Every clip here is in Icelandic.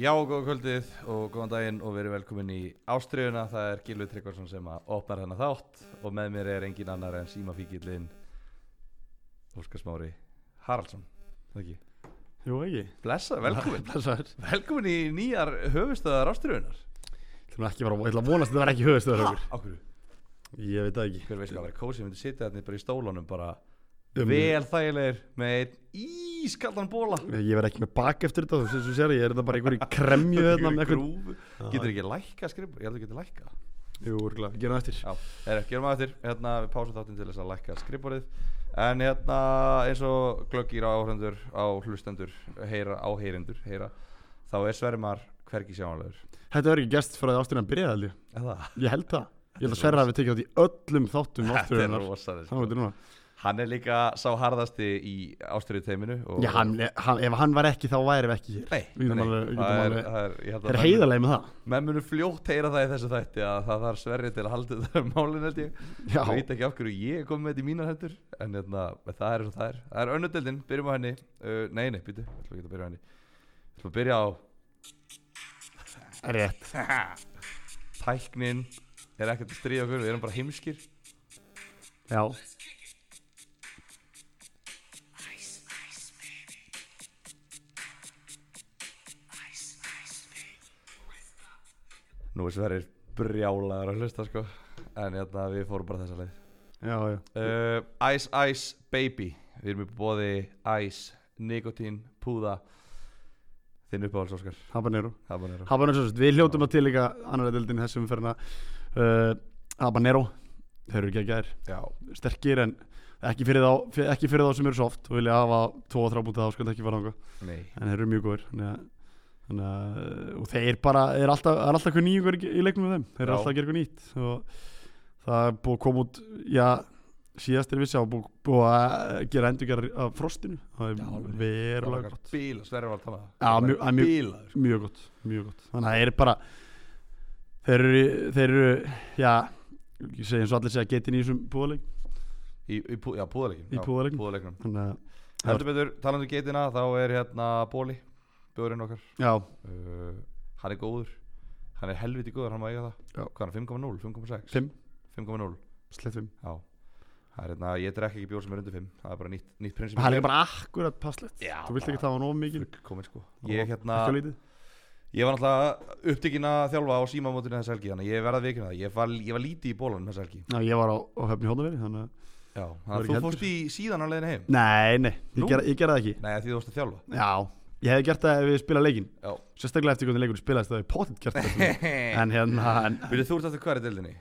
Já, góða kvöldið og góðan daginn og verið velkomin í Ástriðuna. Það er Gilvi Tryggvarsson sem að opnar hennar þátt og með mér er engin annar en símafíkillin Óskar Smári Haraldsson. Er Það ekki? Jú, ekki. Blessa, velkomin. Blessaður. velkomin í nýjar höfustöðar Ástriðunar. Ég ætla nú ekki að vera, ég ætla að vonast að það var ekki höfustöðarhaugur. Ákveðu. Ég veit það ekki. Hver veist hvað að vera kósið, myndi sitja þarna bara í stólunum bara Um- vel þægilegir með einn ískaldan bóla. Ég verð ekki með bak eftir þetta, þú veist, þú sér, ég er þetta bara einhverju kremju hérna með eitthvað. grúfu. Getur ekki lækka skrifur? Ég held að getur lækka. Jú, örgulega, gerum það eftir. Já, er, gerum að eftir, hérna við pásum þáttinn til þess að lækka skrifborðið En hérna eins og glöggir á áhrendur, á hlustendur, heyra, áheyrendur, heyra Þá er Svermar hvergi sjáanlegur Þetta er ekki gest frá því ásturinn að byrja, held ég. Eða? Ég held það. Ég held að Sverra hafi tekið átt í öllum þáttum Þetta er ásturinnar. rosalega Þannig að núna. Hann er líka sá harðasti í ástriðu teiminu Já, hann, hann, ef hann var ekki, þá væri við ekki hér. Nei, Við getum nei, alveg- við það getum er, alveg- það er, ég held að Það er menn- heiðarlega með það. Menn munu fljótt heyra það í þessu þætti að það þarf Sverri til að halda þetta málin held ég Já. Ég veit ekki af hverju ég er komið með þetta í mínar hendur En hérna, það er svo það er Það er önnudeldin, byrjum á henni uh, Nei, nei, býtu, ég ætlum ekki að byrja á henni Ég ætlum að byrja á Rétt. tæknin Er ekkert að stríða okkur, við erum bara heimskir Já. Nú er Sverri brjálaður að hlusta sko En hérna, við fórum bara þessa leið Já, já. uh, Ice Ice Baby Við erum í bóði Ice, Nikotín, Púða Þinn uppáhalds Óskar Habanero. Habanero Habanero svo sett, við hljótum að til líka annar deildin þessum ferna uh, Habanero, þeir eru ekki að gæðir Já, sterkir en ekki fyrir þá, fyr- ekki fyrir þá sem eru soft og vilja hafa 2 og 3 bútið þá skal það ekki fara þangað nei en þeir eru mjög góður þannig að- þannig að, uh, og þeir bara, er alltaf, það er alltaf eitthvað nýjungur í í leiknum með þeim, þeir eru Já. alltaf að gera eitthvað nýtt og það er búið að koma út já, síðast er vissi á búið, búið að gera endurgerð af frostinu, Já, það er alveg. verulega gott Bíla, Sverri var að tala um Já, mjög- að mjög- Bílaður mjög gott, mjög gott þannig að það er bara þeir eru, þeir eru já, ég segi eins og allir segja getin í þessum búðaleg Í, í, pú, já, púðalegjum Í púðarleiknum. Púðalegjum þannig að, Heldur betur, talandi um geitina þá er hérna Bóli Björinn okkar já, uh, Hann er góður Hann er helviti góður, hann má eiga það Já. Hvað er hann, 5,0, 5,6? Fimm. 5,0 slettum Já Það er hérna, ég drekk ekki bjór sem er undir 5 Það er bara nýtt, nýtt prinsip hann er líka bara akkurat passlegt Já, þú vilt ekki tafa nóg mikið Komin sko Hann Ég var hérna ekki á lítið. Ég var náttúrulega upptekinn að þjálfa á símamótinu þessa helgi Þannig að ég verða að vikina það Ég var, ég var lítið í bólanum þessa helgi Já, ég var á, á höfni hóðaveri þannig að, Já, þannig Var að ekki þú heldur. fórst í síðan á leiðinu heim nei, nei, ég Nú? gera, ég gera það ekki Nei, af því þú varst að þjálfa já, ég hefði gert það ef við spila leikin Já sérstaklega eftir hvernig leikur spilaðist það hefði potið gert það en hérna, en, Vilja þú ert eftir hverja dildinni?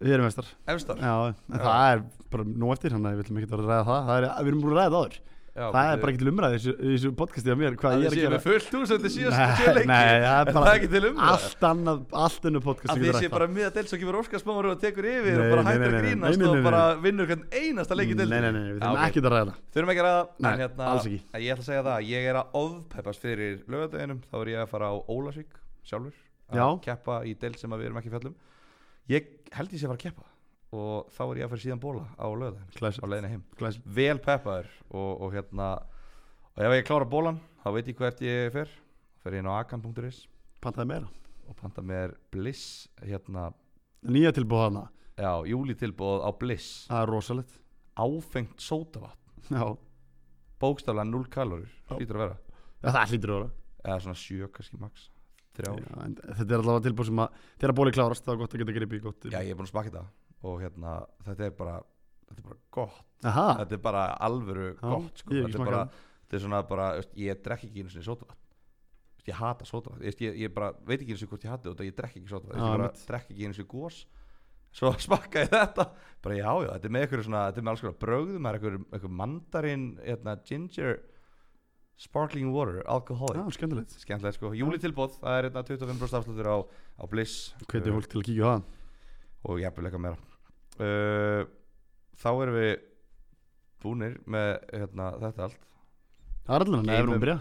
við erum mestar Efstar? já, en Já. það er bara nóg eftir þannig að við viljum ekki að ræða það, það er, við erum búin að ræða það áður Já, það er bíddu. bara ekki til umræði í þessu- í þessu podcasti af mér hvað Það er ég er að séu gera með fullt hús eftir síðast sjö Nei, leiki nei, Er það er það bara ekki til umræða? allt annað, allt önnur podcast Að sem því getur sé rætt bara miða del svo kemur Óskar Smáru og tekur yfir Nei, og bara nei, hættir nei, að nei, grínast nei, nei, og nei, bara vinnur hvern einasta leik í Nei, deildinni nei, nei, við Já, þurfum ok. ekki að ræða Þurfum ekki að ræða Nei, en hérna, alls ekki. en Ég ætla að segja það að ég er að ofpeppast fyrir lögadeginum þá er ég að fara á Ólasvík sjálfur að Já. keppa í del sem að við erum ekki í fjöllum Ég held ég sé að fara að keppa og þá er ég að fara síðan bóla á lögadeginu á það leiðinu heim Glæs, vel peppaður og, og hérna og ef ég klára bólan þá veit ég hvert ég fer fer ég inn á akan.is pantaði meira og panta mér bliss hérna, Nýja tilbúið hana, já, júlitilbóð á bliss það er rosalegt áfengt sótavatn Já, bókstaflega 0 kalorir, Já. hlýtur að vera Já, það hlýtur að vera eða svona 7 kannski max 3 Já, en Þetta er allavega tilbúið sem að þegar bóli klárast þá er gott að geta gripið í gott já, ég er búin að smakka þetta og hérna, þetta er bara þetta er bara gott, Aha, þetta er bara alvöru gott, sko, ég þetta hef ekki er bara smakkað þetta er svona bara, veist, ég drekk ekki einu sinni sótavatn Veist, ég hata sótavatn ég, ég, ég bara veit ekki einu sinni hvort ég hati þetta ég drekk ekki sótavatn, Já, ég bara einmitt. drekk ekki einu sinni gós svo smakka ég þetta bara já, já, þetta er með einhverju svona þetta er með alls konar brögðum, það er einhverjum einhver mandarin hérna, ginger sparkling water, alcoholic Já, Ah, skemmtilegt skemmtilegt sko, júlitilbóð, það er hérna 25% afslutur á, á Bliss Hvernig fólk til að kíkja á það og jafnvel eitthvað meira uh, þá erum við búnir með hérna, þetta allt Það er allavega, Geymum. nefnum að byrja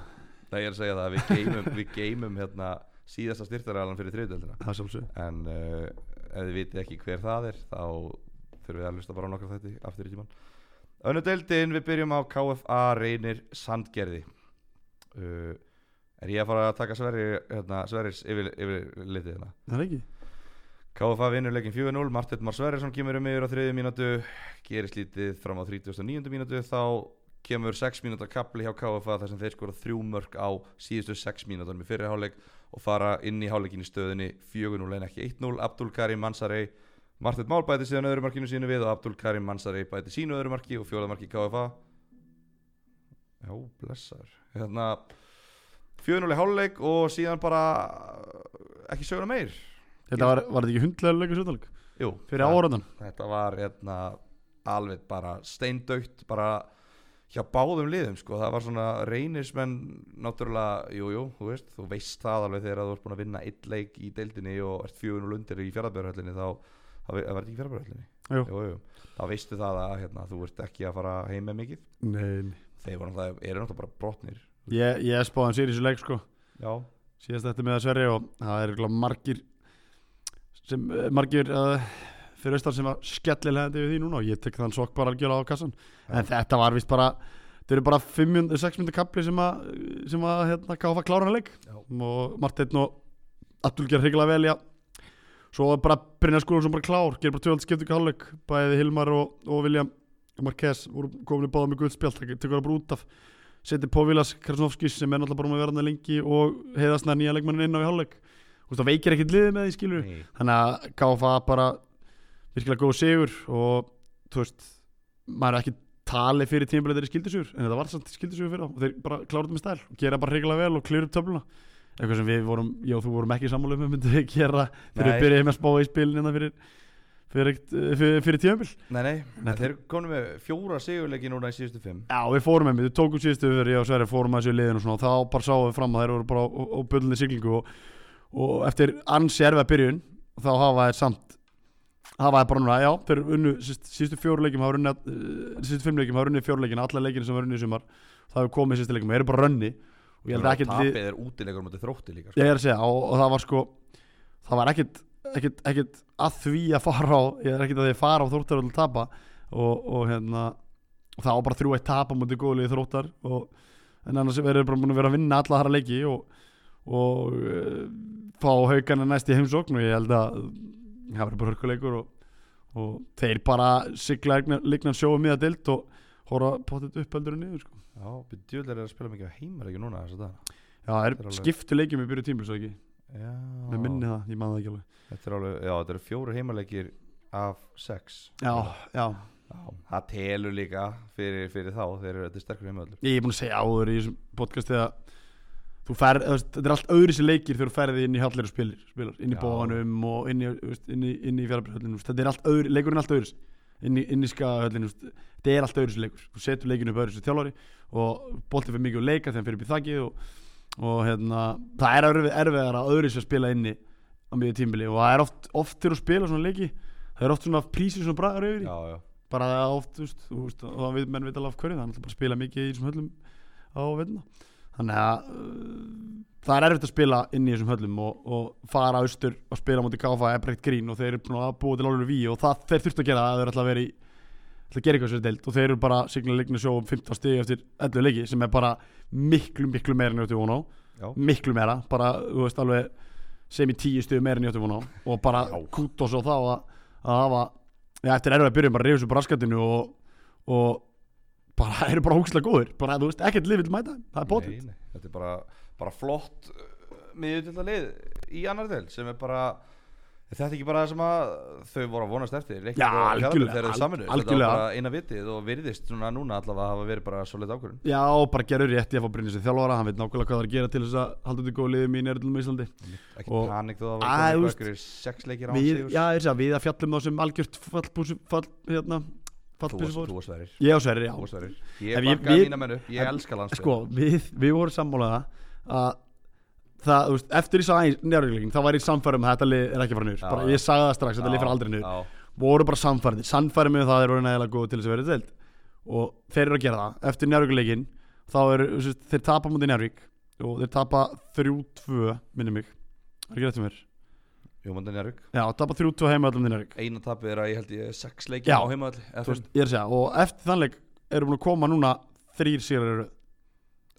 Nei, ég er að segja það að við geymum, við geymum hérna, síðasta styrtarælan fyrir þriðdeldina Það er sjálfsög en uh, ef þið vitið ekki hver það er þá þurfum við að lusta bara á nokkra þetta aftur í tíman Önnu deildin, við byrjum á KFA reynir Sandgerði uh, Er ég að fara að taka Sverri, hérna, Sverris yfir, yfir litið hérna? það er ekki KFA vinnur leikin 4-0, Martin Már Sverrisson kemur um yfir á þriðju mínútu, gerist lítið fram á 39. mínútu, þá kemur 6 mínúta kapli hjá KFA þar sem þeir skora þrjú mörg á síðustu 6 mínútanum í fyrri hálfleik og fara inn í hálfleikin í stöðunni 4-0 en ekki 1-0, Abdul Karim Mansarei Martin Már bæti síðan öðru markinu sínu við og Abdul Karim Mansarei bæti sínu öðru marki og fjóða marki KFA Já, blessar hérna 4-0 í hálfleik og síðan bara ekki söguna meir Þetta var, var þetta ekki hundlega leikur sjöndalík Jú, fyrir það- áraðan þetta var hérna, alveg bara steindaukt bara hjá báðum liðum sko. það var svona reynismenn náttúrulega, jújú, jú, þú veist þú veist það alveg þegar þú ert búin að vinna eitt leik í deildinni og ert fjögun og lundir í fjaraðbjörhöllinni þá, þá ve- það verði ekki fjaraðbjörhöllinni Jú. jú, jú. þá veistu það að hérna, þú ert ekki að fara heim með mikið Nei, nei þeir voru náttúrulega, eru náttúrulega bara brotnir Ég, ég spáði hann sér í þessu leik sko já, síðast þetta með að Sverri og það er örugglega margir sem, eh, margir uh, fyrir austan sem var skellilegandi við því núna og ég tek þann sokk bara algjörlega á kassan en þetta var vist bara þetta eru bara 6 minnur kapli sem að sem að hérna káfa kláran leik Já. og Marteinn og Abdul ger hrigilega vel já svo er bara Brynjar Skúlum bara klár gerir bara tvöld skiptingu hálfleik bæði Hilmar og, og William Marquez voru komin í báða með guldspjald það tekur það bara út af seti Povilas Krasnovskis sem er náttúrulega bara með verðan lengi og heiðasna nýja leikmannin inn á í hálfleik Þú veist, það veikir ekkert liðið með því skilur nei, þannig að KFA bara virkilega góð sigur og þú veist, maður er ekki talið fyrir tímabilið þeirri skildisugur en þetta var samt skildisugur fyrir þá og þeir bara kláruðu með stæl og gera bara hrigilega vel og klýra upp töfluna eitthvað sem við vorum, já þú vorum ekki sammála um að myndi gera þegar Nei. við byrjuðum að spá í spilin hérna fyrir, fyrir, eitt- fyrir, fyrir tímabil nei, nei. Nei, þeir komum með fjóra sigurleiki núna í síðustu fimm Já, við fórum einmitt, við tókum síðustu yfir, ég og Sverri fórum að þessu liðin og svona og þá bara sáum við fram að þeir voru bara á, á, á bjöllunni siglingu og, og eftir ansi erfa byrjun þá hafa þeir samt hafa þeir bara núna, já, þeir unnu síst, síðustu fjóru leikjum, hafa runni uh, síðustu fimm leikjum, hafa runni fjóru leikjum, alla leikjum sem hafa runni í sumar það hefur komið í síðustu leikjum, þeir eru bara runni og ég held ekki að tapið er útilegur um þetta þrótti líka sko. ég er að segja og, og það var sko það var ekkit, ekkit, ekkit að því að fara á ég er ekkit að því að fara á þróttar og tapa og, og hérna og það var bara þrjú eitt tapa mútið góðlið þróttar og, en annars verður bara búin að vera að vinna alla þara leiki og, og uh, fá haugana næst í heimsókn og ég held að það verður bara hörkuleikur og, og þeir bara sigla lignan sjóum miða dild um og horfa pottet upp heldur en niður sko. já, djúlega er að spila mikið heimareikju núna þess að það já, það Þetta er er alveg- skiptu leikjum í byrju tímur svo ekki, Já, með minni það, ég man það ekki alveg þetta er alveg, já, þetta eru fjóru heimaleikir af sex Já, já, Já, það telur líka fyrir, fyrir þá þeir eru þetta er sterkur heimavöllur ég er búin að segja áður í þessum podcasti að þú ferð, þú veist, þetta er allt öðru sér leikir þegar þú ferði inn í hallir og spilir, spilar, inn í Já. bóðanum og inn í, þú veist, inn í, inn í fjárbröðhöllinu, þetta er allt öðru, leikurinn er allt öðru sér, inn í, inn í skagahöllinu, þú veist, þetta er allt öðru sér leikur, þú setur leikinu upp öðru sér þjálfari og boltið fyrir mikið og leika þegar hann fyrir upp í þakkið og, og hérna, það er erfið, erfiðar að öðru sér spila inni á mjög tímbili og það er oft, oft þegar þú spila svona leiki, það er oft svona prísir svona bragar yfir í Já, já, bara það oft, þú veist, þú veist og það við menn veit alveg af hverju, það er náttúrulega bara að spila mikið í þessum höllum á veitna þannig að uh, það er erfitt að spila inn í þessum höllum og, og fara austur og spila mútið káfa er bara eitt grín og þeir eru búin að búa til alveg ví og það þeir þurftu að gera það ef þeir eru alltaf að vera í ætla að gera eitthvað sér deild og þeir eru bara signalega leikna sjó um 15 stig eftir 11 leiki sem er bara miklu, miklu meira en ég átti von á já, miklu meira, bara, þú veist, alveg sem í 10 stig meira en ég átti von á og bara Já. kútos og þá að, að hafa já, eftir erfið að byrja bara reyfis upp raskatinu og, og bara, eru bara hókslega góðir bara, þú veist, ekkert lið vil mæta þeim, það er bótið Nei, nei, þetta er bara, bara flott miðutölda lið í annar del sem er bara er Þetta er ekki bara það sem að þau voru að vonast eftir Leiknir Já, og Fjarðabyggð algjörlega, þegar al- þau saminu Þetta var algjörlega. bara eina vitið og virðist núna, núna allavega hafa verið bara svolítið ákvörðun já, bara gerur rétt í að fá Brynjar sem þjálfara hann veit nákvæmlega hvað það er að gera til þess að halda út í góðu liðum í nærðlum í Íslandi Ekki Og- panik þó að Æ, það var þú veist, komið sex leikir án við, sigurs. já, ég sé að við að fjallum þá sem algjört fallbúsi, fall, hérna Þú varst- fallbúsi þú varst verið ég og Sverri, já, Þú varst verið Ef Ég ég- bakkaði við- mína mennu, ég ef- elska landsbyrð sko, við, við vorum sammálaða að það, þú veist, eftir ég sagði njárvíklegin, þá var ég samfærum að þetta lið er ekki að fara niður, Já, bara já. ég sagði það strax þetta lið fyrir aldrei niður, voru bara samfærið samfærið með það að þeir voru nægilega góð til þess að vera í deild og þeir eru að gera það eftir njárvíklegin, þá eru þú veist, þeir tapa mútið njárvík og þeir tapa 3-2, minni mig er ekki rétt um mér, Jú, mann Daniel Rugg já, tapa 3-2 heima öllum njárvík Eina tapið er að ég held ég sex leikir Já. á heimavall eða Þú fimm. veist, ég er að segja, og eftir þannleik eru búin að koma núna þrýr sigrar í röð.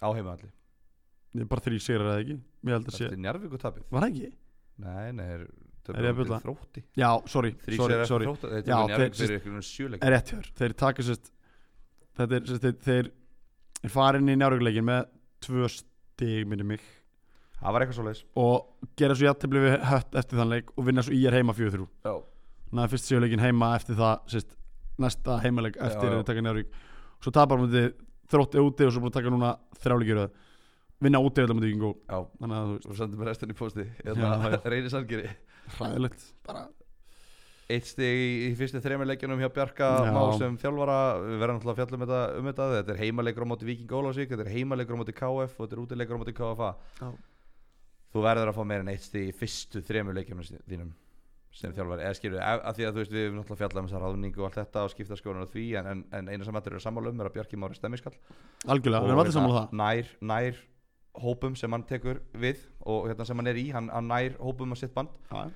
Á heimavalli Ég er bara þrý sigrar eða ekki Mér held að sé Þetta er Njarvík og tapið Var það ekki? Nei, nei, er, Er ég að bulla? Þrótti Já, sorry, Þrý sér sorry, eftir sorry. þrótti Þetta Já, er þeir- Njarvík fyrir ykkur sjöleik er rétt hjör þeir taka sérst þetta er sérst þeir, þeir er farin í njárvíkuleikin með tvö stig minni mig Það var eitthvað svo leis og gera svo jættibli við hött eftir þann leik og vinna svo í er heima 4-3 Já, þannig að fyrst sjöleikin heima eftir það sérst næsta heimaleik eftir Já, já. þeir taka njárvík svo tapar mútið þrótti úti og svo búin að taka núna þrjáleikir og vinna úti þetta mútið ekki góð já sko. þannig að þú Þú sendir mér restin í Hérna, posti Já, já. Reynir Sandgeri veist hræðilegt bara Eitt stig í, í fyrstu þreymur leikjunum hjá Bjarka Já. Má sem þjálfara Við verðum náttúrulega að fjalla um þetta, um þetta Þetta er heimaleikur á móti Víking Ólásvík Þetta er heimaleikur á móti KF og þetta er útileikur á móti KFA Já. Þú verður að fá meira en eitt stig í fyrstu þreymur leikjunum sí- þínum sem þjálfari, eða skilur, af af því að þú veist við höfum náttúrulega fjallað um þessar ráðningu og allt þetta og skipta skoðunar á því en, en, en eina sem allir eru sammála um er að Bjarki Mári stemmiskall algjörlega við erum allir sammála um það nær, nær hópum sem hann tekur við og hérna sem hann er í, hann, hann nær hópum á sitt band Já,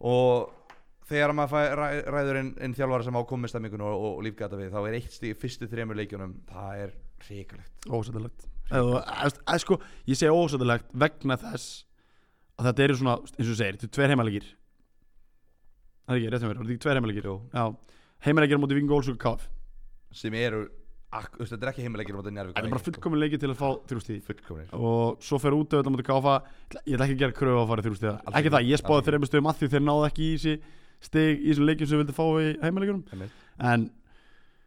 og þegar maður fæ, ræ, ræður inn, inn þjálfara sem á komið stemmingun og, og lífgata við þá er eitt stíð fyrstu þremur leikjunum það er hrikalegt ósættilegt eða sko, ég segi ósættilegt vegna þess að þetta eru svona, eins og þú segir, þetta eru tver heimalegir það er ekki, rétt hjá mér, voru þetta ekki tver heimalegir Jú. já, heimalegir á móti Víking Ólsvík og KF sem eru, ak, þú veist, þetta er ekki heimileikir þetta er njárvík þetta er bara fullkomin leiki til að fá þrjústíð fullkomnir og svo fer út auðvitað á móti KF ég ætla ekki að gera kröfu á að fara þrjústíð Alls ekki það, ég alls spáði ekki. þreymur stöðum að því þeir náðu ekki í þessi stig í þessu leikjum sem við vildi fá í heimalegjum Einmitt. en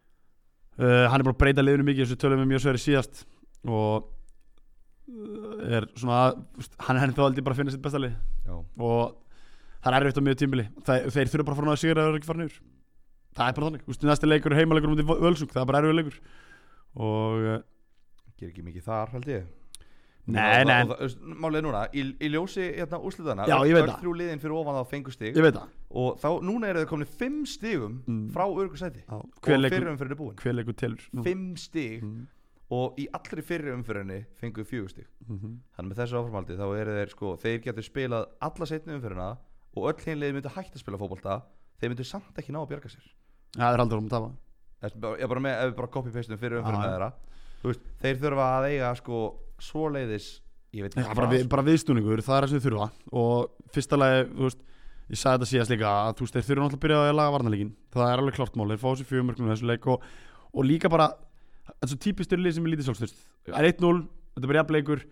uh, hann er bara að breyta liðinu mikið þessu tölum við mjög sveri síðast og uh, er svona að- hann er henni þá aldrei bara að finna sitt besta lið Já. og það er erfitt á mjög tímbili Þe, þeir þurfa bara að fara náðu sigur að það er ekki farin yfir það er bara þannig, Ústu, næsti leikur er heimalegur um því völsung, það er bara erfið leikur og uh, ger ekki mikið þar held ég Nei, Og það- nei. og það- þú veist, Málið er núna, í, í ljósi hérna úrslitana Já, ég veit það. Þrjú liðin fyrir ofan þá fengu stig ég veit það Og þá, núna eru þau komni fimm stigum Mm. frá örgusæti hver Og leikur, fyrir umfyrinni búin hver leikur telur núna? Fimm stig Mm, og í allri fyrir umfyrinni fengu fjögur stig mhm. Þannig með þessu áframaldi þá eru þeir sko Þeir getur spilað alla setni umfyrirna Og öll hinlega myndu hægt að spila fótbolta Þeir myndu samt ekki ná að bjarga sér Já, það er aldrei um að tapa Ég er bara með, ef við bara copy-pastum fyrir umfyrirna Já, já. þeirra Þú veist, þeir þurfa að eiga sko Svoleiðis, ég veit sko. Já, bara, við, bara viðstúningur, það er það sem þau þurfa og fyrsta lagi, þú veist ég sagði þetta síðast líka að þú veist, þeir þurfa náttúrulega að byrja á að laga varnarleikin það er alveg klart mál, þeir fá þessi fjögur mörgnum þessu leik og, og líka bara þetta er svo típist er lið sem er lítið sjálfstyrst það er 1-0, þetta er bara jafnleikur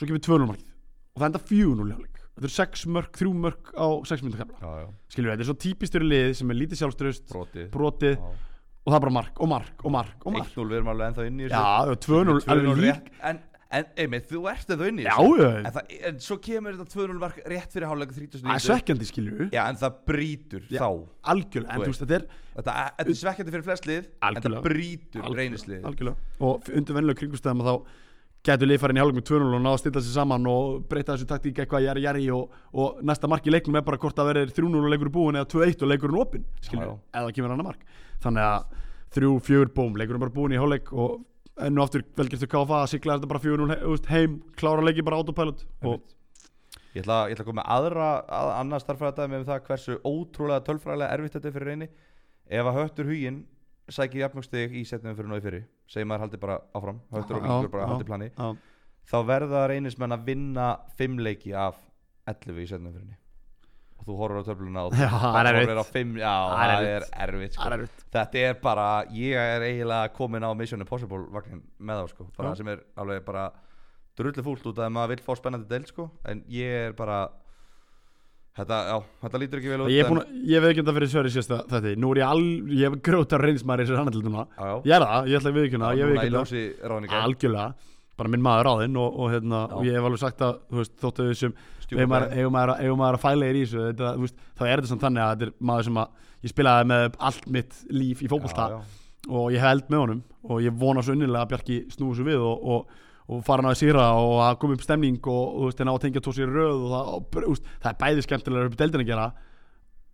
svo kemur 2-0 markið og það enda 4-0 jafnleik þetta er 6 mörg, 3 mörg á 6 minnum kemla Já, já, skilur við, þetta er svo típist er lið sem er lítið sjálfstyrst brotið brotið Já. og það er bara mark og mark og mark og mark 1-0 við erum alveg ennþá inn í Já, og 2-0 alveg 2-0 lík rétt- En, en einmitt, þú ert ennþá inn í Já, en, já, það, en svo kemur þetta 2-0 mark rétt fyrir hálfleika 30 það er svekkjandi skilur við Já, en það brýtur Já. þá Þú algjörlega, en þú veist, þetta er Þetta, þetta er svekkjandi fyrir flest lið En það Algjörlega. brýtur Algjörlega. reynislið Algjörlega. og f- undir vennilega kringustæðum að þá gætu lið farin í hálfleik með 2-0 og ná að stilla sér saman og breyta þessu taktík eitthvað jari jari og, og næsta mark í leiknum er bara hvort það verður 3-0 og leikur er búin eða 2-1 og leikurinn opinn skilur, Já, já. eða það kemur annar mark þannig að 3-4 búm, leikurinn bara búin í hálfleik og enn og aftur velgerstu KFA að sigla þetta bara 4-0 he- þú veist, heim, klára leiki bara autopilot og Ég ætla, ég ætla að koma með aðra að, annað starffræðadæmi um það hversu ótrúlega tölfræðilega erfitt þetta er fyrir reyni Ef að höttur huginn sækir jafnmjögstig í setnum fyrir nóði fyrir segjum maður haldi bara áfram, höttur og Já, vingur bara já. haldi plani Já. þá verða reynismenn að vinna fimm leiki af 11 í setnum fyrir og þú horfir á töfluna og þú Já, það er horfir erfitt. á fimm, já, Það er það er erfitt. erfitt sko. það er erfitt þetta er bara, ég er eiginlega komin á Mission Impossible vagnin með þá sko, bara Já. sem er alveg bara drullu fúlt út að maður vill fá spennandi deil sko, en ég er bara þetta, já, þetta lítur ekki vel út ég, er búinn að- ég veit ekki þetta fyrir Sverri síðast þetta nú er ég al, ég hef grótar reynsmæri sér hann til núna en, já, já, ég er það, ég ætla að viðkjöna, ég núna í viðkjöna ljósi ráninga algjörlega, bara minn maður ráðinn og, og, hérna, Já. og ég hef alveg sagt að þú veist, þóttu við sem Stjúpa ef maður, ef maður, ef maður að fæla er í þessu þetta, þú veist, þá er þetta samt þannig að þetta er maður sem að ég spilaði með allt mitt líf í fótbolta Já, já. og ég held með honum og ég vona svo unnilega að Bjarki snúi svo við og, og, og fara hann að sýra og að koma upp stemning og, og þú veist, hérna á að tengja tósi í röð og það, og, br- þú veist, það er bæði skemmtilega upp í deildin að gera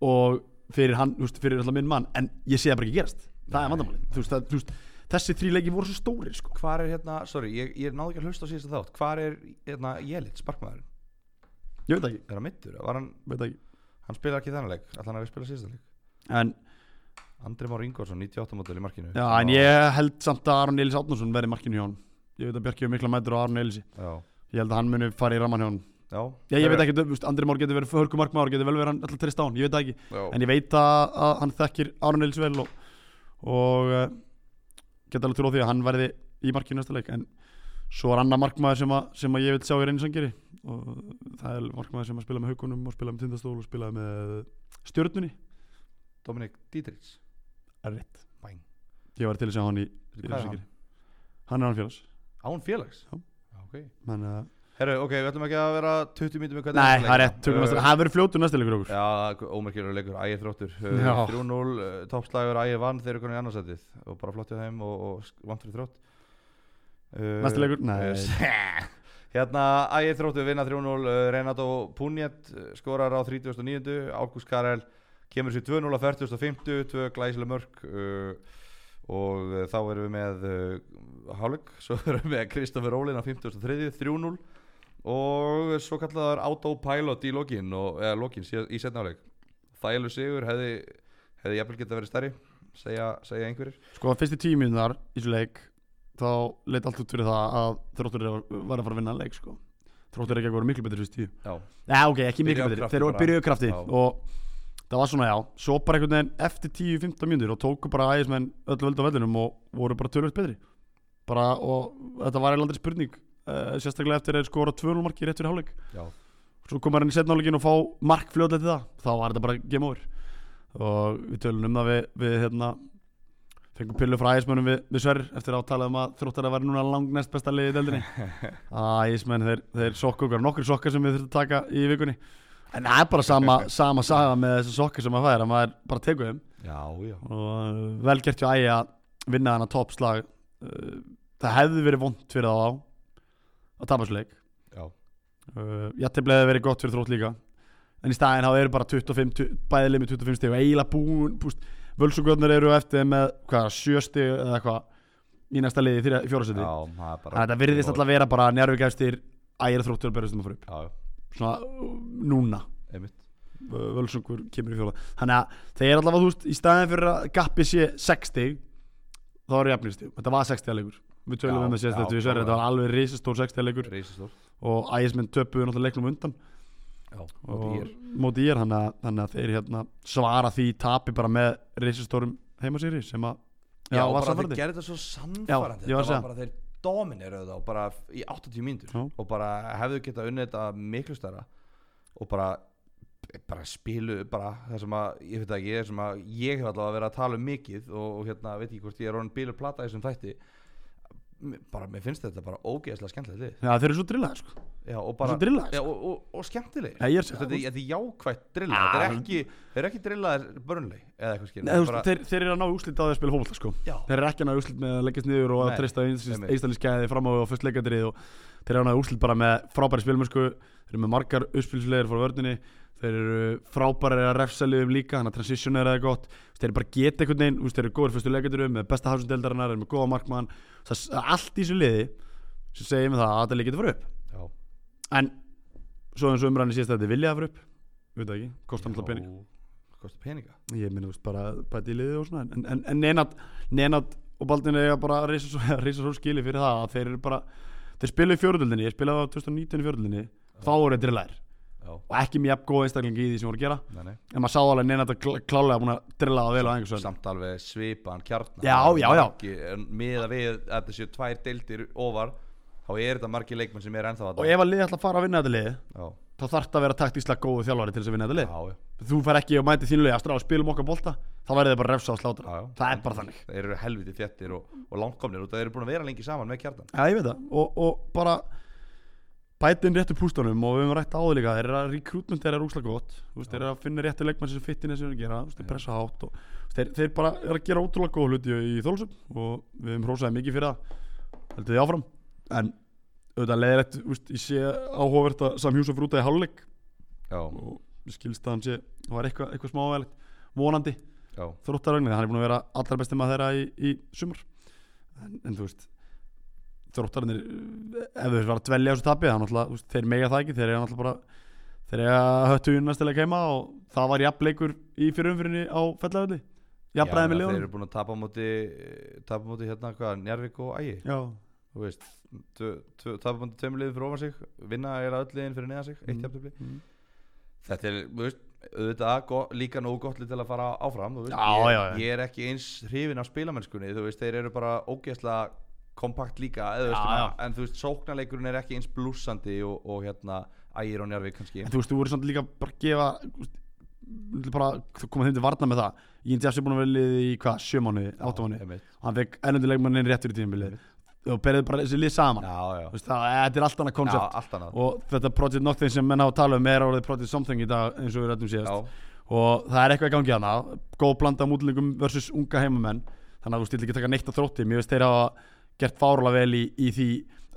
og fyrir, hann, þú veist, fyrir alltaf minn mann en ég sé það bara ekki gerast, það er vandamálið Þú veist, það- þú veist, þessi þrý leiki voru svo stórir sko. hvar er hérna, sorry, ég, ég náði ekki að hlusta á síðasta þátt, hvar er hérna Jelit, sparkmaðurinn, ég veit það ekki, er hann mittur var hann, veit það ekki. hann spila ekki þennan leik, allan að við spila síðasta leik En, Andri Már Ingvarsson, 98 mótil í markinu já, en ég held samt að Aron Elís Átnarsson verði markinu hjá hann ég veit að Bjarki hefur mikla mætur á Aron Elísi já, ég held að hann muni fara í ramman hjá hann Já, ég, ég veit ekki, þú veist, Andri Már getur verið hörkumarkmaður getur vel verið hann alltaf trist á hann, ég veit það ekki en ég veit að, að hann þekkir Aron Eils vel og, og uh, geta alveg trú á því að hann verði í markinu næsta leik en svo er annar markmaður sem að, sem að ég vil sjá í reynisangeri og það er markmaður sem að spila með haukunum og spila með tindastól og spila með stjörnunni Dominik Dietrich er rétt Bæn. ég var til að sjá hann í Hvað er hann? reynisangeri hann er hann félags Án félags? Já. Ok Men, uh, Herru, ok, við ætlum ekki að vera 20 mítum nei, það er rétt, tökum næsta- hann verður fljótur næsta leikur okkur Já, ómerkjörður leikur, ægir þróttur uh, Já. 3-0, uh, toppslagur, ægir vann þeir eru konið annarsætið og bara flott hjá þeim og, og vant fyrir þrótt uh, Næsti leikur? Nei. uh, Hérna, ægir þróttur vinna 3-0 uh, Renato Punjet uh, skorar á 39. Ágúst Karel kemur sér 2-0 á 40.50 2 glæsileg mörk uh, og uh, þá erum við með uh, Hálug, svo erum við með Kristoffer Rólin á 50.30, 3-0 og svo kallaðar autopilot í lokin, og, eða lokin síðan- í setnáleik þælu sigur hefði, hefði jafnvel geta verið stærri segja, segja einhverjir Sko að fyrstu tíu mínúnar í þessu leik þá leitt allt út fyrir það að þróttur var var að fara að vinna leik sko. þróttur ekki að voru miklu betri fyrstu tíu já, Nei ok, ekki miklu Byrjuðu á betri, krafti þeir voru bara. byrjuðu krafti Já. og það var svona já, svo bara einhvern veginn eftir 10-15 mínútur og tóku bara ægismenn öll völd á vellinum og voru bara tölvöld betri bara og þetta var eiginlega aldrei spurning uh, sérstaklega eftir að þeir skora 2-0 marki rétt fyrir hálfleik já, svo koma hann í setnálegin og fá mark fljóðlega til það þá var þetta bara game over og við tölum um það við, við hérna, fengum pillu frá ægismönnum við, við sver eftir að tala um að þróttar að vera núna langnæst besta liðið í deldinni ægismenn þeir, þeir sokka okkar nokkur sokkar sem við þurfum að taka í vikunni en það er bara sama, sama saga með þessi sokkar sem maður fær að maður bara tekur þeim já, já. og uh, vel gert hjá ægi að vinna hana toppslag Uh, það hefði verið vond fyrir þá að tapa svo leik já. uh, Jatteflega hefði verið gott fyrir þrótt líka En í staðinn þá eru bara 25 tu- Bæði lið með 25 stig og eiginlega búin búst, Völsugöðnir eru á eftir með hvað, 7 stig eða eitthvað Í næsta liði í þriðja- í fjóra já seti það er Þannig bara að þetta virðist alltaf vera bara njárvík eftir Ægir þróttur að berjast um að fara upp já, Svona uh, núna einmitt Vö- Völsungur kemur í fjóla Þannig að þeir eru allavega, þú veist, í staðin fyrir að gappi sé 60 Þá eru jafnir Þetta var 60 leikur Við tölum Já, um það sést já, þetta við sverri Þetta var alveg risastór 60 leikur reysistór Og ægismenn töpuðu náttúrulega leiknum á undan já, og og ég móti ég er þannig að- þannig að þeir hérna svara því tapi bara með reisistórum heimasýri sem að já, bara var þeir samfærdi gerði þetta svo sannfærandi Já, ég var að þetta segja. var bara þeir domineruðu það og bara f- í 80 mínútur Já. og bara hefðu getað unnið þetta miklu stærra og bara bara spilu bara það sem að ég veit ekki, það sem að ég hef allavega verið að tala um mikið og, og hérna veit ekki hvort ég er orðin bílur plata í þessum þætti M- bara, mér finnst þetta bara ógeðslega skemmtilegt lið Já, þeir eru svo drillaði sko já, og bara, Svo drillaðir, já, og, og, og skemmtileg Já, sko. ég er- þetta, er- þetta er jákvætt drilla þetta er Ah. ekki, þeir eru ekki drillaðir börnleg eða eitthvað skil Nei, þú veist, þeir, þeir eru að ná úslit á því að spila fólkvölda sko já, Þeir eru ekki að ná úslit með að leggjast niður og að Nei, treysta einmitt. einstaklingsgæði fram á og fyrst leikandrið og þeir eru að ná úslit bara með frábæri spilmörsku Þeir eru með margar uppspilslegar frá vörninni Þeir eru frábæri að refsaliðum líka þannig að transition er eða gott Þeir eru bara að geta einhvern veginn, þú veist, þeir eru góður fyrstu leikandrið með besta hafsundeldarinnar, þeir eru með góða markmann Það er allt í þessu liði sem segir mig það að þetta leik getur farið upp já, En svo eins og umræðan í síðast að þetta vilja að fara upp Við það ekki, kostar alltaf pening kosti peninga Ég minna, þú veist, bara bæti í liðið og svona En, en, en nenat, nenat og Baldin eiga bara að reisa svo, reisa svo skili fyrir það að Þeir eru bara, þeir spilu í fjöruldinni Ég spilaði á 2019 í fjöruldinni Þá voru þeir drillæðir já, og ekki mjög góð einstaklingi í því sem voru að gera nei, nei En maður sá alveg neina þetta klá- klálega búin að drilla það vel á einhvers veginn samt alveg svipaðan kjarnar Já, já, já. miða við að þetta séu tvær deildir ofar þá er þetta margir leikmenn sem er ennþá að Og ef að liðið ætla að fara að vinna þetta liðið já, Þá þarf þetta að vera taktíslega góðu þjálfari til þess að vinna þetta lið já, já, Þú fær ekki og mæti þínulega að strá spilum okkar bolta Þá verður þið bara refsa og slátra já, já. Það er bara þannig þeir eru helviti þjettir og, og langkomnir og þeir eru búin að vera lengi saman með kjartan Já, ég veit það og, og bara bæti inn réttu pústunum og við höfum rætt áður líka þeir eru að rekrútment þeir eru úslega gott Þú veist, þeir eru að finna réttu leikmann sem fittin þess að gera Þú veist, þeir pressa hátt og þú veist, þeir, þeir bara eru að gera ótrúlega góð hluti í, í þólusum og við höfum hrósaði mikið fyrir það heldur því áfram en auðvitað leiðilegt, þú veist, ég sé áhugavert að Sam Hjúsum fyrir út að ég háluleik já, og mér skilst að hann sé það var eitthvað, eitthvað smávægilegt vonandi já, þróttarögnir hann er búin að vera allra besti maður þeirra í, í sumar en, en þú veist þróttarögnir ef þau var að dvelja á þessu tapi þá náttúrulega, þú veist, þeir mega það ekki þeir eru náttúrulega bara þeir eru að höttu hún næstilega heima og það var jafnleikur í fyrirumfyrinni á fellaföldi já jafnbræði með þeir leonum eru búin að tapa á móti tapa á móti hérna hvað, Njarvik og Ægi já, þú veist tapabandi tveimliðin fyrir ofan sig vinna er að öll liðin fyrir neðan sig eitt Mm. jafntöfli Mm. þetta er, þú veist, auðvitað go- líka nógu gott lið til að fara áfram þú veist, Já, ég, já, já. ég er ekki eins hrifin af spilamennskunni þú veist, þeir eru bara ógeðslega kompakt líka eða, þú veist, Já, svona, en þú veist, sóknarleikurinn er ekki eins blúsandi og, og hérna ægir og njárvik kannski En þú veist, þú verður samt líka bara að gefa þú veist, bara þú koma þeim til varna með það Ian Jeffs er búin að vera í liðið í hvað, sjö mánuði, átta mánuði Einmitt. og hann fekk ennundu leikmannin réttur í tímabilið og berðið bara þessi lið saman já, já, Þú veist, það, þetta er allt annað já, koncept allt annað og þetta Project Nothing sem menn hafa að tala um er orðið Project Something í dag eins og við rættum síðast já, og það er eitthvað í gangi hana góð blanda mútlingum versus unga heimamenn þannig að þú stil ekki að taka neitt á þrótti mér veist þeir hafa gert fárulega vel í, í því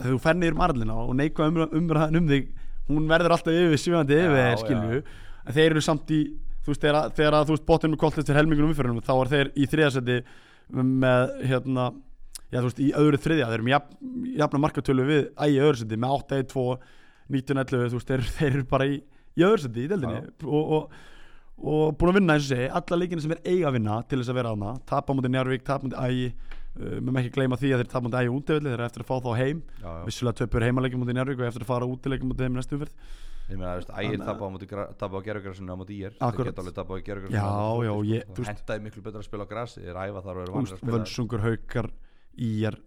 að þú fennir marlina og neikvað umra, umræðan um þig hún verður alltaf yfir svífandi yfir Já, þeir skilju en þeir eru samt í þú veist þegar, þegar að, þú veist botnum með koltist er helmingunum umfyrinum þá er þeir í þriðasetti með hérna já þú veist í öðru þriðja þeir eru með jafn, jafna markatölu við ægi öðru seti með 8, 1, 2, 19, 11 þú veist þeir, þeir eru bara í, í öðru seti í deldinni og, og og búin að vinna eins og segi alla leikina sem er eiga að vinna til þess að vera aðna tapa mútið Njarvík, tapa mútið Ægi uh, með ekki gleyma því að þeir tapa mútið Ægi útivillig þeir eru eftir að fá þá heim já, já. vissulega töpur heimaleikja mútið Njarvík og eftir að fara útileikja mútið heim í næstu umferð Ég meina, þú veist, ægir Þannig að- tapa á móti, gra- tapa á gerðugrassinu á móti ír Akkurat. geta alveg tapa á gerðugrassinu Já, já, ég- þú veist- hendaði miklu betra að spila á grassi þeir æfa þar og eru vanir að Úst, spila þar. vönsungur, haukar, Íjar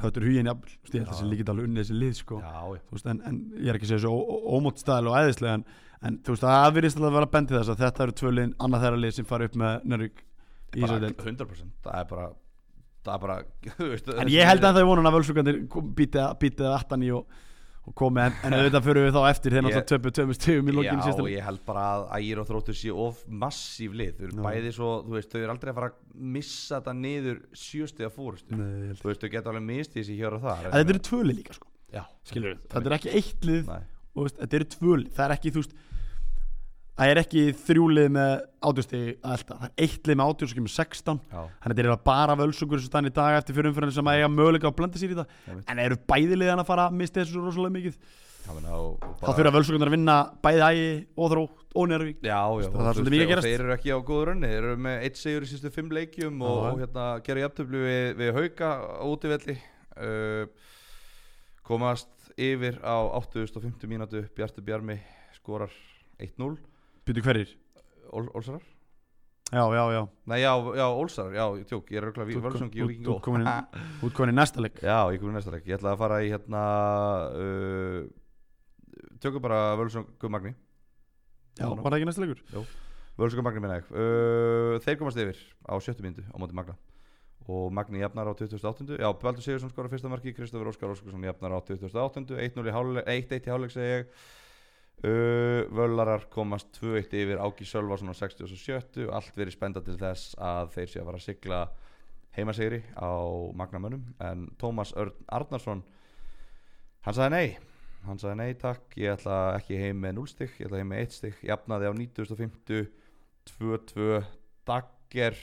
höttur hugin jafn þú veist, ég held Já. að þessi líkið alveg unnið þessi lið sko. já, já, Þú veist, en, en ég er ekki að segja þessu ómótstæðilega og æðislega en, en þú veist það virðist alltaf að vera bendið þess að þetta eru tvölin annað þeirra lið sem fara upp með Njarvík í bara þessu del 100% það er bara, það er bara þú veist, En ég held að það er vonan að völsugandir býtið að 18 í og, og komi en, en auðvitað fyrir við þá eftir þegar Ég- náttúrulega töpu töpu stegum í lokinu Já, síðan ég held bara að ægir og þróttur sé of massív lið, þau eru Já. bæði svo þú veist, þau eru aldrei að fara að missa þetta niður sjöstiða fórustu, Þetta þú veist, þau geta alveg mist í þessi hér og þar eru tvöli líka sko já, Skilur Þetta er ekki eitt lið Nei, og veist, þetta eru tvöli Það er ekki þú veist Það er ekki þrjúlið með átjóðstegi alltaf Það er eitt lið með átjóðstegi með 16 já, Þannig að þetta er eiginlega bara völsungur sem þannig í dag eftir fyrir umfyrir sem að eiga möguleika á að blanda sér í það Einmitt. En eru bæði liðan að fara að mista þessu svo rosalega mikið já, menna, og, og Þá þurfa völsungarnar að vinna bæði ægi og þrótt og njörvík Já, já, það er og þú svolítið veist, mikið að og gerast. þeir eru ekki á góður runni þeir eru með eitt sigur í sístu fimm leikjum og, Já. og hérna gerðu jafntöflu við, við hauka á útivelli uh, komast yfir á 8.50 mínútu Bjartur Bjarmi skorar 1-0 Býtu hverjir? Ól, Ólsarar? Já, já, já Nei, já, já, Ólsarar, já, ég tjók, ég er auðvitað Þú- við Völsungi þú- og Viking þú komin inn- Ó. Út komin í næsta leik Já, ég komið næsta leik, ég ætla að fara í hérna uh, tökum bara Völsungu Magni Já, var það ekki næsta leikur? Völsungur Magni minna ég uh, Þeir komast yfir á sjöttu myndu á móti Magna og Magni jafnar á 28. Já, Baldur Sigursson skorar fyrsta marki Kristofur Óskar Óskarsson jafnar á 28. 1-0 í háluleik 1-1 í háluleik segi ég uh, Völarar komast 2-1 yfir Áki Sölvason á 67. Allt verið spenda til þess að þeir sé að fara að sigla heimasegri á Magnamönnum en Tómas Örn Arnarsson hann sagði nei hann sagði nei takk, ég ætla ekki heim með 0 stygg, ég ætla heim með 1 stygg jafnaði á 90.50 2-2 dagger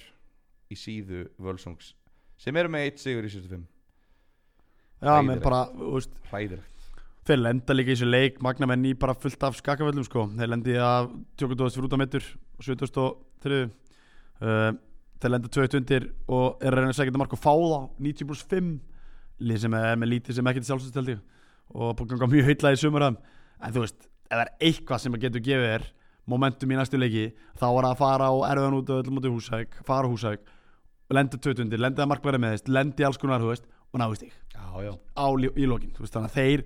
í síðu Völsungs sem eru með 1 sigur í 65 Já, menn Hræðilegt. bara, þú veist hræðilegt Þeir lenda líka í þessu leik Magna menn í bara fullt af skakaföllum, sko Þeir lendi í að tjókundóðast fyrir út á mittur 73 uh, Þeir lenda 20 undir og er að reyna að segja þetta mark og fá þá 90 pluss 5 Lið sem er með lítið sem ekkert sjálfsvöldstældi og búin að ganga mjög heitla í sumaraðum En þú veist, ef það er eitthvað sem að getur gefið þér momentum í næstu leiki þá er það að fara og erfiðan út öllum út í húsæk fara á húsæk, lenda 20 undir lenda að markverða með þess, lenda í alls konar þú veist, og náðu stík já, já. á lí- í lokin þú veist, þannig að þeir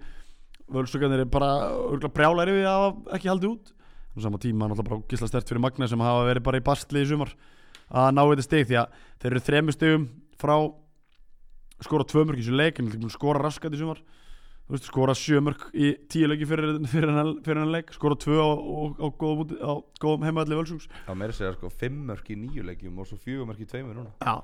völsugarnir er bara örgulega brjálæri við að hafa ekki haldið út og sama tíma náttúrulega bara gísla stert fyrir Magna sem hafa verið bara í bastli í sumar að ná þetta stig því að þeir eru þremur stigum frá skora tvö mörg í þessu leik en þeir eru búin að skora raskat í sumar þú veist, skora sjö mörg í tíu leiki fyrir, fyrir, hann, fyrir hann leik skora tvö á, á, á, góðum, úti- á góðum heimaðalli völsungs það meira að segja sko 5 mörk í 9 leikjum og svo 4 mörk í 2 núna Já,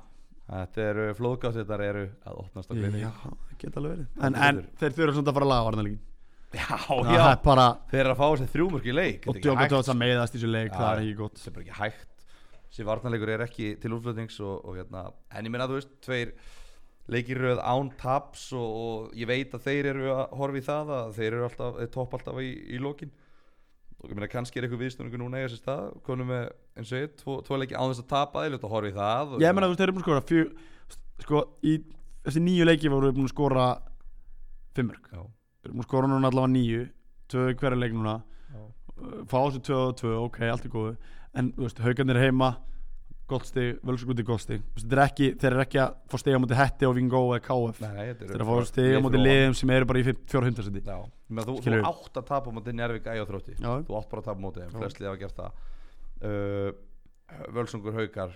þetta eru flóðgáttettar eru að opnast á gleði já, það geta alveg verið en, en Heldur betur. þeir þurfa samt að fara að laga varnarleikin já, það er bara þeir eru að fá þessi 3 mörk í leik og þetta er ekki djóka hægt. tóðast að meiðast í þessu leik, Já. það er ekki gott sem bara ekki hægt þessi varnarleikur er ekki til útflutnings og, og hérna, en ég minna þú veist tveir leikir röð án taps og, og ég veit að þeir eru að horfa í það að þeir eru alltaf, þeir topp alltaf í, í lokin og ég meina kannski er eitthvað viðstunningu núna í þessi stað, konum með eins og ég, tvo, tvo leiki án þess að tapa þeir eru að horfa í það og, Ég meina þú veist, þeir eru búin að skora fjö, Sko, í þessi nýju leiki voru þeir búin að skora fimmurk Já. Við erum að skora núna allavega nýju Tvö í hverja leik núna Já. Uh, Fá á sig tvö og tvö, ok, allt er góðu En, þú veist, haugarnir er heima Gott stig, völsugúti gott stig Þú veist, Þeir eru ekki, þeir eru ekki að fá stig á móti Hetti og Vingó eða KF Nei, nei, þetta Þeir eru eru að fá stig á við móti fyrir liðum sem eru bara í fjórhundar seti ofan. Já, Ég meina, þú, þú Skilurðu? átt að tapa á móti Njárvík ægjóð þrótti Já, Þú átt bara að tapa á móti, en Já. flest liða hafa gert það uh, Völsungur haukar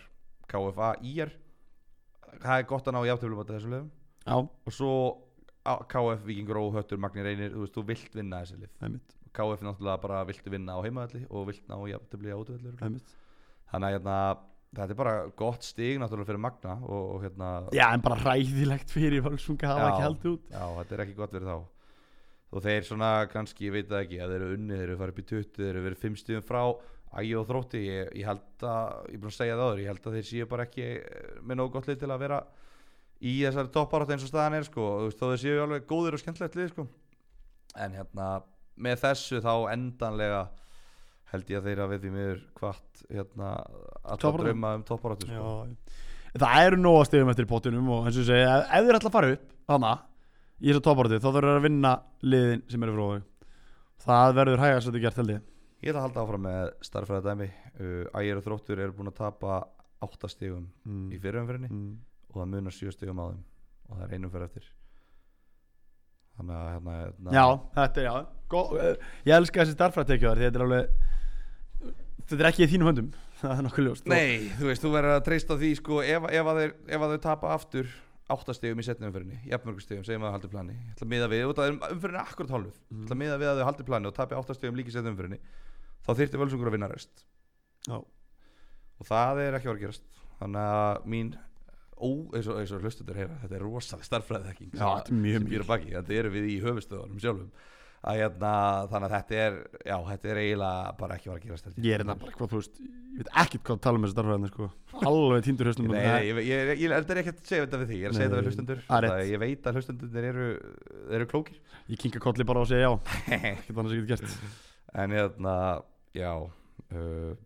KFA IR Það er gott að ná játtöflum á þessum liðum já, Og svo á- KF, Víkingur og Höttur, Magni Reynir Þú veist, þú vilt vinna þessi lið einmitt, KF náttúrulega bara vilt vinna á heimaðalli og vilt ná játtöfli á útöfli einmitt Þannig að hérna, þetta er bara gott stig náttúrulega fyrir Magna og, og hérna Já, en bara ræðilegt fyrir Völsunga hafa Já. ekki haldið út Já, þetta er ekki gott fyrir þá og þeir svona kannski, ég veit það ekki að þeir eru unnið, þeir eru farið upp í 20 þeir eru verið 5 stíðum frá ægi og þrótti ég, ég held að, ég er búin að segja það áður ég held að þeir séu bara ekki eh, með nógu gott lið til að vera í þessari topparátt eins og staðan er sko, og þú veist, þó þeir séu alveg góðir og skemmtilegt lið sko en hérna, með þessu þá endanlega held ég að þeir að við því miður hvart hérna, alltaf Toppbaráttu? drauma um topparáttu sko. Já. Það eru nóga stegum eftir í pottinum og eins og ég segi, ef, ef þeir ætla að fara upp þannig í þessu toppartu þá þurfur þeir að vinna liðin sem eru frá þau það verður hægast að þetta gert held ég Ég ætla að halda áfram með starffræða dæmi uh, Ægir og Þróttur eru búin að tapa átta stigum í fyrirumferinni mm. og það munar sjö stigum á þeim og það er einum fyrir eftir Þannig að hérna, hérna Já, þetta er já Gó, eh, Ég elska þessi starfrættekjur þetta er alveg þetta er ekki í þínum höndum það er nokkuð ljóst Nei, þú veist, þú verður að treysta því sko, ef, ef, að þeir, ef að þeir tapa aftur átta stigum í setni umferinni, jafnmörgum stigum segjum að þau haldi plani, ég ætla að miða við og það er umferinni akkurat hálfur, ég ætla að miða við að þau haldi plani og tapi átta stigum líka í setni umferinni þá þyrfti völsungur að vinna rest Já. og það er ekki að vera að gerast þannig að mín ó, eins og, eins og hlustendur heyra, þetta er rosalega starffræðiðekking Já, þetta er mjög sem býr að baki, þetta eru við í höfustöðunum sjálfum að, hérna, þannig að þetta er já, þetta er eiginlega bara ekki að vera að gerast held Ég er hérna þetta bara hvað þú veist ég veit ekkert hvað að tala um þessi starfræðin sko. alveg tindur Nei, höstum nei, ég, ég, ég, ég, þetta er ekki að segja þetta við þig, ég er að segja þetta Nei, við hlustendur það er rétt. Það- Ég veit að hlustendur eru, eru klókir ég kinka kolli bara og segja já ekkert annars ég get gert En hérna, já uh,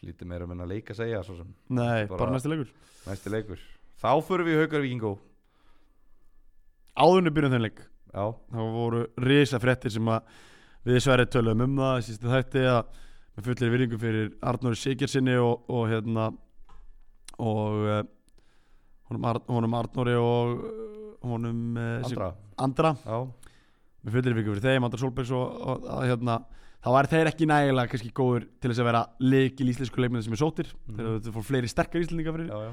Lítið meira um en að leika að segja Svo sem Nei, Bara- bara, næsti leikur næsti leikur Þá förum við í Haukar Víkingó áðurinn byrjum þeim leik Já, þá voru risa fréttir sem að við sverið töluðum um það í sístu þætti að með fullir virðingu fyrir Arnóri Sigursinni og, og hérna og uh, honum, Ar honum Arnóri og eh, honum uh, andra Andra Já, með fullir virðingu fyrir þeim, Andra Solbergs og, og að, hérna, þá væri þeir ekki nægilega kannski góður til þess að vera leik í íslensku leikmið sem er sótir, Mhm. þeir eru fór fleiri sterkar íslendingar fyrir já, já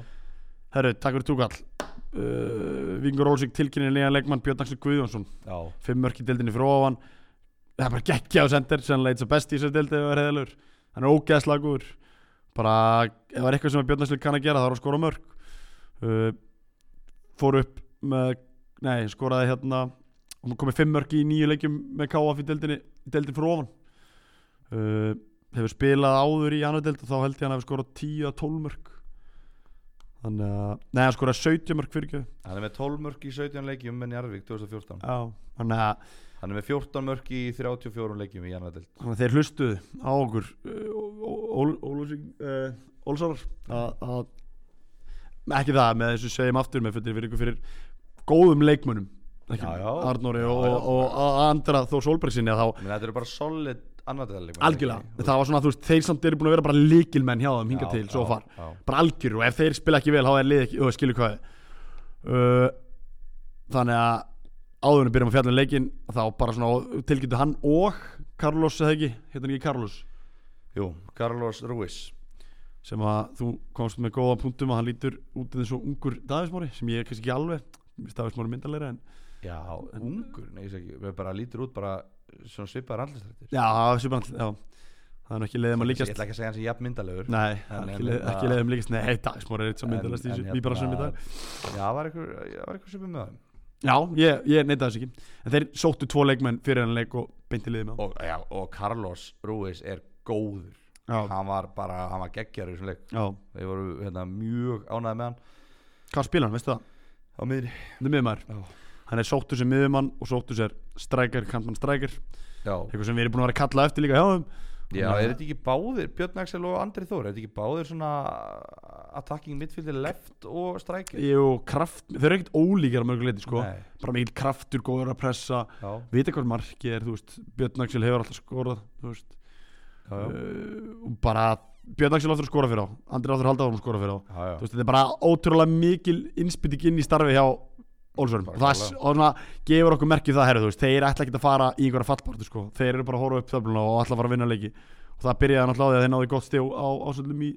Herru, takk fyrir túkall uh, Vingur Ólsvík tilkynni nýjan leikmann Björn Axel Guðjónsson Já, fimm mörk í deildinni fyrir ofan það er bara geggja á sendir sannlega eitt svo best í þessari deildi og er heðalur hann er ógeðslega góður bara ef það er eitthvað sem Björn Axel kann að gera þá er að skora mörk uh, fór upp með nei, skoraði hérna hann komið fimm mörk í nýju leikjum með KF í deildinni deildin fyrir ofan uh, hefur spilað áður í annar deild og þá held ég hann hefur skorað 10 að 12 mörk þannig að nei, hann skoraði 17 mörk fyrir ekki hann er með 12 mörg í 17 leikjum en Jarvík 2014 þannig að Hann er með 14 mörg í 34 leikjum í Jarnadelt Þannig að þeir hlustuðu á okkur uh, Ólsarar að ekki það með þessu segjum aftur með fullir virðingu fyrir góðum leikmönum ekki Já, já. Arnóri Já, og, já. og, og a- Andra Þór Solbergsinni að þá Menn þetta eru bara solid annardelt leikjum algjörlega það var svona þú veist þeir samt eru búin að vera bara líkilmenn hjá þeim hingað til svo far Já, bara algjör og ef þeir spila ekki vel þá er lið ekki og skilur hvað er. uh, þannig að áðurinn byrjum að fjalla um leikinn þá bara svona tilkynntu hann og Carlos eða ekki, hérna ekki Carlos Jú, Carlos Ruiz sem að þú komst með góða punktum að hann lítur út eins og ungur Davísmóri sem ég er kannski ekki alveg Davísmóri myndarleira en Já, ungur, nei, ég segi ekki Við bara lítur út bara svona svipaðar andlistrættir já, það er svipað andlit, já. það er nú ekki leiðum að Ég líkast ætla ekki að segja hann sem jafn myndalegur nei, það En- en- er ekki, leið, en- ekki leiðum að líkast nei, Davísmóri er eitt sem myndarlegast í En- en þessu víbarasum í hérna- dag Já, það var einhver, það var einhver svipið með hann já, ég, ég neita þess ekki en þeir sóttu tvo leikmenn fyrir hann leik og beinti liðið með og, já, og Carlos Ruiz er góður hann já, Hann var bara, hann var geggjar í þessum leik já, Þeir voru hérna, mjög ánæði með hann hvað spila hann, veistu það Á miðri það er miðumæður, Já. hann er sóttu sem miðumann og sóttu sér strækir, kantmann strækir Já, eitthvað sem við erum búin að vera að kalla eftir líka hjá þeim Já, Nei. er þetta ekki báðir, Björn Axel og Andri Þór, er þetta ekki báðir svona attacking midfielder left og striker? Jú, kraft, þeir eru ekkert ólíkar á mörguleiti sko, Nei, bara mikil kraftur, góður að pressa já, vita hvað marki er, þú veist, Björn Axel hefur alltaf skorað, þú veist já, já, uh, og bara, Björn Axel áttur að skora fyrir á Andri áttur að halda að skora fyrir á já, já. þú veist, þetta er bara ótrúlega mikil innspýting inn í starfi hjá Olsvörn og Bara það klálega. og svona, gefur okkur merkið það herru, þú veist, þeir ætla ekki að fara í einhverja fallpartu sko. þeir eru bara að horfa upp þöfluna og ætla að fara að vinna leiki og það byrjaði náttúrulega á því að þeir náðu gott stjó á ásöldum í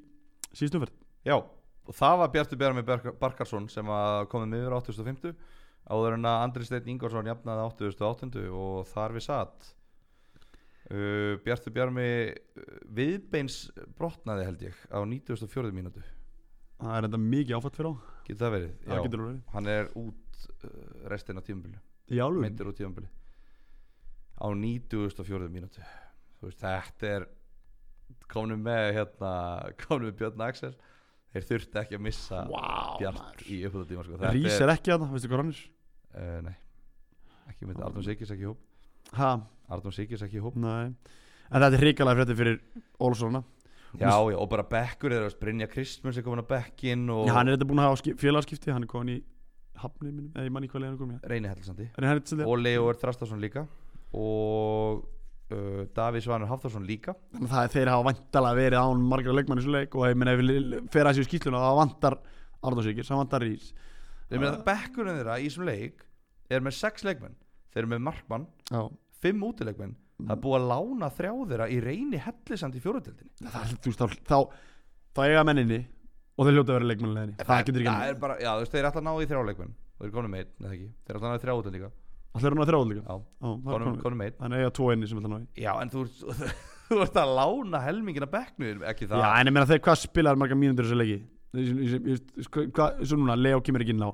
síðustu umferð Já, og það var Bjartur Bjarmi Bark- Barkarsson sem að komið miður á 8.5. áður en að Andri Steinn Ingolson jafnaði 8.8. og þar við satt. Uh, Bjartur Bjarmi uh, viðbeins brotnaði held ég á 94. mínútu. það er enda mikið áfatt fyrir á Getur það verið? það getur alveg Hann er út uh, restin af tímabilið. verið. í álum myndir úr tíðanbili á 94. mínútu þú veist, þetta er komnum með hérna komnum með Björn Axel þeir þurfti ekki að missa Bjart wow, í upphóðatíma sko. Rís þetta er, er ekki að það, veistu hvað hann er uh, nei, ekki myndi Arnum Sigis ekki í hóp ha, Arnum Sigis ekki í hóp nei en þetta er hrikalega frétti fyrir Olssona já, já, og bara Bekkur er að Brynja Kristmunds er komin á Bekkin og Já, hann er þetta búin að hafa skip- félagaskipti, hann er komin í hafni minnum, eða ég manni hvað leið hann er komin í Reyni Hellisandi En hann er þetta og Leo er Þrastarsson líka og uh, Davíð Svanur Hafþórsson líka Þannig að það- þeir hafa vantalega verið án margra leikmann í svo leik og ég meina ef við li- fer að séu skýtluna þá vantar Arnarsvíkir, það vantar Rís þeir með að Bekkurinn þeirra í þessum leik er með sex leikmenn þeir eru með Markmann Já, fimm útilegmenn það er búið að lána þrjá þeirra í reyni hellisand í fjóruðildinni það er þú veist þá, þá, þá eiga menninni og þeir hljóta að vera leikmann í leginni Það getur ekki það er annað. bara, já þú veist, þeir er alltaf náðu í þrjálegmenn þeir eru konum einn, eða ekki, þeir eru alltaf náðu í þrjálegmenn líka Það er hann að þráð líka já, Já, það er konum, konum- konum einn Þannig að eiga tvo inni sem ætla að ná í já, en þú, ert- þú ert að lána helmingin að bekknu þér, ekki það Já, en ég meina þeir hvað spilaður marga mínútur í þessu leiki Í- í- í- í- sko- hvað- Svo núna, Leo kemur ekki inn á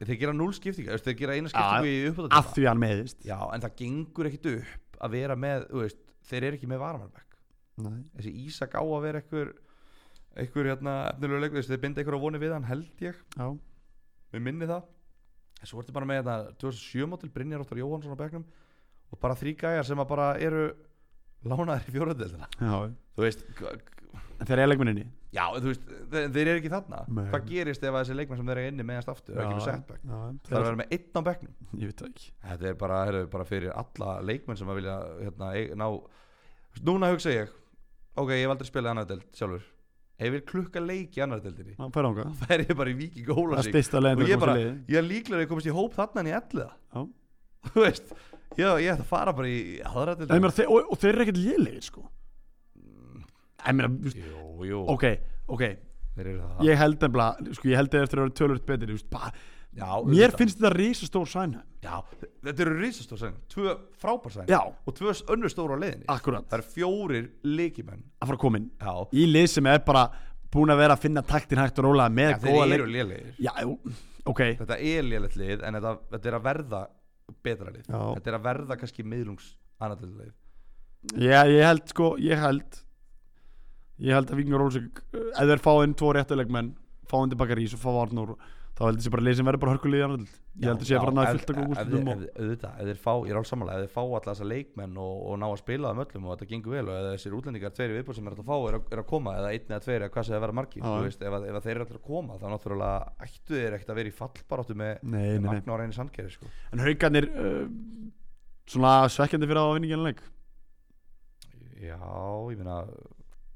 þeir gera núl skiptinga, þú veist, þeir gera eina Já, skiptingu í að uppbúðatíma því hann meðist já, en það gengur ekkit upp að vera með, þú veist, þeir eru ekki með varamannbekk Nei. þessi Ísak á að vera einhver einhver hérna efnilegu leikmenn, þú veist, þeir binda einhverja vonir við hann held ég Já, við minni það en svo ertu bara með hérna, þetta 2007 mótil Brynjar Óttar Jóhansson á bekknum og bara þrý gæjar sem að bara eru lánaðir í fjóraðdeldina já þú veist, g- g- En þeir eiga leikmann inni já, en þú veist þeir, þeir eru ekki þarna Nei. hvað gerist ef að þessi leikmenn sem þeir eru inni meðast aftur það er ekki með setback, já, það er að þeir, vera með einn á bekknum Ég veit það ekki þetta er bara, heru, bara fyrir alla leikmenn sem að vilja hérna, eig- ná Þú veist, núna hugsa ég, ok, ég hef aldrei spilað annar deld sjálfur, ef ég vil klukka leik í annar deldinni, Hann fær ánga það er ég bara í Víking og Það er Hólasík styrsta leiðin og til að ég komast bara, í leiðin. ég er líklega að ég komist í hóp þarna en ég elliða Já. þú veist, ég, ég ætla að fara bara í aðra til Nei, ég meina, þeir- Og og þeir eru ekkert lélegir sko Ég meina, þú veist, jú, jú, ok, ok þeir eru það Ég held nefnilega, sko, ég held þeir eftir að vera tölvöld betri þú veist, bara- já, Mér auðvitað. finnst þetta risastór sæna já, þetta eru risastór sæn, tvö frábær sæn Já, og tvö önnur stóru á leiðinni akkurat, það eru fjórir leikimenn að fara að koma inn já, Í lið sem er bara búin að vera að finna taktin hægt og rólega með já þeir góða leik eru lélegir Já, jú, ok þetta er lélegt lið en þetta, þetta er að verða betra lið Já. þetta er að verða kannski miðlungs annar til lið ég, ég held sko, ég held Ég held að Víkingur Rólsvík Ef þeir fá inn tvo réttulegmenn Fá inn tilbaka Rís og fá Arnór Þá held ég sé bara lið sem verður bara hörkulið í annan deild. Ég held að sé að fara að náði fullt að góða um úrslutum og auðvitað, ef þeir fá, ég er alls samanlega ef þeir fá alla þessa leikmenn og, og ná að spila það möllum og þetta gengur vel og eða þessir útlendingar tveiri viðbúr sem er að fá er að, er að koma eða einn eða tveiri eða hvað sem það verða margir Já. þú veist, ef, að- ef að þeir eru allir að koma þá náttúrulega ættu þeir ekkert að vera í fallbaráttu með Nei, nei, nei Magna og Reyni Sandkeri sko. En haugarnir uh, Svona svekkjandi fyrir að vinna ekki leik já, ég meina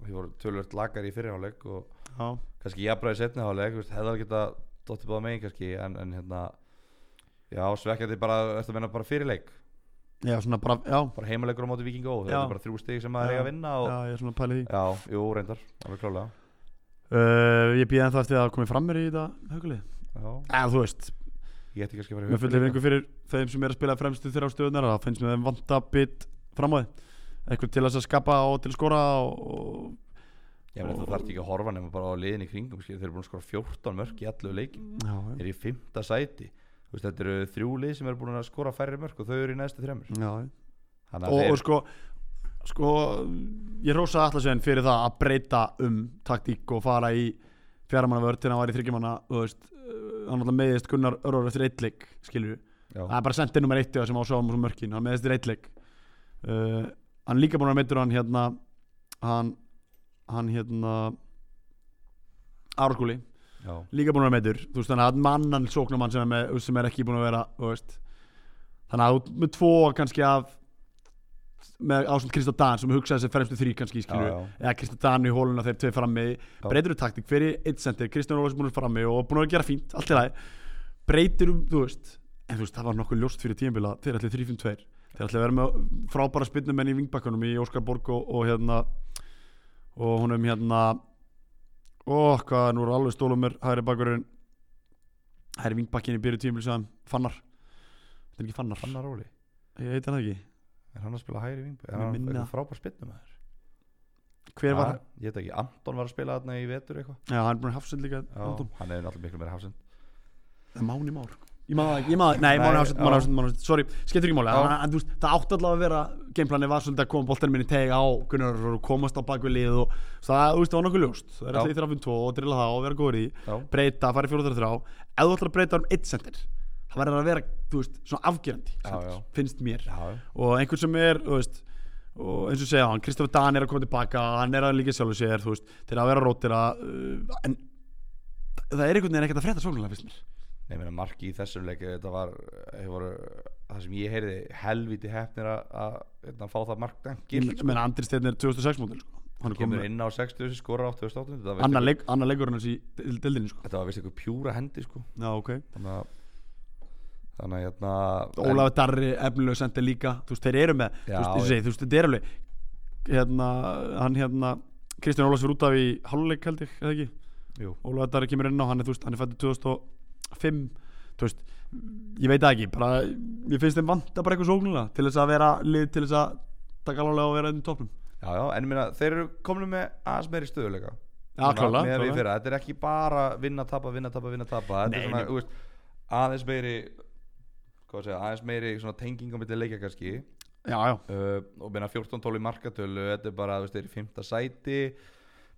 við vorum tölvöld lagar í fyrirháleik og Já kannski jafnbræði setni háleik hefðar geta dottið báða megin kannski en, en hérna já, svekkjandi bara, ertu að menna bara fyrirleik Já, svona bara, já bara heimaleikur á móti vikingu og Já. þetta er bara þrjú stig sem maður Já. eiga að vinna og, Já, ég er svona að pæla í því Já, jú, reyndar, alveg klálega uh, Ég býði ennþá eftir að það komið fram mér í þetta haukulið Já, Eða þú veist ég ætti kannski að fara í Með fullir vinningu fyrir þeim sem er að spila fremstu þeirra á stöðunar Það finnst mér þeim vanta bit fram á því Eitthvað til þess að skapa og til að skora og, Ég meina, þú þarft ekki að horfa nema bara á liðin í kringum skil. Þeir eru búin að skora 14 mörk í allu leikin og Já, já, Þeir eru í fymta sæti Þú veist, Þetta eru þrjú lið sem eru búin að skora færri mörk og þau eru í næstu þremur já. Þannig Og, að og þeir, sko Sko, ég rosa allarsveginn fyrir það að breyta um taktík og fara í fjaramanna vörð til hann var í þryggjumanna Þú veist, uh, hann alltaf meðist Gunnar Örvar eftir eitleik, skilur já, Það er bara sendið nummer eitt í það sem á sáum úr mörkin, hann meðist í eitleik uh, Hann er líka búin að meittur hann hérna hann, hann hérna Árkúli já, líka búin að vera meittur þú veist þannig að mannan sóknumann sem er, með, sem er ekki búin að vera þú veist þannig að þú- með tvo kannski af með ásvöld Kristó Dan sem hugsaði sér fremstu þrý kannski já, skilur já, eða Kristján Dan í hóluna þeir tvei frammi breytir um taktik fyrir eitt sendir Kristján Ólafs búin frammi og búin að gera fínt allt í lagi breytir um, þú veist en þú veist, það var nokkuð ljóst fyrir tíðanbila þeir ætli 3-5-2 þeir ætli að vera með frábæra spynnumenn í vingbakkanum í Óskar Borg og, og hérna og honum hérna og hvað, nú er alveg stólum mér hægri bakurinn hægri vingbakkin í byrju tíðanbila sem fannar þetta er ekki fannar, Fannar Óli ég heiti hann það ekki er hann að spila hægri vingbæk, Mér er hann minna- eitthvað frábær spinnum aður hver var, ég veit ekki, Anton var að spila þarna í vetur eitthvað já, hann er búin að hafsend líka já, hann er náttúrulega miklu meira hafsend Það er Máni Már Ég maður það ekki, ég maður, nei, Nei, Máni Ásett, Máni já. Ásett, Máni Ásett Sorry, skemmtir ekki máli, Já. en, en þú veist, það átti allavega að vera Gameplanið var svolítið að koma boltan minni teg á Gunnar og komast á bakvið lið og það, þú veist, það var nokkuð ljóst Það er Já. allir þrafum tvo og drilla það og vera góður í því, já, Breyta, fara í fjóruður þrá Ef þú ætlar að breyta um eitt sendir Það verður að vera, þú veist, svona afgerandi Já, center, já. Finnst mér já, og einhvern sem er þú veist, og eins og segja hann, Kristofur Dan er að koma tilbaka hann er að líka sjálfur sér þú veist, til að vera rótira uh, en það er einhvern veginn ekkert að frétta sóknulega finnst mér Nei, meina marki í þessum leik þetta var, eh, voru, það sem ég heyrði helviti hefnir að- að hérna, fá það mark Ég dæmgilt, sko. menn Andri Steinn er 2006 mótil sko. hann er kemur komið inn á 60 skora 88 þetta var annar vist leik, annar leikurinn hans í dildinni sko. einhver- þetta var vist eitthvað pjúra hendi sko. já, ok þannig að þannig að hérna en- Ólafur Darri efnileg sendi líka þú veist, þeir eru með Já, þú veist, eins og já. segi, þú veist, þetta er alveg hérna, hann hérna Kristján Ólafs fyrir út af í háluleik held ég, eða ekki Jú. Ólafur Darri kemur inn á, hann er, þú veist, hann er fættið 2005 þú veist, ég veit það ekki bara, ég finnst þeim vanta bara eitthvað sóknulega til þess að vera lið, til þess að taka alveg og vera einn í topnum já, já, en ég meina, þeir eru komlu með aðeins meiri stöðuleika Já, klálega, með við klálega. fyrra, þetta er ekki bara vinna, tapa, vinna, tapa, vinna, tapa þetta Nei, er svona, nei. þú veist, aðeins meiri hvað að segja, aðeins meiri svona tengingum milli leikja kannski já, já, uh, og meina 14-12 í markatölu þetta er bara, þú veist, þeir eru í fymta sæti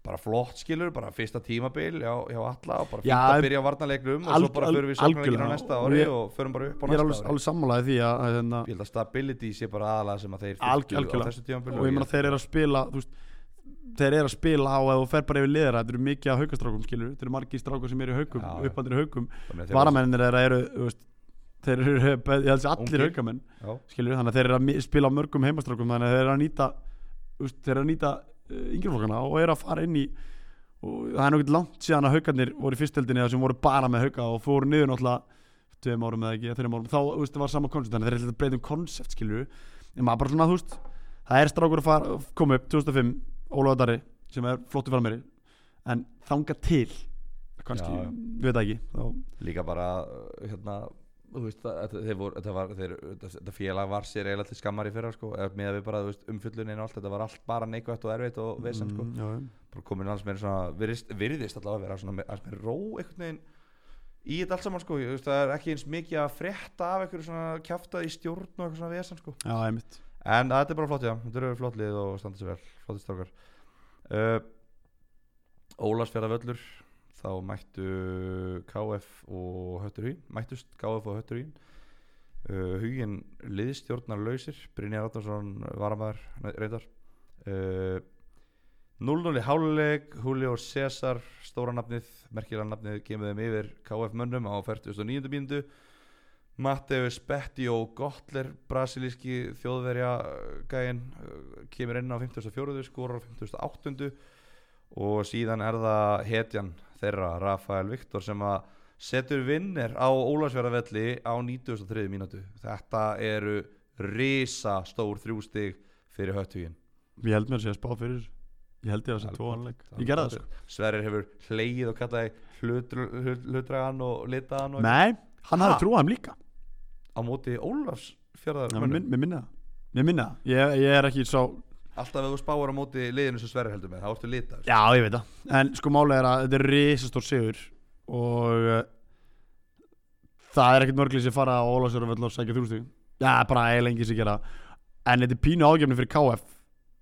bara flott skilur, bara fyrsta tímabil já, já alla og bara fínt Já, að byrja á varnarleiknum og al- svo bara al- förum við sóknarleikinn á algjörlega. næsta Og ári ég- og förum bara upp á ég er næsta alveg, ári alveg sammálaði því að, að hérna, ég held að stability sé bara aðalega sem að þeir Alg- fylgju á algjörlega. þessu tímabil og ég meina þeir eru að spila þú veist, þeir eru að spila á að þú fer bara yfir liðra þetta eru mikið af haukastrákum skilur þetta eru margir strákar sem eru í haukum, Já, já. uppandir í haukum meina, þeir eru- varamennir þeirra eru þú veist, þeir eru, ég held að sé allir Ungir. haukamenn já, skilur þannig að þeir eru að mi- spila á mörgum heimastrákum þannig að þeir eru að nýta þú veist, þeir eru að nýta uh, yngjurflokkana og eru að fara inn í og það er nokkuð langt síðan að haukarnir voru í fyrstöldinni sem voru bara með hauka og fóru niður náttúrulega tveim árum eða ekki, þreim árum þá þú veist, það var sama koncept, þannig að þeir ætlaðu að breyta um koncept skilur en maður bara svona, þú veist það er strákur að fara, koma upp 2005 Ólafur Darri, sem er flottu frammeiri en þanga til kannski, Já, já. við veit það ekki þá, líka bara uh, hérna þú Veist, það, þetta- þeir voru, þetta, var, þeir, þetta- þetta félag var sér eiginlega til skammar í fyrra sko, með að við bara þú veist, umfyllunin og allt þetta var allt bara neikvægt og erfitt og vesen sko. Mm, já, já. bara komin alls meira svona virðist, virðist allavega að vera svona me- alls meira ró einhvern veginn í þetta allt saman sko Ég veist, það er ekki eins mikið að frétta af einhverju svona kjafta í stjórn og eitthvað svona vesan sko já, einmitt en þetta er bara flott já, þetta eru flott lið og standa sér vel flottist okkar uh, Ólarsfjara völlur þá mættu KF og Hötturhýn mættust KF og Hötturhýn uh, Hugin liðstjórnar lausir Brynjar Atnarsson varamæður reyndar uh, 0-0 í háluleik Húli og César stóra nafnið merkilega nafnið kemur þeim yfir KF mönnum á 49. mínútu Mateus Betti og Gottler brasilíski þjóðverja uh, gæinn uh, kemur inn á 54. skorar á 58. og síðan er það hetjan þeirra Rafael Viktor sem að setur vinnir á Ólasverðarvelli á 93. mínútu þetta eru risa stór þrjústig fyrir höttugin ég held mér að sé að spá fyrir þessu. ég held ég að sé tvo anleik ég gerði það sko Sverrir hefur hlegið og kallaði hlutr- hlut- hlutragan og litaðan og Nei, hann hafði Ha? trúið þeim líka á móti Ólasfjörðar Mér minn- mér minna það Mér minna það ég, ég er ekki sá Alltaf ef þú spáir á móti liðinu sem Sverri heldur með, þá ertu litar Já, ég veit það En sko málega er að þetta er risastór sigur Og uh, Það er ekkert mörglið sem fara á Ólafsjöru völl og sækja þrjústík Já, bara eiginlega enginn sem gera það En þetta er pínu ágefni fyrir KF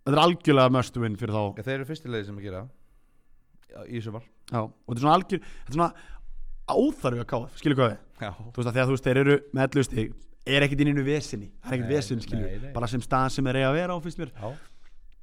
Þetta er algjörlega must win fyrir þá Þeir eru fyrsti liði sem að gera það í sumar Já, og þetta er svona algjör Þetta er svona óþarfi að KF, skilu hvað við Já, Þú veist að þegar þú veist, þeir eru með 11 stík Er ekkert inn í einu vesinni, það er ekkert Nei, vesin, skilju nei, nei. Bara sem stað sem þeir eiga að vera á, finnst mér já.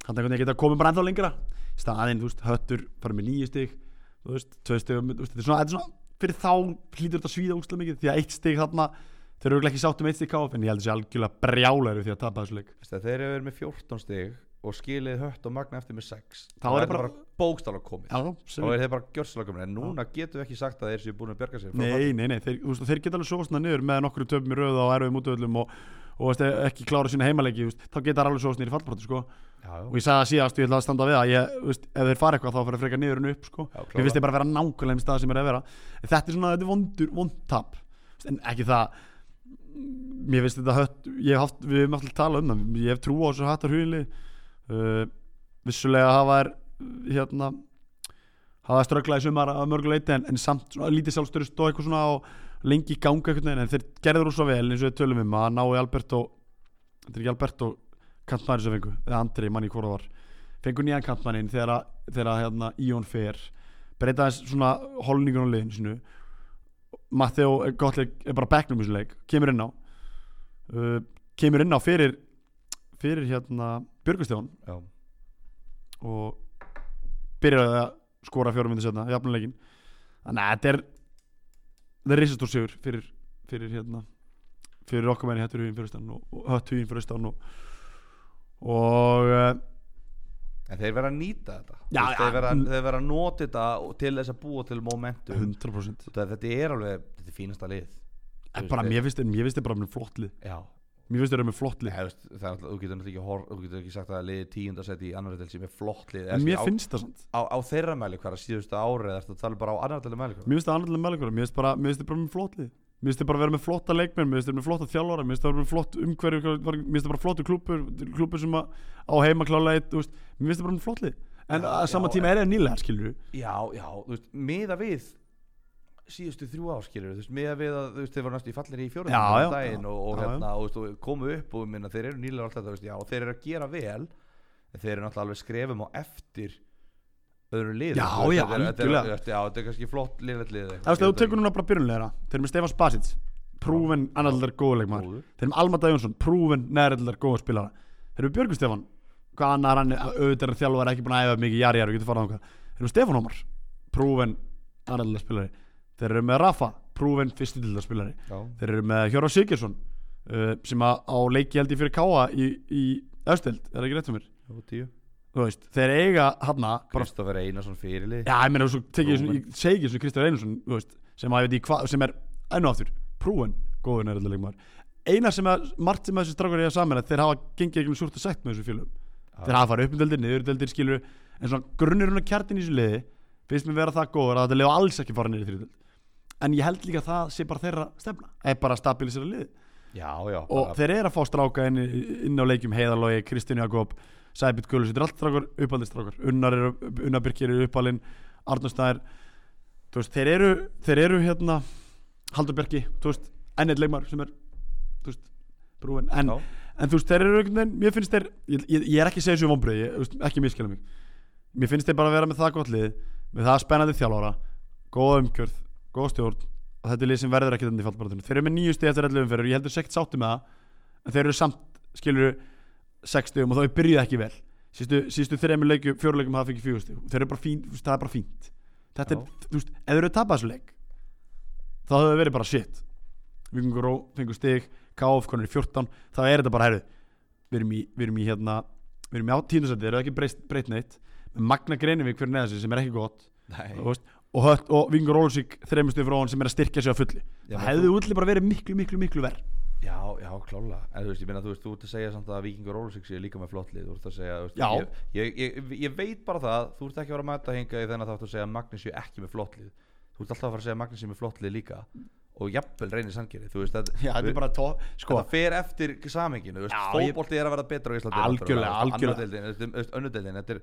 þannig að geta komið bara ennþá lengra í staðinn, þú veist, höttur fara með nýju stig þú veist, tvö stig þú veist, þetta er svona, þetta er svona, fyrir þá hlýtur þetta að svíða úslega mikið, því að eitt stig þarna þeir eru örugglega ekki sátt um eitt stig káf en ég held þessi algjörlega brjálæru því að tapa þessu leik Veist það, þeir eru verið með 14 stig og skilið hött og magna eftir með 6 Þá er þetta bara- bara bókstála komið Já, þá sem- er þeir bara gjörsilega komið en núna getum við ekki sagt að þeir séu búin að berga sér frá falli. Nei, nei, nei, þeir, þú veist, þeir geta alveg sofast svona niður með nokkru töfum í röða og erfið mútuöllum og, og veist, ekki klára sína heimaleiki þú veist, þá geta þær alveg sofast niður í fallbrotu sko. Já, já. og ég sagði það síðast og ég ætla að standa við það ég, þú veist, ef þeir fara eitthvað þá fyrir frekar niður en upp sko. Já, mér finnst þeir bara vera nákvæmlega um stað sem er að vera en þetta er svona, þetta er vondur, vondtap en ekki það mér finnst þetta hött, ég hef haft við höfum alltaf talað um það, ég hef trú á þessu hattar hugli uh, vissulega hafa er hérna hafa strögglað í sumar að mörgu leiti en, en samt svona lítið sjálfstörust og eitthvað svona og lengi í ganga eitthvað en þeir gerður úr svo vel eins og við tölum um að náu Alberto þetta er ekki Alberto kantmæri sem fengu, eða Andri, manni hvora var fengu nýjan kantmænin þegar að, þegar að hérna, Íon fer breyta þess svona holningun á liðinu sinu Matteo Gottleik er bara á bekknum í þessum leik, kemur inn á uh, kemur inn á fyrir fyrir hérna Björgustjón Já. og byrjaði að skora fjórum myndir setna, jafnuleikin þannig að þetta er þetta er risastór sigur fyrir, fyrir hérna fyrir okkur menni hættur hugin fyrir stann og, og hött hugin fyrir stann og og uh, en þeir verða að nýta þetta Já, Þú veist, þeir já. verða þeir verða að nota þetta og- til þess að búa til momentum 100% Þú veist, þetta er alveg þetta er fínasta lið en Eh, bara mér finnst þetta mér finnst þetta bara með flott lið já mér finnst þetta með flott lið Nei, þú veist, það er alltaf, þú getur náttúrulega ekki, hor, þú getur ekki sagt að liði tíundarsæti í annar deil sem er flott lið en Eða mér skilur, finnst það samt á, á, á þeirra mæli hverja síðustu árið eða ertu að tala bara á annar deil mæli hverja mér finnst það annarlega með leikur mér finnst bara mér finnst þetta bara með flott lið mér finnst þetta bara vera með flotta leikmenn mér finnst þetta með flotta þjálfara mér finnst þetta bara með flott umhverfi var- mér finnst þetta bara flottu klúpur klúpur sem að á heima klálega eitt þú veist, mér finnst þetta bara með flott lið en Já, að sama já, tíma er það nýlega skilur já, já, þú veist, miða við síðustu þrjú áskilur, þú veist, miða við að þú veist, þeir voru næstu í fallinni í Já, fjóruðum já, daginn já, og, og, já, hérna, og, þú veist, og komu upp og minna, þeir eru nýlega alltaf, þú veist, já, og þeir eru að gera vel en þeir eru náttúrulega alveg skrefum á eftir öðru lið Já, já, algjörlega. Já, þetta er kannski flott liðlegt lið Það veist, ef þú tekur núna bara byrjunleira Þeir eru með Stefán Spasic Prúven annarlega góðleikmar Góður. Þeir eru með Alma Dæjónsson Prúven nærilega góða spilara Þeir eru með Björgu Stefán Hvað annar hann Auðvitað er hann þjálfur ekki búin að æfa mikið Jari Jari getur farað á hvað Þeir eru með Stefán Ómar Prúven annarlega spilari Þeir eru með Rafa Prúven fyrstutildar spilari Já, Þeir eru með Hjóra Sigurðsson uh, Sem að á leiki held ég fyrir Káa í, í Östild Er það ekki rétt um mér? og tíu Þú veist, þeir eiga hana bara Kristoffer Einarsson fyrirlið Já, ég meina, svo tekið ég svona, Prúven. ég segi svona Kristján Einarsson, þú veist, sem að ég veit í hvað, sem er enn og aftur, prúin, góður nærðileg maður. Einar sem að, margt sem að þessi strákar eiga saman, að þeir hafa gengið eitthvað súrt og sætt með þessu félögum. Þeir hafa farið upp um deldir, niður deldir, skilur, en svona grunnur hún að kjartin í þessu liði, finnst mér vera það góður að þetta liða alls ekki fara niður í þrjúdöld. En ég held líka að það sé bara þeirra stefna, er bara að stabilisera liðið Já, já, og bara, þeir eru að fá stráka inn, inn á leikjum Heiðarlogi, Kristján Jakob, Sæbjörn Gullus þetta er allt strákar, uppaldistrákar Unnar, eru, Unnar Birkir eru uppalinn, Arnastæðir þú veist, þeir eru þeir eru hérna, Haldur Birki þú veist, enn eitt leikmar sem er þú veist, brúin, en, Já. en þú veist, þeir eru einhvern veginn, mér finnst þeir ég, ég, ég er ekki að segja þessu vombrið, ég, þú veist, ekki miskila mig mér finnst þeir bara að vera með það gott lið með það spennandi þjálfara góða umgjörð, góða stjórn og þetta er lið sem verður ekki þannig í fallbaratunum þeir eru með nýju stið eftir 11 umferður, ég heldur sekt sátti með það en þeir eru samt, skilur 6 stigum og þá er byrjuð ekki vel sístu, sístu þreimur leikjum, fjóru leikjum hafa fengið fjögur stig þeir eru bara fínt, þú veist, það er bara fínt þetta er, þú veist, ef þeir eru tapað þessu leik þá hefur verið bara shit Vikingur Ró fengur stig KF konur í 14, þá er þetta bara herru við erum í, við erum í hérna við erum í áttíðnusætti, þeir eru ekki breyst, breytt neitt með Magna Greinivík fyrir neðan sig sem er ekki gott nei þú veist, og, hött, og Vingur Rólusík þreymustu frá hann sem er að styrkja sig á fulli Já, það menn hefði útlið bara verið miklu, miklu, miklu verð Já, já, klála En þú veist, ég minna, þú veist, þú ert að segja samt að Víkingur Ólusík séu líka með flottlið Þú ert að segja, þú veist, Já. ég, ég, ég, ég veit bara það Þú ert ekki að vera að mæta hinga í þennan þátt að segja að Magnus séu ekki með flottlið Þú ert alltaf að fara að segja að Magnus séu með flottlið líka Og jafnvel reynir sangeri, þú veist það, við- bara tó, sko, Þetta fer eftir saminginu, þú veist, Já, ég- fótbolti er að vera betra á Íslandi Algjörlega, algjörlega. algjörlega Önnudeldin, þetta er,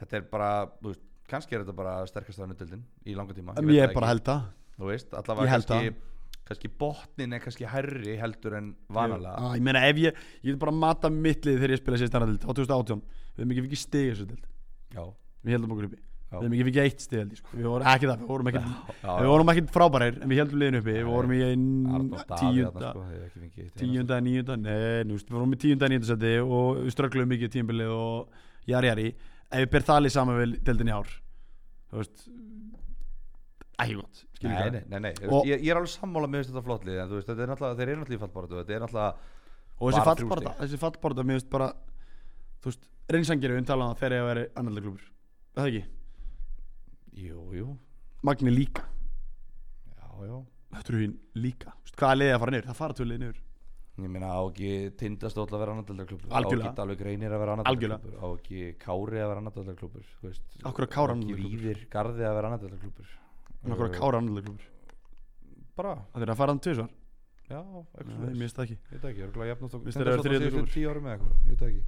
þetta er bara, þú veist, kannski er þetta bara sterkasta önnudeldin í langa tíma ég, veit ég það er ekki. bara að held að Þú veist, Ég allavega held kannski, kannski botnin er kannski herri heldur en vanalega Á, ég meina ef ég, ég get bara að mata mitt lið þegar ég spila sérst annardild á 2018 við hefum ekki fikið stig í þessu dild Já, við heldum okkur uppi, Já. við hefum ekki fikið eitt stig held ég, sko. við vorum ekki það, við vorum ekki já, við vorum ekki frábærir, en við heldum liðinu uppi við vorum í Arnór ein- Davíð þarna, tíunda sko, hefur ekki fengið eitt einasta. tíunda, níunda, nei, nú veist, við vorum í tíunda, níunda seti og við ströggluðum mikið tímbilið og jari jari ef ég ber það lið saman við deildin í ár þú veist ekki gott skilur Nei, hvað? nei, nei, nei. þú Og- veist, Ég, ég er alveg sammála með þetta flottlið en þú veist, þetta er náttúrulega, þeir eru náttúrulega í fallbaratu þetta er náttúrulega, og þessi Bara þrjú fallborða þessi fallborða mér veist bara þú veist reynsangir við umtala það þegar ég að vera annarlega klubur það ekki jú, jú Magni líka já, já, Hötturhugin líka Þú veist, hvaða leiði að fara niður það fara tvö leiði niður ég meina á ekki tindastóll að vera annardeldarklubur Algjörlega. á ekki alveg reynir að vera annardeldarklubur á ekki kári að vera annardeldarklubur Af hverju Kári á ekki annardeildarklúbbur? víðir garði að vera annardeldarklubur en okkur að kára annarlega klubur bara, það er að fara hann tvisvar já, eitthvað Nei, svoleiðis. mér veist það ekki Ég veit það ekki, örgulega jafnast okkur Veistu, þeir eru Tindastóll á þriðja síðustu klúbbur. tíu árum eða eitthvað, ég veit það ekki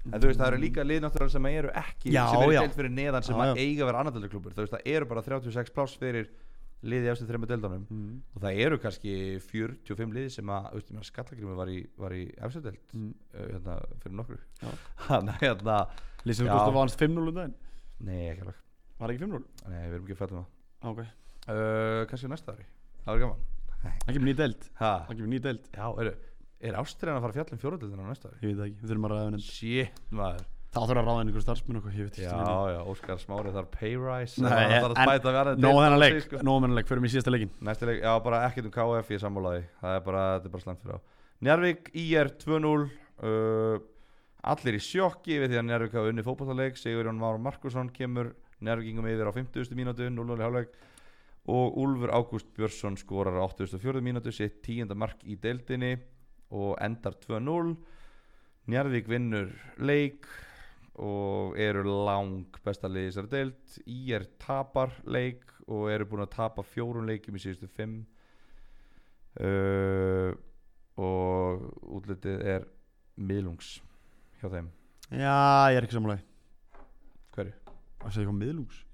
En þú veist, það eru líka lið náttúrulega sem eru ekki Já, sem eru já. deilt fyrir neðan sem Já, að já. eiga að vera annardeldarklubur Þú veist, það eru bara 36 pláss fyrir liði efstu þreymur deildunum mm. og það eru kannski 45 liði sem að, þú veist, ég meina Skallagrimur var í, var í efstu deild Mm. uh, hérna, fyrir nokkru Já. Þannig að hérna, Já. Lýsum við að var hans 5-0 um daginn nei ekki alveg Var ekki 5-0? Nei, við erum ekki að fjalla um Á, Ok það uh, Kannski á næsta ári, það verður gaman Það kemur ný deild ha. Það kemur ný deild Já, eru, er Ástriðan að fara að fjalla um fjóruðildina á næsta ári? Ég veit það ekki Við þurfum að ræða henni Shit, maður Það þurfum að ráða henni ykkur starfsmenn okkur Ég veit Já, ekki stundum. já, Óskar Smári þarf pay rise Nei, hann þarf að en- bæta við aðra Nóð deild, hennar hann leik segir, sko. Nóð hennar leik Förum í síðasta leikin Næsta leik, já, bara ekkert um KF, ég sammálaði Það er bara, þetta er bara slæmt fyrir á Njarvík, IR 2-0 uh, Allir í sjokki við því að Njarvík hafa unni fótballtaleik Sigurjón Már Markusson kemur Njarvíkingum yfir á 50. mínútu, 0-0 í hálfleik Og Úlfur Ágúst Björnsson skorar á 84. mínútu sitt 10. mark í deildinni og endar 2-0 Njarvík vinnur leik og eru lang besta liði í þessari deild IR tapar leik og eru búin að tapa fjórun leikjum í síðustu fimm uh, og útlitið er miðlungs hjá þeim Já, ég er ekki samanlega hverju? Það segja eitthvað um miðlungs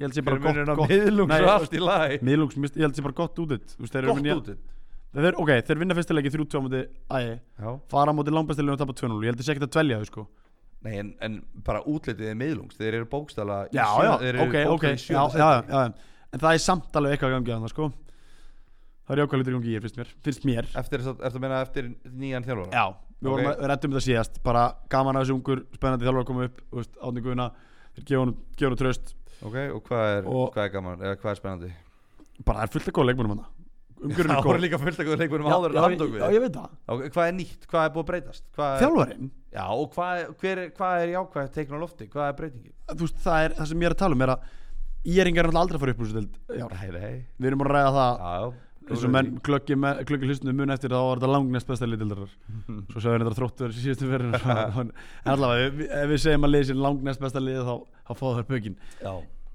Ég held sér bara alltaf læg Ég held sér Hver bara er gott, munurinn á gott miðlungs Nei, og allt í lagi Miðlungs, mist- ég held sér bara gott útitt gott útlit Þeir, ok, þeir vinna fyrsta leiki 3-2 á móti Æi, Já. fara á móti langbæstilegum og tapa 2-0 Ég held þessi ekkert að dvelja þau sko Nei, en, en bara útlitið er miðlungs þeir eru bókstala í Já, sjö- já, þeir eru ok, ok bókstala í já, sjöunda já, já, já. En það er samt alveg eitthvað að gangi að það sko Það er jákvæða hlutur í gangi í ég, finnst mér Finnst mér sæti. eftir, þess að- eftir að meina eftir nýjan þjálfara Já, við vorum Ok. að rættum þetta síðast bara gaman að þessi ungur, spennandi þjálfur að koma upp þú veist, Átni Guðna, þeir gefa honum, gefa honum tröst ok, og hvað er, Og- hvað er gaman eða hvað er spennandi bara það er fullt af góð leikmennum hann umgjörðin það er voru góð líka fullt að góða leikmennum Já, áður en já, hann tók við já, ég veit það, Ok, hvað er nýtt, hvað er búið að breytast hvað er, þjálfarinn já, og hvað, er- hver, er- hvað er jákvæð teikn á lofti, hvað er breytingin þú veist, það er það sem ég er að tala um er að ég er engar aldrei að fara upp úr þessu deild í ár. nei, nei, við erum að ræða það já, eins og menn klöggi, men- klöggi hlustinu mun eftir þá var þetta langnest besta liðildarar svo sagði þetta þróttur í síðustu verðin en allavega, ef við- ef við segjum að liðið sér langnest besta liðið þá, þá fá það pökin já,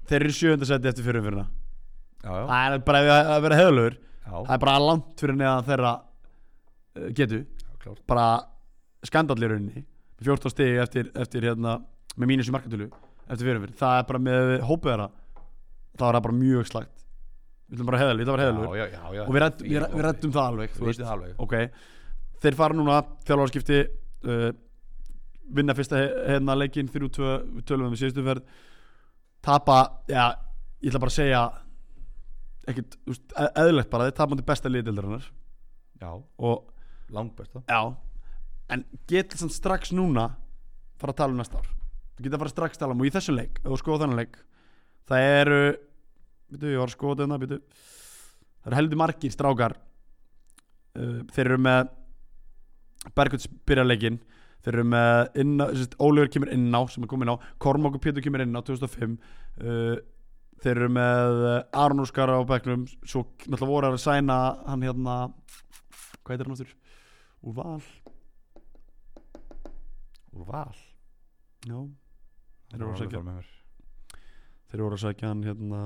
þeir eru sjöundasetti eftir fyrirfyrna já, já, það er bara ef ég- að vera heðalögur það já, er bara langt fyrir neðan þeirra uh, getu, klárt bara skandalli í rauninni, 14 stegi eftir, eftir hérna, með mínus í markatölu eftir fyrirfyrn, það er bara með hópið þeirra þá er það bara mjög slagt við ætlum bara heðalögur, við ætlum bara heðalögur já, já, já, já, og við ræddum, við, við ræddum það alveg þú við veist, veitum það alveg ok þeir fara núna þjálfarskipti uh, vinna fyrsta he- hérna leikinn þrjú tvö, við tölum við síðustu ferð tapa, já, ég ætla bara að segja ekkert, þú veist, e- eðlilegt bara þeir tapandi besta liðdeildarinnar já, og, langbesta já en getur samt strax núna fara að tala um næsta ár þú getur að fara strax að tala um og í þessum leik, ef þú skoða þannig leik það eru býtu, ég var að skoða þetta, býtu það eru heldur margir strákar uh, þeir eru með Bergvits byrjar leikinn þeir eru með inná, sérst, Ólífur kemur inná sem er komin á, Kormáku Pétur kemur inná 2005 uh, þeir eru með uh, Aron Óskar á bekknum svo náttúrulega voru að sæna hann hérna hvað heitir hann áttur? Úr val úr val Já Þeir eru að sækja- með mér Þeir voru að sækja hann hérna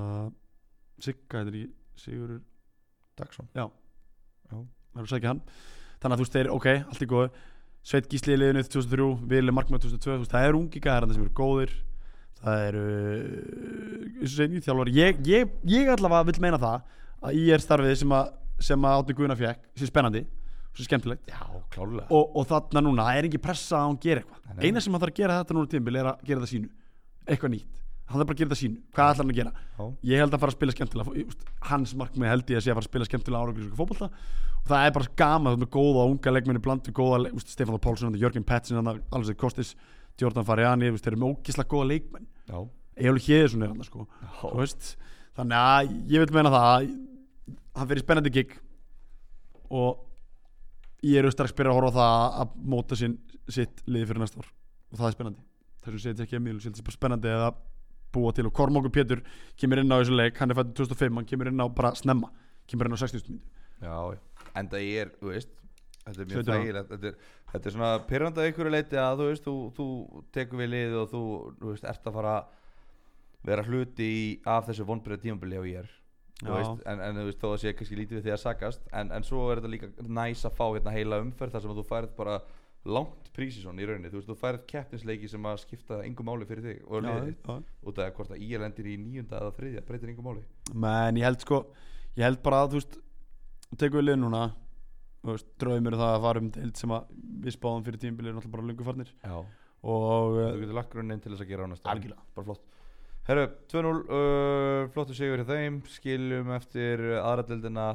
Sigga, heitir ekki Sigur Dagsson Þeir voru að sækja hann Þannig að þú veist þeir, ok, allt er góð Sveit Gísli í liðinu 2003, Vili Markmann 2002 þú veist, Það eru ungi gæðar þarna sem eru góðir Það eru eh, eins og segni þjálfar Ég, ég, ég allavega vil meina það að ég er starfið sem að, sem að Átni Guðna fekk sé spennandi, sé skemmtilegt já, klálega og, og þarna núna, það er ekki pressa að hann gera Nei, eitthvað nei. eina sem hann þarf að gera þetta núna tímbil er að gera það sínu eitthvað nýtt, hann þarf bara að gera þetta sín hvað ætlar hann að gera Já. ég held að fara að spila skemmtilega fó- úst, hans markmið held ég að sé að fara að spila skemmtilega áranglisku fótbolta og það er bara gaman þú ert með góða unga leikmenni bland við góða leik- úst, Stefán Þór Pálsson, Jörgen Petsin alveg Kostis, Jordan Fariani úst, þeir eru með ógislega góða leikmenn Já. Egil Hjeðsson er hann sko Þú veist, þannig að ég vil meina það að hann fyrir spennandi gig og ég eru strax byrjað að horfa á það að móta sinn sitt liði fyrir næsta ár og það er spennandi þessum segir þetta ekki að mjög þetta er bara spennandi að búa til og Kormóku Pétur kemur inn á þessu leik, hann er fættið 2005 hann kemur inn á bara snemma, kemur inn á 60 minútu Já, já. en það er, þú veist þetta er mjög Sveitur á. þægilegt þetta er, þetta er svona pyrranda einhverju leiti að þú veist, þú, þú tekur við lið og þú, þú veist, ert að fara vera hluti í, af þessu vonbreið tímabili á ég er Já. en, en þú veist, þó að sé kannski lítið við því að sakast en, en svo er þetta líka næs að fá hérna heila umferð þar sem að þú færð bara langt prísisón í rauninni, þú veist, þú færð keppnisleiki sem að skipta engum máli fyrir þig og Já, liðið, já. út af því að hvort að ég lendir í nýjunda eða þriðja, breytir engum máli menn ég held sko ég held bara að þú veist tekur við lið núna þú veist, draumur er það að fara um deild sem að við spáðum fyrir tímabilið er náttúrulega bara lungu farnir Já, og uh, þú getur lagt grunninn til þess að gera á næsta ári. Algjörlega. bara flott Herru, 2-0, uh, flottu sigur hjá þeim skiljum eftir uh, aðradildina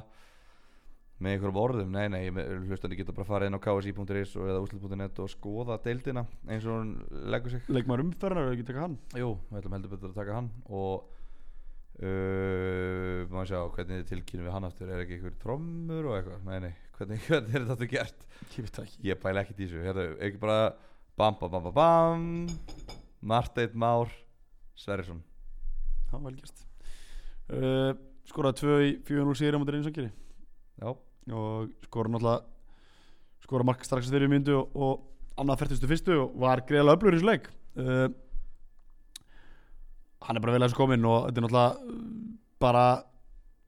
með einhverjum orðum nei, nei, hlustandi geta bara farið inn á ksi.is og eða úslit.net og skoða deildina eins og hún leggur sig leikmaður umferðar ef ekki taka hann Jú, við ætlum heldur betur að taka hann og uh, maður sjá hvernig þið tilkynum við hann aftur er ekki einhver trommur og eitthvað nei, nei, hvernig, hvernig er þetta aftur gert ég veit það ekki Ég pæla ekkert í þessu, hérna, ekki bara Bam, bam, bam, bam, bam Marteinn Már Sverrisson það var vel gert uh, skoraði tvö í 4-0 sigri á mútið reynsangeri Já, og skoraði náttúrulega skoraði mark strax fyrir myndu og, og annað fyrstustu fyrstu og var greiðlega öflugur í þessu leik uh, hann er bara vel að þessu kominn og þetta er náttúrulega uh, bara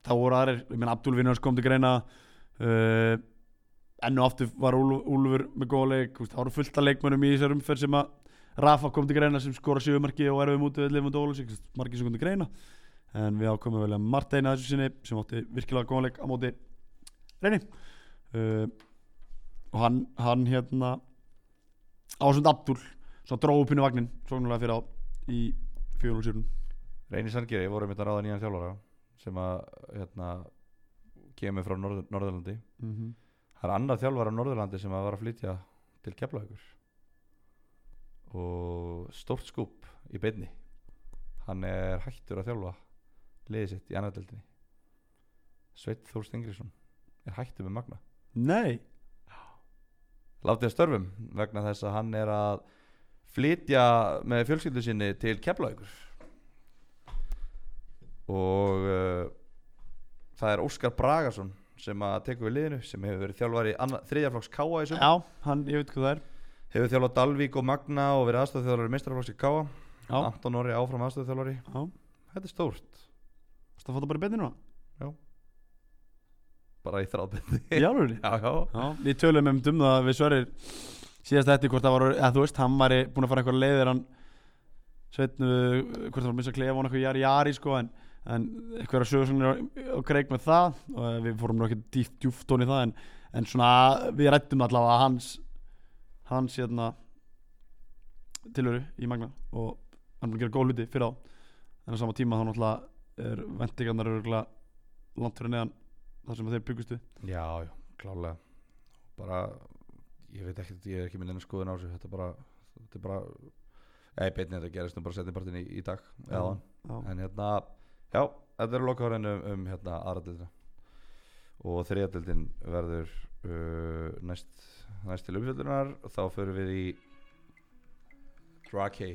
þá voru aðrir, ég meina Abdul Vinnars kom til greina uh, enn og aftur var Úlf, Úlfur með góða leik þú veist, það voru fullt af leikmönnum í þessar umferð sem að Rafa kom til greina sem skora sjöfumarki og erfið mútið við lifund og ólúsík marki sem kom til greina en við ákomum vel að Marteina þessu sinni sem átti virkilega góðan leik á móti Reyni uh, og hann, hann hérna Ásund Abdul svo dróð upp hinn í vagnin sóknulega fyrir á í fjölúsýrun Reyni Sandgeri voru mitt að ráða nýjan þjálfara sem að hérna, kemur frá Norð Norðurlandi mm -hmm. Það er annar þjálfara á Norðurlandi sem að var að flytja til Keflavíkur og stórt skúp í beinni hann er hættur að þjálfa liðið sitt í annaðdeldinni Sveit Þór Stengriðsson er hættur með Magna Nei, látið að störfum vegna þess að hann er að flytja með fjölskyldu sinni til Keflavíkur og uh, það er Óskar Bragason sem að tekur við liðinu sem hefur verið þjálfari anna- þriðjaflokks K.A. í sumar já, hann, ég veit hvað það er hefur þjálfað Dalvík og Magna og verið aðstofþjálfari meistaraflokks í K.A. Já, Anton Orri áfram aðstofþjálfari já, þetta er stórt, það fótt það bara í beinni núna bara í þráðbindi Í alvöru? já, já, Já, við tölum um dum það við Sverrir síðast þetta hvort það var, eða þú veist, hann var búin að fara einhver leiðir hann sveitnu, hvort það var minnst að klefa hann eitthvað jari jari sko, en, en einhverja sögursagnir og kreik með það og eh, við fórum nú ekki dýft djúft í það en, en svona, við rættum allavega hans hans hérna tilveru í Magna og hann er búin að gera góð hluti fyrir á en á sama tíma þá náttúrulega er vendingarnar örgulega langt fyrir neðan þar sem þeir byggustu Já, já, klálega bara, ég veit ekkert ég er ekki minn enn skoðun á þessu, þetta er bara þetta er bara, eða beinni þetta gerist nú bara setjum partin í, í dag Já. eða, en hérna, já, þetta eru lokahorinn um, um hérna aðradildina og þriðadildin verður uh, næst næst til umfjöldunar og þá förum við í Drake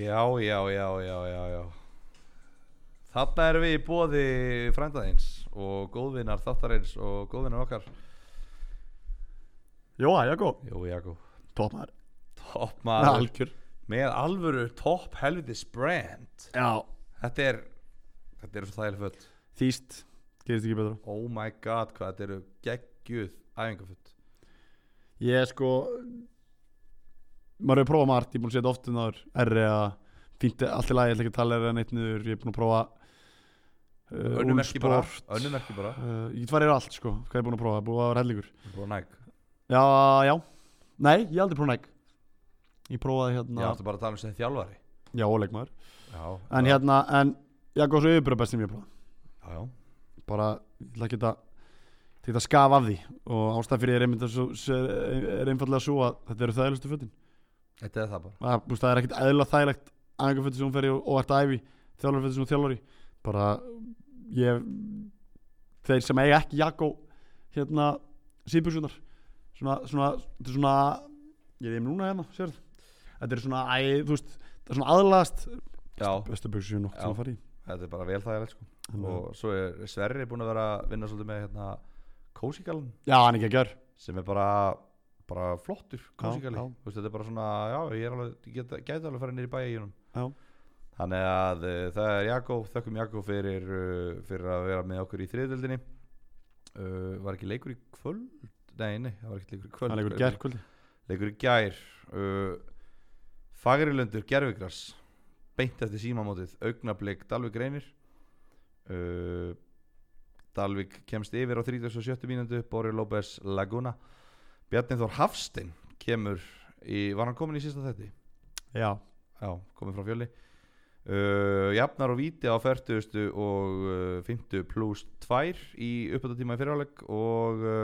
Já, já, já, já, já, já Þarna erum við í bóði frændaðins og góðvinnar þáttarins og góðvinnar okkar Jóa, Jakko Jó, Jakko Tópar Topp maður Algjör Með alvöru topp helvitis brand Já Þetta er Þetta eru svo þægileg föt Þýst Gerist ekki betra Oh my god hvað þetta eru geggjuð æfingaföt Ég sko Maður hefur prófað margt Ég er búin að setja oft um þar R eða fínt, allt í lagi, ég ætla ekki að tala eða neitt niður, ég er búin að prófa uh, Önnum merki bara, Ulsport. önnum merki bara uh, ég get farið yfir allt sko, hvað ég er búin að prófa, búið að vera hellingur Búið að næg já, já, nei, ég hef aldrei prófað næg ég prófaði Ég hérna, átti bara að tala um sem þjálfari já, óleikmaður Já, en já, hérna, en ég haf góðs auðvitað best sem ég prófaði, já, já. bara ég ætla ekki að þetta að skafa af því og ástæð fyrir ég er, einmitt að svo- svo- er einfallega svo að þetta eru þægilegustu fötin Þetta er það bara að, búst, það er ekkert eðlilega þægilegt æfingarfötið sem hún fer í og, og ert æfi þjálfarfötið sem hún þjálfar í bara ég þeir sem eiga ekki Jakko hérna síðbjörnsunar svona, svona, þetta er svona ég er núna hérna, sér þetta er svona, æ, þú veist, það er svona aðlast Já, bestu bjöksu sem nokkuð sem Já. að fara í þetta er bara vel það sko. Þannig að- Og svo er Sverri búin að vera að vinna svolítið með hérna Kósikalinn já, hann er ekki að gjör sem er bara, bara flottur Kósikalinn já. Þú veist, Þetta er bara svona, já, ég er alveg ég get, gæti alveg að fara niður í bæjunum Já. Þannig að uh, það er Jakob, þökkum Jakob fyrir, uh, fyrir að vera með okkur í þriðdeldinni uh, Var ekki leikur í kvöld? Nei, nei, það var ekki leikur í kvöld hann er ekki að Hvernig- gjör kvöldi leikur í gær uh, Fagrilundur Gervigras beint eftir símamótið augnablik Dalvik reynir uh, Dalvik kemst yfir á 37. mínútu Bóri López Laguna Bjarni Þór Hafstein kemur í, var hann komin í sísta þetti? já, Já, komin frá fjöli uh, Jafnar og Víti á 40 og uh, 50 pluss 2 í uppöldatíma í fyrirháleik og uh,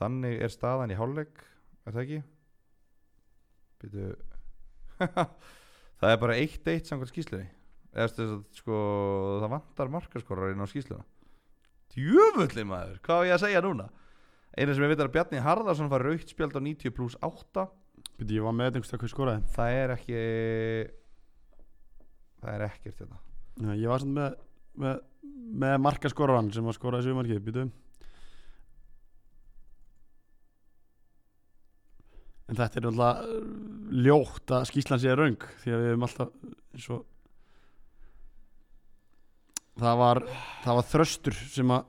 þannig er staðan í háleik er það ekki? Býtu Það er bara 1-1 samkvæmt skýslunni eða þess að sko það vantar markaskorrar inn á skýsluna Djöfulli maður, hvað á ég að segja núna? Einu sem ég veit er að Bjarni Harðarsson var raukt spjald á 90 pluss 8 byrju, ég var með þetta einhvers veginn skoraði Það er ekki Það er ekkert hérna. þetta já, ég var samt með, með, með markaskoran sem var skoraði sumarkið, býtu en þetta er náttúrulega uh, ljótt að skýslan sé röng því að við hefum alltaf svo það var það var þröstur sem að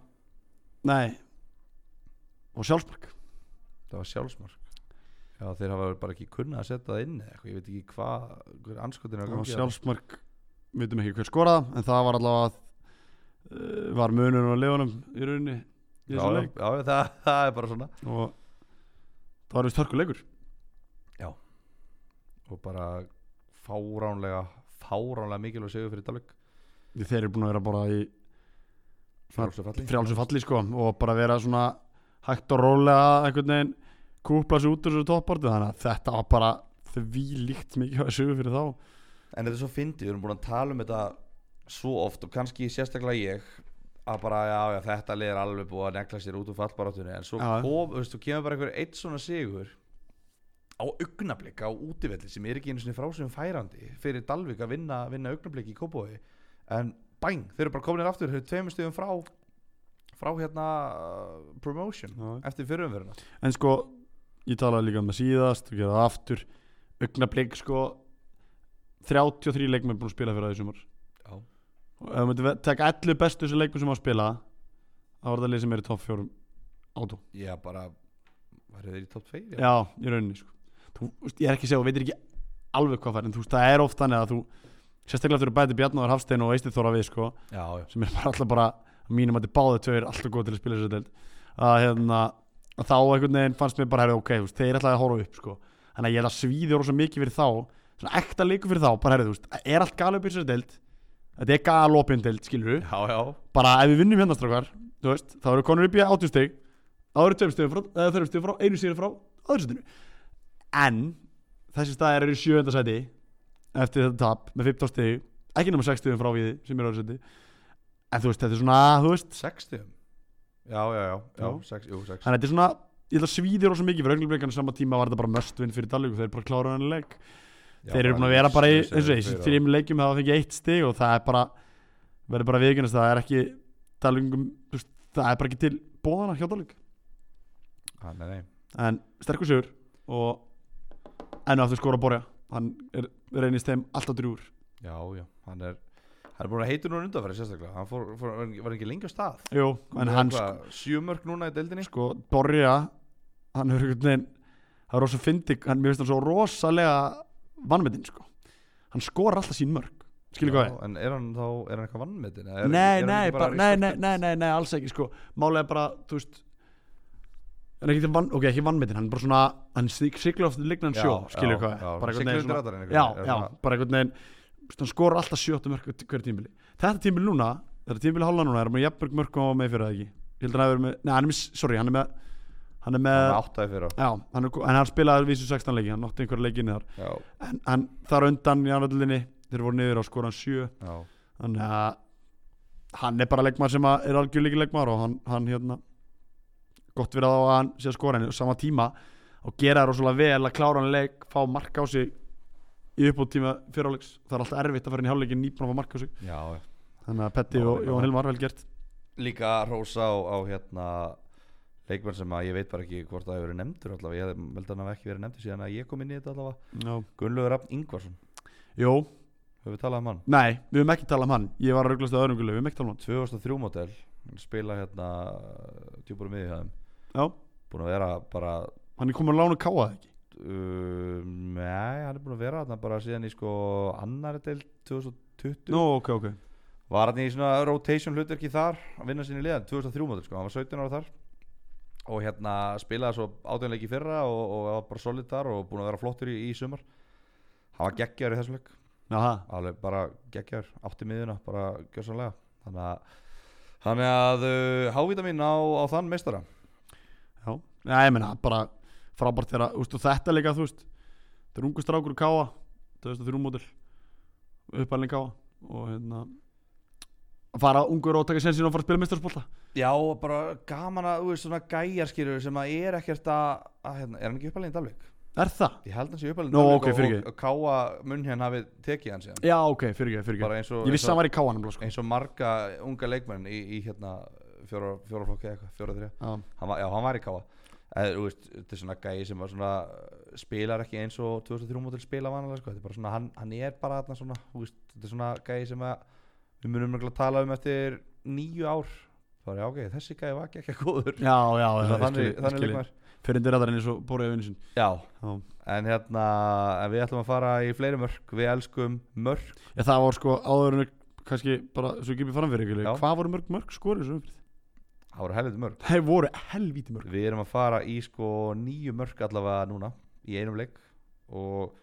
nei og sjálfsmark Það var sjálfsmark Já þeir hafa bara ekki kunnað að setja það inn eða eitthvað Ég veit ekki hvað Hver anskotin er að það var gangi sjálfsmark við veitum ekki hver skoraða en það var allavega uh, var munur á lefunum í rauninni í Já, þessum já, leik já það, það er bara svona og það var vist hörkuleikur Og bara fáránlega Fáránlega mikilvæg segjum fyrir Dalvik því þeir eru búin að vera bara í Frálsu falli frjálsum falli sko og bara vera svona hægt og rólega einhvern veginn kúpla sig út úr þessu topportu þannig að þetta var bara því líkt mikið að sögu fyrir þá En þetta er svo fyndið, við erum búin að tala um þetta svo oft og kannski sérstaklega ég að bara, já, já, þetta lið er alveg búið að negla sér út úr fallbaráttunni en svo Já. kom, þú veist, þú kemur bara einhver eitt svona sigur á augnablik á útivelli sem er ekki einu svona frásum færandi fyrir Dalvik að vinna, vinna augnablik í Kópói en bæng, þeir eru bara kominir aftur þeir eru tveimur stöðum frá frá hérna uh, promotion eftir fyrirumverðina En sko, ég talaði líka um það síðast og gera það aftur augnablík sko 33 leikmenn búin að spila fyrir það í sumar Já. og ef maður myndi taka 11 bestu þessu leikmenn sem á að spila þá var það lið sem er í topp fjórum átó ég bara, værið þeir í top 2 Já, í rauninni sko þú, veist, Ég er ekki að segja og veitir ekki alveg hvað fær en þú veist, það er oft þannig að þú sérstaklega þegar þú bæti Bjarnáður Hafstein og Eistið Þóra við sko já, já. sem er bara alltaf bara að mínum að þið báðu tveir alltaf góð til að spila þessu deild að hérna að þá einhvern veginn fannst mér bara herri, ok, þú veist, þeir ætlaði að horfa upp sko. þannig að ég ætla að svíði orða svo mikið fyrir þá svona ekta leiku fyrir þá, bara herri, þú veist það er allt galið upp í þessu deild þetta er galopin deild, skilur við já, já, bara ef við vinnum hérna strákar, þú veist þá eru konur upp í átjústeg þá eru tveim stegum frá, eða þreim stegum frá, einu sigur frá aðursætinu en þessi staðar eru í sjöönda sæti eftir þetta tap með 15 stegu ekki nema 6 stegum frá við sem eru aðursæti en þú veist, þetta er svona, þú veist 60 já, já, já, já, Já. sex, jú, sex. þannig að þetta er svona, ég held að svíðir rosa mikið fyrir augnablikana sama tíma var þetta bara möstvinn fyrir Dalík og þeir bara klára hann leik Já, þeir eru búin að vera bara í þessu, þessu þrjum leikjum hafa fengið eitt stig og það er bara verður bara viðgjörnast, það er ekki Dalíkum, það er bara ekki til bóðana hjá Dalík, ah, nei, nei. en sterkur sigur og enn og aftur skora borja, hann er, reynist þeim alltaf drúur, Já, já, hann er hann er búin að heitur núna undanfæri sérstaklega hann fór, fór, var ekki- var ekki lengi á stað jú, en hann sk- sjömörk núna í deildinni sko, borja hann er einhvern veginn, það er rosa fyndi hann, mér finnst hann svo rosalega vannmetinn, sko hann skorar alltaf sín mörg skilur hvað ég en er hann þá, er hann eitthvað vannmetin? eða er- nei, er hann nei, ekki bara bara, nei, nei, respected? nei, nei, nei, alls ekki sko. Málega bara, þú veist hann er ekki vann, ok, ekki vannmetinn hann er bara svona, hann sig- siglar oft lignan Já, sjó, skilur já, hvað ég, já, bara siglar undir svona- radarinn einhvern já, veginn, er já, svona- bara einhvern veginn þú veist, hann skorur alltaf sjötta mörg hver tímbili þetta tímbili núna, þetta tímbili hálfa núna er hann með jafnmörg mörg koma með fyrir það ekki ég held að hann hafi verið með, nei, hann er með, sorry, hann er með hann Hann er með, var áttaði fyrir á já, hann, er, en hann spilaði vísu 16 leiki, hann notti einhverja leikinni þar Já, en, en þar á undan í annaðlinni þeir voru niður á skoran 7 já, þannig að hann er bara leikmaður sem að er algjörleiki leikmaður og hann, hann hérna gott verið á að hann sé að skora henni og sama tíma og gera það rosalega vel að klára hann leik fá mark á sig í uppbútt tíma fyrir áleiks það er alltaf erfitt að fara inn í hálfleikin nýbúin að fá mark á sig já þannig að Petti Já, og já. Jón Hilmar vel gert Líka rósa á, á hérna leikmenn sem að ég veit bara ekki hvort það hefur verið nefndur allavega, ég held að hann hafi ekki verið nefndur síðan að ég kom inn í þetta allavega Já. Gunnlaugur Rafn Ingvarsson, Jó, höfum við talað um hann nei, við höfum ekki talað um hann ég var að rauglast að öðrum gullu, við höfum ekki talað um 2003 model, spila hérna djúpar miðið hjá þeim hann Já, búin að vera bara hann er komin að lána káa það ekki um, nei, hann er búin að vera þarna bara síðan í sko annari del 2020 Nú, ok, ok var hann í svona rotation hlutverki þar að vinna sinni liðan, 2003 mótil sko, hann var 17 ára þar og hérna spilaði svo átjónleiki fyrra og, og var bara solid þar og búin að vera flottur í, í sumar hann var geggjar í þessum leik Jaha, alveg bara geggjar, átti miðuna bara gjössanlega þannig að, þannig að uh, hávita mín á, á þann meistara Já, Nei, ég meina bara frábært þegar að, þú veist, og þetta líka, þú veist þetta er ungu strákur káa 2003 mótil uppalinn káa og hérna að fara ungur og taka sensin og fara að spila mestarspólta já, og bara gaman að, þú veist, svona gæjarskýrur sem að er ekkert að, að hérna, er hann ekki uppalinn í Dalvik? Er það? ég held hans í uppalinn í Nú, Dalvík ok, fyrirgefðu. og, og káa munn hérna hafi tekið hann síðan Já, ok, fyrir ekki, fyrir bara eins og Ég eins vissi og- að hann var í káa nefnilega sko. eins og marga unga leikmenn í, í hérna fjóra, fjóra flokki eða eitthvað, fjóra þrjá Já, hann var, já, hann var í káa eða, þú veist, þetta er svona gæi sem var svona uh, spilar ekki eins og 2003 mótil spila vanalega, sko, þetta er bara svona, hann, hann er bara þarna svona, þú veist, þetta er svona gæi sem að við munum mjög að tala um eftir níu ár, þá er ég, ok, þessi gæi var ekki ekki góður, já, já, já þannig, þannig, þannig leikmenn Fyrir undir aðarinn eins og bóriði vinnu sin já, Já. en hérna en við ætlum að fara í fleiri mörk, við elskum mörk, Ég það var sko áður en kannski bara, svo ekki við fram fyrir Já. ekki Hvað voru mörg mörg skori svo umfyrð? það voru helviti mörk Það voru helvíti mörg Við erum að fara í sko nýju mörk allavega núna í einum leik og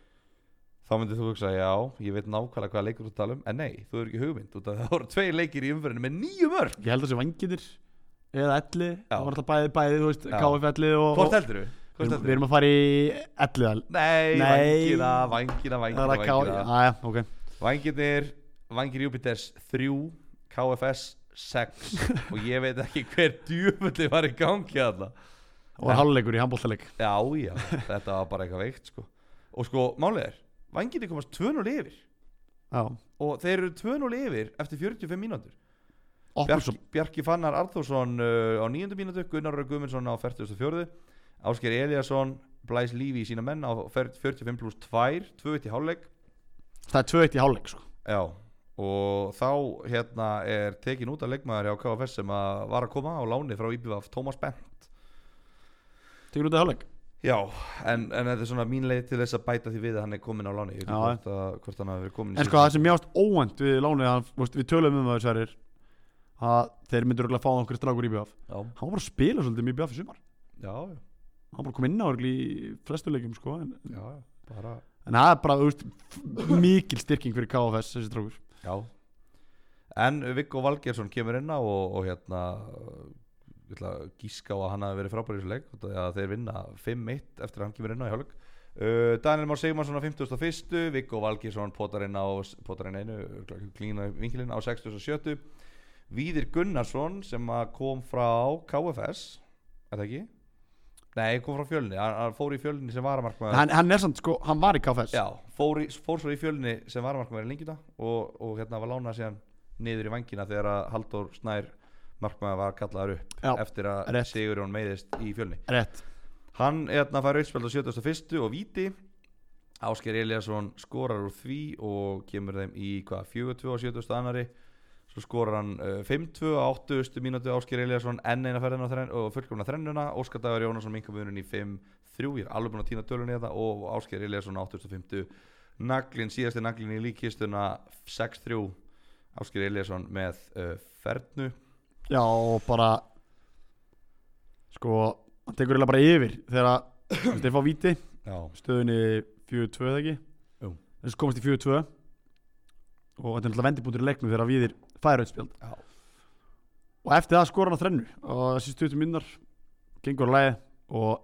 þá myndir þú hugsa já, ég veit nákvæmlega hvaða leikur þú tala um en nei, þú er ekki hugmynd út af það voru tvei leikir í umferðinu með nýju mörk Ég held að það sé vangitir eða elli, Já. það var alltaf bæði, bæði, þú veist, Já. KF elli og, og Hvort heldur þú? við, Hvort erum, við heldur þú? erum að fara í elli elli Nei, Nei. vangina, vangina, Það er vangina, að vangina. KF, aðja, ok Vangirnir, vangir Júpiters 3, KFS 6 og ég veit ekki hver djúfulli var í gangi alltaf Það var háluleikur í handbóltaleik Já, já, þetta var bara eitthvað veikt sko og sko, málið er, vangirnir komast 2-0 yfir Já, og þeir eru 2-0 yfir eftir 45 mínútur Bjarki, Oppurson, Bjarki Fannar Arþórsson uh, á 9. mínútu, Gunnar Rau Guðmundsson á 44. Ásker Eliasson Blæs Lífi í sína menn á fer- 45 pluss 2, 2-1 í hálfleik það er 2-1 í háluleik sko. Já, og þá hérna er tekin út að leikmaður hjá KFS sem að var að koma á láni frá IBVF Tómas Bent Tekur út í háluleik Já, en, en þetta er svona mín leið til þess að bæta því við að hann er komin á láni Ég veit Já. ekki hvort, að- hvort hann hafi verið komin í En sko síðustu- það sem mjást óvænt við lánið hann, þú veist, Við tölum um það sverjir að þeir myndur örugglega að fá okkur strákur í BF Já, Hann var bara að spila svolítið mjög BF í sumar já, Hann bara kom inn á örugglega í flestu leikum sko, en, já, já, bara en það er bara þú veist, mikil styrking fyrir KFS þessi strákur Já En Viggo Valgersson kemur inn á og, og hérna ég ætla að gíska á að hann hafi verið frábæri í þessu leik út af því að þeir vinna 5-1 eftir að hann kemur inn á í hálfleik uh, Daniel Már Sigmarsson á 51 Viggo Valgersson potar inn á potar inn einu, örugglega klína vinkilinn á 67 Víðir Gunnarsson sem að kom frá KFS er það ekki? Nei, kom frá fjölni, hann, hann fór í fjölni sem varamarkmaður hann, hann er samt, sko, hann var í KFS Já, fór, í, fór svo í fjölunni sem varamarkmaður í lengjuna og, og hérna var lánað síðan niður í vangina þegar að Halldór Snær markmaður var kallaður upp Já, eftir að rétt. Sigurjón meiðist í fjölunni Rétt Hann hérna fær auðspjöld á 71. og víti Ásker Eliasson skorar úr því og kemur þeim í hvað, 42 og 70. annari svo skorar hann uh, 5-2 á 80. mínútu Ásker Eliasson enn eina ferðina á þrenn, og fullkomna þrennuna Óskar Dagur hérna Jónasson minkamunun í 5-3 ég er alveg búin að týna tölunni í þetta og Ásker Eliasson á 85. naglin, síðasti naglin í líkistuna 6-3 Áskir Eliasson með uh, Fernu Já, og bara Sko, hann tekur eiginlega bara yfir Þegar að, þú veist, þeir fá víti Já, Stöðunni 4-2 eða ekki Jú. Þessi komast í 4-2 Og þetta er náttúrulega vendibúndur í leiknum Þegar að viðir færautspjald Já. Og eftir það skora hann á þrennu Og þessi stöðum minnar Gengur að lægi Og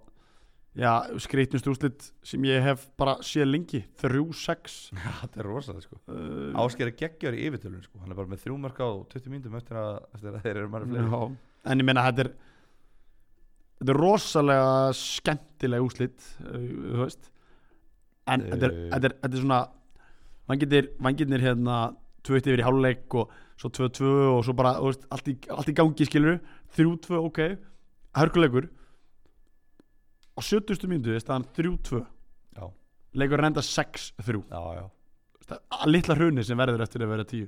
já, skreitnust úrslit Sem ég hef bara séð lengi 3-6 þetta er rosalega sko uh, Áskir er geggjör í yfirtölun sko Hann er bara með þrjú marka á 20 mínútum eftir að, eftir að þeir eru marga fleiri Já, en ég meina þetta er þetta er rosalega skemmtilega úslit þú veist en Eh. þetta er, þetta er, þetta er svona vangirnir, vangirnir hérna tvöitt yfir í háluleik og svo 2-2 og svo bara þú veist, allt, í, allt í gangi skilur 3-2 ok, hörkuleikur á 70. mínútu er staðan 3-2 Já. leikur renda 6-3 Já, já Það er að litla hruni sem verður eftir að vera 10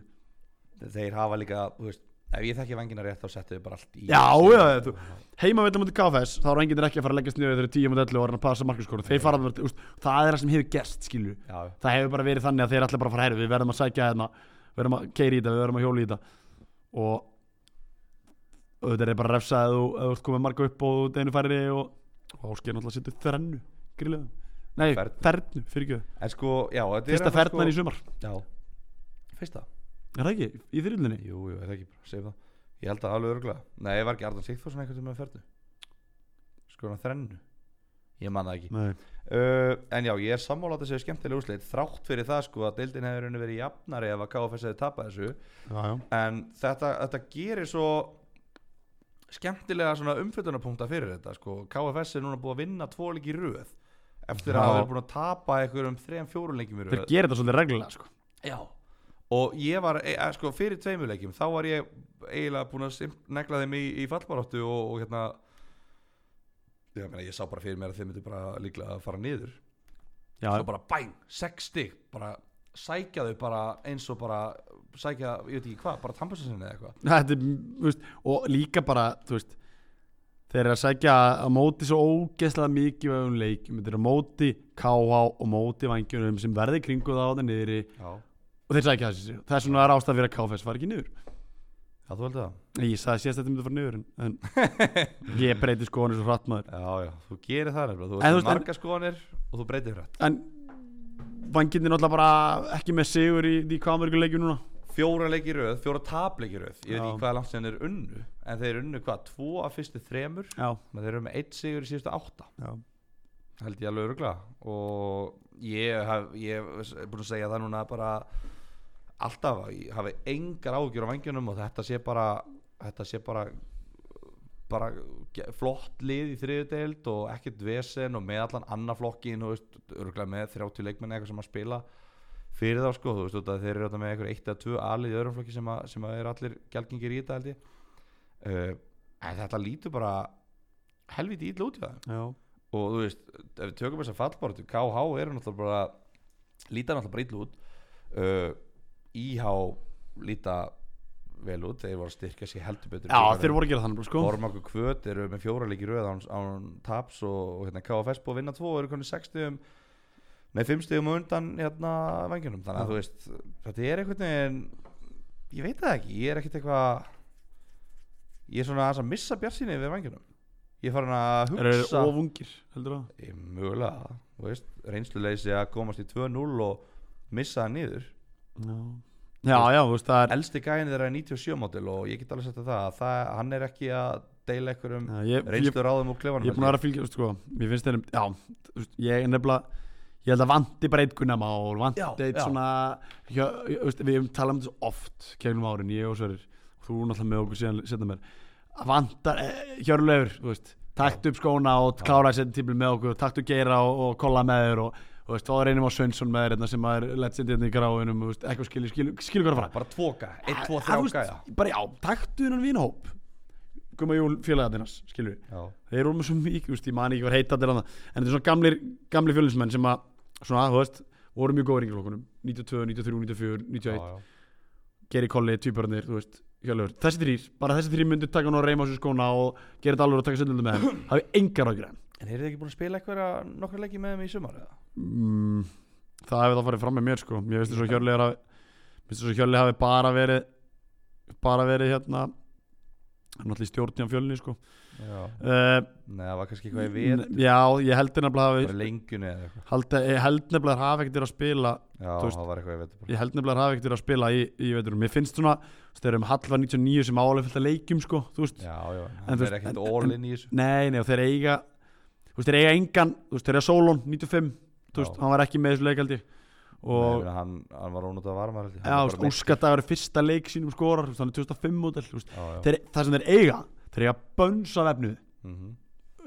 Þeir hafa líka, þú veist Ef ég þekki vangina rétt þá settu við bara allt í Já, já, þú- heimavelli mútið KFS þá eru enginn ekki að fara að leggja sniðu þegar 10 mútið 11 og er að passa markurskóru þeir fara að úst, það er það sem hefur gerst skilju já, það hefur bara verið þannig að þeir allir bara að fara herfi við verðum að sækja hérna við verðum að keiri í þetta við verðum að hjóla í þetta og auðvitað er bara að refsa að þú ef þú ert komið marga upp og deginu færri og ásker náttúrulega að setja þrennu grillega nei, Fernu. fernu, fyrir ekki En sko, já þetta er fyrsta annars, fernan í sumar sko, Já, fyrsta er það ekki, í þyrlunni Jú, jú, það ekki, bara segir það Ég held að alveg örgulega Nei, var ekki Ardan Sigþórsson einhvern tímann með ferdu Sko hann þrennu Ég man það ekki nei, uh, En já, ég er sammála að þetta séu skemmtileg úslit Þrátt fyrir það sko að deildin hefur í rauninni verið jafnari ef að KFS hefði tapað þessu já, já En þetta, þetta gerir svo skemmtilega svona umfyllunarpunkta fyrir þetta sko KFS er núna búið að vinna tvo leiki í röð Eftir Já. að hafa verið búin að tapa einhverjum þrejum fjórum leikum í röð þeir gera þetta svolítið reglulega sko. Já Og ég var, e, e, sko, fyrir tveimuleikjum Þá var ég eiginlega búin að sim- negla þeim í, í fallbaráttu og, og hérna Ég, meina, ég sá bara fyrir mér að þeim myndu bara líklega að fara niður já, Svo bara bæn, sex stig Bara sækja þau bara eins og bara Sækja, ég veit ekki hvað, bara tampasessinni eða eitthvað þetta er, þú veist, og líka bara þú veist, þeir eru að sækja að móti svo ógeðslega mikið um leikum, þeir eru að móti KH og móti vangjunum sem verði kringu það á það niðri Já, og þeir sækja þessi það er svona að rásta fyrir að KFS var ekki niður já þú heldur það Nei, ég sagði síðast að þetta myndi fara niður en, en ég breyti skoðanir svo hratt maður Já, já, þú gerir það nefnilega Þú En þú veist veist, en- marga skoðanir og þú breytir hrætt en vangjunni náttúrulega bara ekki með sigur í því hvað mörgur leikjum núna Fjóra leiki í röð, fjóra tapleiki í röð Ég veit Já. ekki hvað langt sem þeir unnu En þeir unnu hvað, tvo af fyrstu þremur já, Men Þeir eru með eitt sigur í síðustu átta já, held ég alveg örugla og ég hef, ég hef búin að segja það núna bara alltaf að ég hafi engar ágjur á vangjunum og þetta sé bara þetta sé bara bara ge- flott lið í þriðudeild og ekkert vesen og með allan annar flokkin og veist, öruglega með 30 leikmenn eða eitthvað sem að spila fyrir þá sko, þú veist, út af þeir eru þarna með eitthvað eitt eða tvö alið í öðrum flokki sem að, sem að er allir gælgingir í þetta held ég uh, en þetta lítur bara helviti ítla út í það já, og þú veist, ef við tökum þess að fallbáratu KH eru náttúrulega bara líta náttúrulega bara illa út uh, IH líta vel út, þeir voru að styrkja sér heldur betur já þeir voru að gera þannig sko. Ormaku Kvöt eru með fjóra leiki í röð án, án taps og, og hérna, KFS búið að vinna tvo og eru konið 60 nei 50 og undan hérna vangjunum þannig að Já. þú veist, þetta er einhvern veginn ég veit það ekki, ég er ekkert eitthvað ég er svona aðeins að missa bjartsýni við vangjunum ég er farin að eru þeir hugsa ofungir heldur það Ég mögulega, þú veist, reynsluleysi að komast í 2-0 og missa það niður já, já, já, þú veist, það er Elsti gæðin þeirra er 97 mótil og ég get alveg sagt þér það að það, hann er ekki að deila einhverjum Já, ég, ég, reynslu ráðum úr klefanum ég er búin að vera að fylgja, þú veist, sko, mér finnst þeirnum, já, þú veist, ég er nefnilega, ég held að vanti bara eitt Gunnamál, vanti Já, eitt já. svona, hjá, ég, þú veist, við hefum talað um þetta svo oft kegnum árin, ég og Sverir, þú náttúrulega með okkur síðan, setna mér, að vantar, eh, Hjörleifur, þú veist, taktu upp skóna og klára þessi tímil með okkur, taktu geira og, og kolla með þér og, þú veist, þá er einum á Sveinsson með þér, hérna, sem er legend hérna í gráinum, þú veist, eitthvað skilur, skilur, skilur hvað er að fara. Bara tvoka, 1, 2, Að- að, þú 3 veist, gæða Bara já, taktu hennan vinhóp, Guma Júl félagarnirnas, skilur Já, þeir eru með svo mikið, úst, ég man ekki hvað heita til hann en þetta er svona gamlir, gamlir fjölinsmenn sem að svona, þú veist, voru mjög góður í yngreflokkunum 92, 93, 94, já, 91 já. Geri Kolli, tvíbörnir, þú veist hjálfur, þessi þrýr, bara þessi þrýr myndu taka hann og reyma á sér skóna og gera þetta alveg og taka sundlundu með hann hafi engar ágjur hann En eru þið ekki búin að spila einhverja nokkra leiki með þeim í sumar eða? mm, það hefði það farið fram með mér sko mér finnst þess að Hjörli hafi mér finnst þess að Hjörli hafi bara verið bara verið hérna hann er náttúrulega í stjórn hjá fjölni sko Já. uh, Nei, það var kannski eitthvað í við já, ég held nefnilega hafi Bara lengjunni eða eitthvað held, ég held nefnilega hafi ekkert verið að spila Já, Þú veist- það var eitthvað í vetur ég held nefnilega hafi ekkert verið að spila í, í veiturum mér finnst svona, þú veist, þeir eru um halva 99 sem álega fylgta leikjum sko, þú veist Já, já, þú hann veist, er ekkert en- all en- in í þessu Nei, nei, og þeir eiga Þú veist, þeir eiga engan, þú veist, þeir eiga Solon 95, þú veist, Já. hann var ekki með þessu leikaldi Nei, ég og meina, hann, hann var ónútt að varma held ég. já, Hann þú var veist, bara Óskadagur er fyrsta leik sínum skorar, þú veist, hann er 2005 mótel þú veist, með- Já, já. þeir, það sem þeir eiga þeir eiga bönns af efnu Mhm.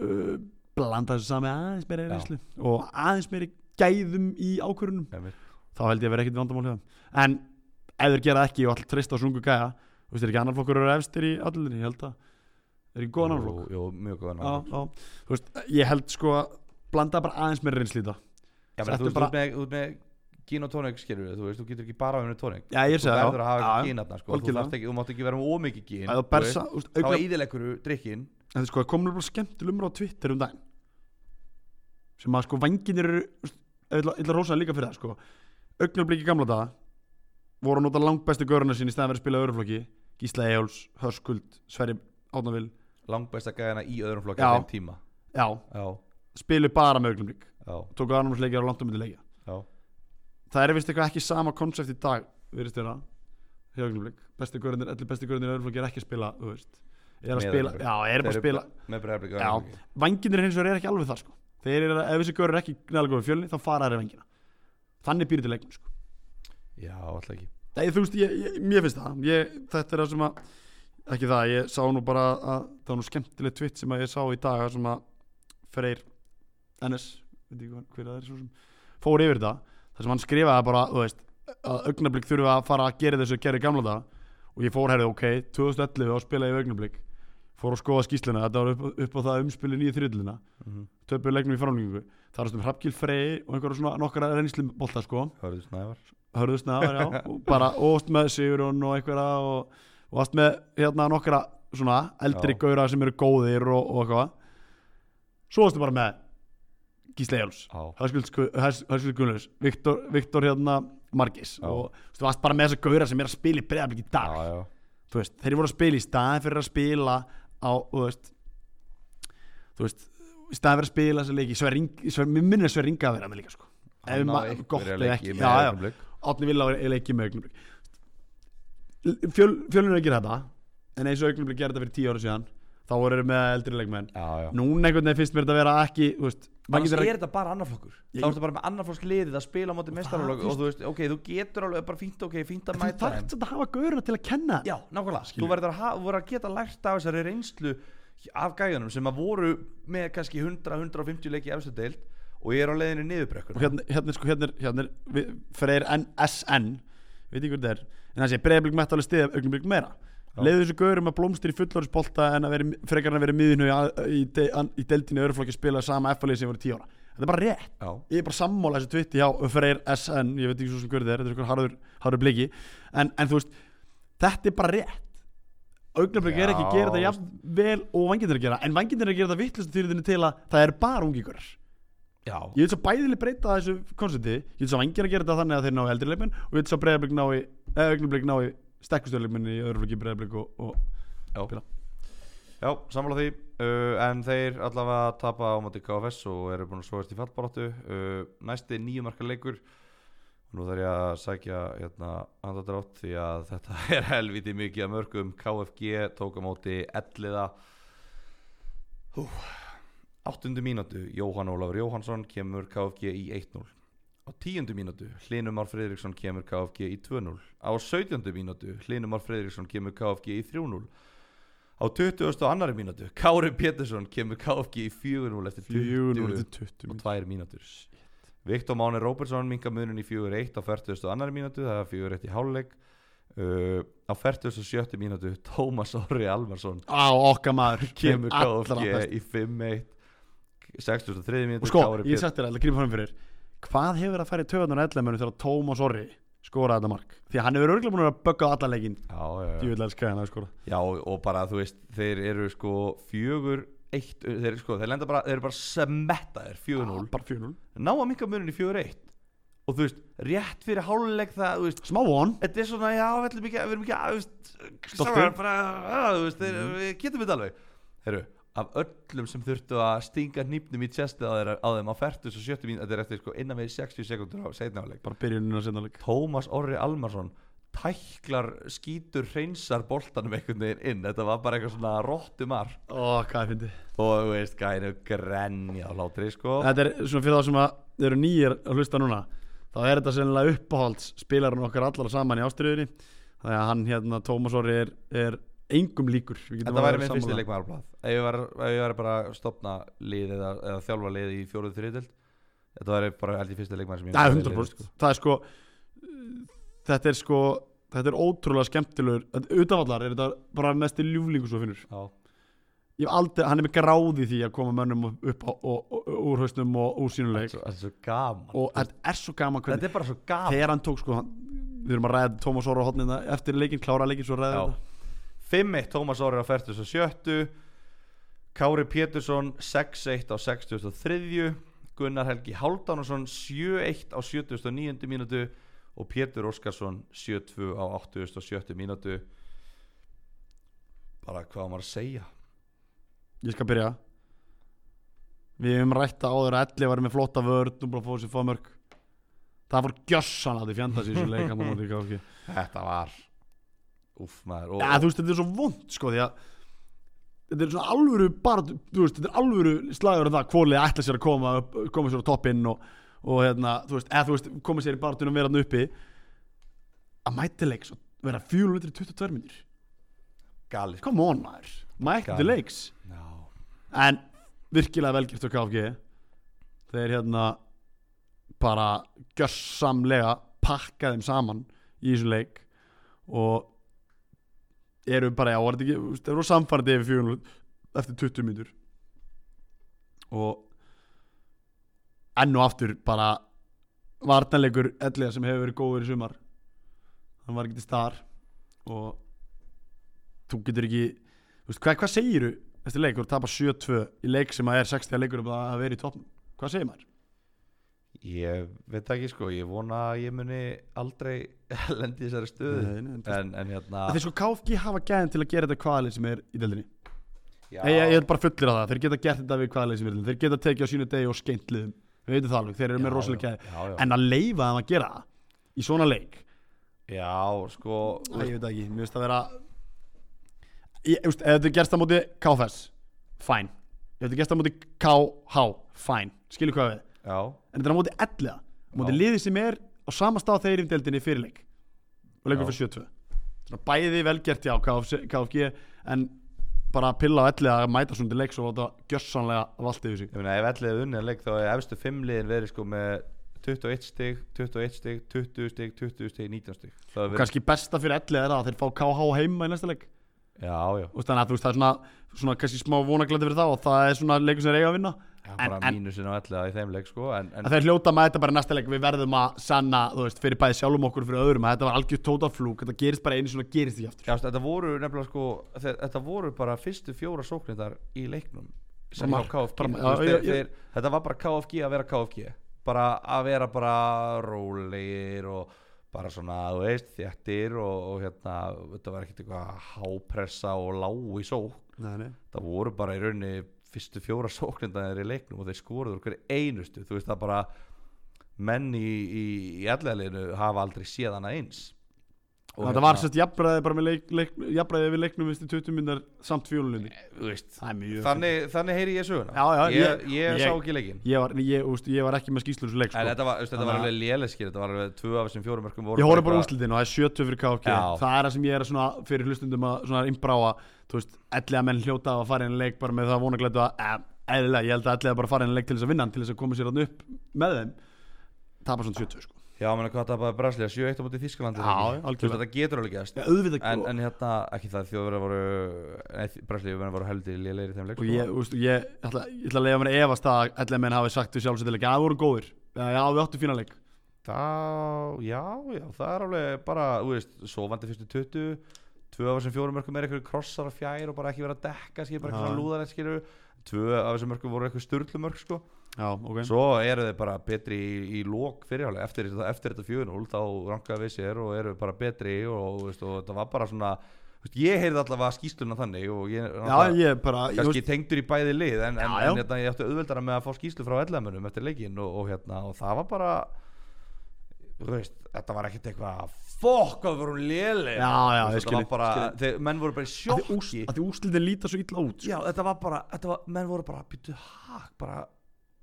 uh, blanda þessu sami aðeins meira Já. reynslu og aðeins meira gæðum í ákvörunum Einmitt. þá held ég að vera ekkit vandamál hjá þeim en ef þeir gera það ekki og alltaf treysta á sungu gæja þú veist, er ekki annar flokkur eru efstir í allir ég held að, er ekki góðan annar flokk Jú, Jú, mjög góðan já, árflokk já, þú veist, ég held sko að blanda bara aðeins meira reynslu í það Já, menn, Settu þú veist, bara- út með, út með gin og tónik skilur við, þú veist, þú getur ekki bara að vera með tónik já, ég Þú segi verður að hafa það eitthvað já, já. gínatna, sko Þú, Algjörlega. þarft ekki, þú mátt ekki vera með ómikið gín Að það bersa, þú veist, Þá augna íðilegur drikkin En sko, það kom alveg skemmtileg umræða á Twitter um daginn sem að sko vanginir eru ég ætla ég ætla að rosa það líka fyrir það sko augnablík í gamla daga voru að nota langbæstu göruna sín í staðan verið að spila öruflokki Gísla Ejóls, Hörskuld, Sverri Átnavil Langbæsta gæðina í öðrum flokki Já. á þeim tíma já, Já, spilu bara með augnablík já, tóku aðnámsleikja og langt um myndi leikja já það er vist eitthvað ekki sama konsept í dag virðist þeirra hjá augnablík bestu görunir, allir bestu görunir í öruflokki er ekki að spila þú veist, er að Með spila, Augnablik. já, er Þeir bara að eru spila Með breyðarblik Já, vanginir hins vegar er ekki alveg það sko Þeir eru, ef þessi görur er ekki nægilega góð í fjölni þá fara þeir í vangina Þannig býr til leiknum sko Já, alltaf ekki Nei, þú veist, ég, ég, mér finnst það ég, Þetta er það sem að, ekki það, ég sá nú bara að, það var nú skemmtileg tvitt sem að ég sá í dag þar sem að Freyr NS, veit ekki hvað- hver að það er svo sem fór yfir það, þar sem hann skrifaði bara, þú veist, að augnablík þurfa að fara að gera þessu að gera í gamla dag og ég fór herrið, ok, 2011 og spilaði í augnablík fór að skoða skýsluna, þetta var upp, upp á það umspilin í þriðluna Mhm. töpuðu leiknum í framlengingu það er um Hrafgil Frey og einhverja svona nokkara reynslibolta sko Hörðu snævar hörðu snæðar já og bara óst með Sigurún og einhverja og, og allt með hérna nokkra svona eldri Já. gauðra sem eru góðir og, og eitthvað svo varstu bara með Gísli Jóls Já, Hörskuld Gunnlaus Viktor, Viktor hérna Margis Já. og þú varst bara með þessa gauðra sem er að spila í breyðarblik í dag já, já þú veist, þeir voru að spila í staðin fyrir að spila á, þú veist þú veist, í staðin fyrir að spila þessi leiki, Sverri Ing- Sverri- mér minnir að Sverri Inga að vera með líka sko Ef Hann á ma- einhverja gott eða leiki ekki, með já, já, Augnablik. Átni Villa er leikið með augnablik Fjöl, fjölun er að gera þetta en eins og augnablik gerði þetta fyrir tíu ára síðan þá voru þeir með eldri leikmenn Já, já núna einhvern veginn finnst mér þetta vera ekki þú veist, Annars maður getur er þetta bara annarflokkur Ég- Þá ertu bara með annarflokks liðið að spila á móti mestarflokk og þú veist, ok, þú getur alveg bara fínt, ok, fínt að þú mæta þeim. þarft samt að hafa gauruna til að kenna Já, nákvæmlega, Skilju. þú verður að, ha- þú verður að geta lært af þessari reynslu af gæjunum sem að voru með kannski 100-150 leiki í efstu deild og ég er á leiðinni og niðurbrekkuna hérna, hérna er sko hérna, er- hérna er við- Freyr NSN veit ekki hvað þetta er en það sé breyðablík mætt alveg stiða augnablik meira Já. leiðu þessu gaurum að blómstri í fullorðsbolta en að veri, frekar en að vera miðinu í, að- í, de- an- í deildinu örflokki spila sama FLI sem voru 10 ára þetta er bara rétt Já, ég er bara sammála þessu tvitti hjá Freyr SN ég veit ekki svo sem hvað þetta er þetta er eitthvað harður, harður bliki en, en þú veist þetta er bara rétt augnablik er ekki að gera þetta Já. jafn vel og vangindir að gera en vangindir að gera þetta vittlustu þýrðinu til að það er bara ungingur já, Ég vil svo bæðileg breyta þessu konsepti Ég vil svo vangir að gera þetta þannig að þeir ná í eldri leikmenn Og ég vil svo breyðablík ná í Eða augnablik ná í stekkustöðleikmenn í öðru flokki breyðablík og, og já. Bila. já sammála því uh, en þeir allavega tapa á móti KFS og eru búin að svoast í fallbaráttu uh, næsti nýjumarka leikur nú þarf ég að sækja hérna andadrátt því að þetta er helviti mikið að mörgum KFG tók á móti elliða Hú, áttundu mínútu Jóhann Ólafur Jóhannsson kemur KFG í 1-0 á tíundu mínútu Hlinumar Fredriksson kemur KFG í 2-0 á sautjöndu mínútu Hlinumar Fredriksson kemur KFG í 3-0 á 22. mínútu Kári Pétursson kemur KFG í 4-0 eftir 4 20 20 og tvær mínútur Viktor Máni Róbertsson minga munin í 4-1 á 42. mínútu það er 4-1 í hálfleik uh, á 47. mínútu Tómas Orri Almarsson Á okkar maður kemur þeim allra KFG best. í 5-1 63. mínútu Og sko, Kári ég Pétur- sagt þér að gríma fram fyrir Hvað hefur verið að fara í töðunar ellemönu Þegar Tómas Orri skoraði þetta mark Því að hann hefur örgulega búin að vera að bögga á alla leikin já, já, já. Ég vil elska hann að skora Já og bara þú veist þeir eru sko fjögur eitt, þeir, sko, þeir, lenda bara, þeir eru bara smettaðir 4-0 Ah, Bara 4-0 ná að minka munin í 4-1 og þú veist, rétt fyrir háluleik það, þú veist smá von þetta er svona, já, við ætlum ekki, að- við erum ekki að, þú veist Stoltir. sárar bara, að, þú veist, þeir, við getum þetta alveg Herru, af öllum sem þurftu að stinga hnýpnum í tjesti á, þeirra- á þeim á 40 og 70 mín, þetta er eftir sko innan við 60 sekundur á seinna áleik bara byrjunina sinna lík Tómas Orri Almarsson tæklar, skítur, hreinsar boltanum einhvern veginn inn, þetta var bara eitthvað svona rottumar ó, hvað ég fyndi og þú veist, gæðinu grenja á hlátri sko þetta er svona fyrir þá sem að eru nýjir að hlusta núna þá er þetta sennilega uppáhalds spilarinn okkar allar saman í ástriðinni þannig að hann hérna Tómas Orri er, er engum líkur Við getum Þetta að væri vera minn fyrsti sammála. leikmaðarblad Ef ég væri- ef ég væri bara að stopna lið eða, eða þjálfa lið í fjóruð þriðdelt Þetta væri bara held ég fyrsti leikmaður sem ég Já, myndi 100% lið, sko. Það er sko Þetta er sko Þetta er ótrúlega skemmtilegur Utanvallar er þetta bara mesti ljúflingur svo finnur Já, Ég hef aldrei, hann er með gráði því að koma mönnum upp á, og, og, úr hausnum og úrsýnuleik svo- þetta er svo gaman Og þetta er svo gaman hvernig Þetta er bara svo gaman Þegar hann tók sko hann, Við erum að ræða Tómas Óra hotnina hérna, eftir leikinn Klára leikinn svo ræða Já. þetta 5-1 Tómas Orri á 47 Kári Pétursson 6-1 á 63 Gunnar Helgi Háldánsson 7-1 á 79 mínútu og Pétur Óskarsson 7-2 á 87 mínútu bara hvað á maður að segja Ég skal byrja Við hefum rætt að áður að Elli var með flotta vörð og bara fóðu sér fóðmörk Það fór gjössanlega til fjandans í þessu leik hann á móti KFG. Þetta var Úf maður og, Já, þú veist, þetta er svo vond sko því að þetta er svona alvöru bara, þú veist, þetta er alvöru slagur um það kvolið ætla sér að koma, upp, koma sér á toppinn og, og hérna, þú veist, eða þú veist koma sér í barðunum og vera hann uppi að mætileiks og vera 422 minnir, gali come on maður mætileiks, sko. Já, en virkilega velgjert á KFG þeir hérna bara gjörsamlega pakka þeim saman í þessum leik og eru bara, já, var þetta ekki, þú veist, eru samfærandi yfir 400 eftir 20 mínútur og enn og aftur bara vartanleikur ellega sem hefur verið góður í sumar hann var ekki til star og þú getur ekki þú veist, hvað, hvað segiru eftir leik og tapa 7-2 í leik sem að er 60 leikur um að vera í toppnum hvað segir maður? ég veit það ekki sko Ég vona að ég muni aldrei lendi í þessari stöðu Nei, nei, en þú- en, en hérna Þeir sko KFG hafa gæðin til að gera þetta hvaðalið sem er í deldinni já, Nei, ég, ég er bara fullir á það, þeir geta gert þetta við hvaðalið sem er í deldinni Þeir geta tekið á sínu degi og skeint liðum Við veitum það alveg, þeir eru með Já, rosalega já, já, já. gæði En að leifa þeim að gera það í svona leik já, sko Æ, ég veit það ekki, mér finnst það vera ég, ég veist, ef þetta gerst það móti KFS, fæn Ef þetta gerst það móti KH, fæn Skilu hvað við, Já, en þetta er á móti ellega á móti Já. liði sem er á sama stað þeir eru í deildinni fyrir leik og leikur Já. fyrir 72 Svona bæði velgert já KFC KFG en bara pilla á ellega að mæta svona til leiks og láta gjössanlega valdi yfir sig ég meina ef ellið er unnið að leik þá er efstu fimmliðin verið sko með 21 stig, 21 stig, 20 stig, 20 stig, 19 stig Það er og verið, kannski besta fyrir ellega er það að þeir fá KH heima í næsta leik já, já, og þannig að þú veist það er svona, svona kannski smá vonaglæti fyrir þá og það er svona leikur sem er eiga að vinna já, en- bara en- mínusinn á ellið í þeim leik sko en, en að þeir hljóta að mæta bara í næsta leik við verðum að sanna þú veist fyrir bæði sjálfum okkur og fyrir öðrum að þetta var algjör tótaflúk þetta gerist bara einu svona gerist ekki aftur Já, þetta voru nefnilega sko þe- þetta voru bara fyrstu fjóra sóknindar í leiknum sem hjá Bara mark, KFG bara- Þú veist, já, þeir, já, já. þeir, þetta var bara KFG að vera KFG bara að vera bara rólegir og bara svona, þú veist, þjættir og, og hérna, þetta var ekkert eitthvað hápressa og lág í sók nei, nei. það voru bara í rauninni fyrstu fjóra sóknindar í leiknum og þeir skoruðu okkur einustu, þú veist það bara menn í, í, í ellegaleginu hafa aldrei séð hana eins Og hérna- þetta var sérst jafnbræði bara með leik, leik, jafnbræði við leiknum viðst í 20 minnar samt fjólunni þú veist, það er mjög þannig, þannig heyri ég söguna Já, já, ég, ég- ég, ég- sá ekki leikinn ég var, ég, úst, ég var ekki með skýslur þessu leik en sko. þetta var, veist, þetta var Þannig að- alveg léleskir þetta var alveg tvö af þessum fjórum mörgum voru ég horfði bara eitthvað- úrslitin og það er 70 fyrir KFG Já. það er það sem ég er að svona fyrir hlustundum að svona innbráa þú veist, ellega menn hljóta að fara inn í leik bara með það vonaglætu að eh, eðlilega, ég held að ellega bara fara inn í leik til þess að vinna hann, til þess að koma sér hann upp með þeim tapar svona 70 sko. já, menn hvað það bara Brasilia, 7-1 á móti Þískalandi Já, já, algjörlega. þetta getur alveg gæst ja, auðvitað en, og- en hérna, ekki það þjóðverðar voru Brasilia voru heldur í lélegir í þeim leik og sko. ég, úst, ég, ætla, ég ætla að leiða mér að efast að allir menn hafi sagt við sjálfsættileik að það voru góðir, já, já við áttum fína leik Þá, já, já, það er alveg bara, þú veist, sofandi fyrstu 20 Tvö af þessum fjórum mörgum er einhverju krossar og fjær og bara ekki vera að dekka, skilur, bara Já. eitthvað lúðanett, skilur Tvö af þessum mörgum voru eitthvað sturlumörg, sko Já, ok Svo eru þeir bara betri í, í lók fyrirhálega eftir, eftir þetta 4-0 þá rankaði við sér og eru bara betri og, veist, og þetta var bara svona veist, ég heyrði allavega skýsluna þannig og ég, Já, ég er bara ég, kannski tengdur í bæði lið en, en, Já, já. en hérna, ég átti auðveldara með að fá skýslu frá ellamönum eftir leikinn og, og, hérna, og það var bara þú veist, þetta var ekkert eitthvað fokk, hvað voru léleg Já, já, ég skil, bara, þeir, menn voru bara í Af því sjokki úrsl- af því úrslitin líta svo illa út sko. Já, þetta var bara, þetta var, menn voru bara býttu hak, bara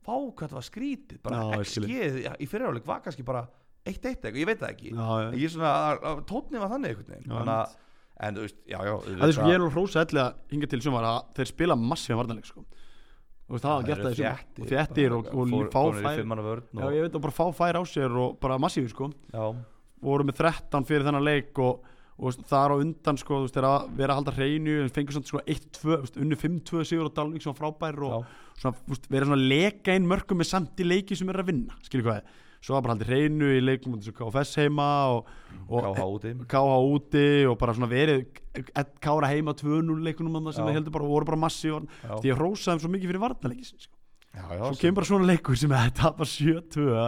vá hvað þetta var skrítið, bara Já, ég skil. XG já, í fyriráleik var kannski bara 1-1 eitthvað, ég veit það ekki Já, já ég er svona, að- að- tónnið var þannig einhvern veginn Já, Þannig að- en þú veist, já, já Það er sko, ég er alveg hrósa ellega hingað til sumar að þeir spila massíðan varnarleik sko. og veist, það hafa gert það í sumar og þéttir og, og lí- fá fær fimm manna vörn Já, og, ég veit að bara fá fær á sér og bara massífi sko já, og voru með 13 fyrir þennan leik og, og veist, þar á undan sko, þú veist, þeir að vera að halda hreinu en fengur svona 1-2, sko, þú veist, unnu 5-2 sigur og Dalvík svona frábær og já, svona, þú veist, vera svona að leka inn mörgum með samt í leiki sem er að vinna, skilur hvað er svo var bara haldið hreinu í leikum og KFS heima og, og e- KH úti KH úti og bara svona verið Kára heima 2-0 leikunum þarna Já. sem það heldur bara, voru bara massi og, Já. því ég hrósaði þeim svo mikið fyrir varnarleiki sko. já, já, svo sem- kemur bara svona leikur sem að tapa 7-2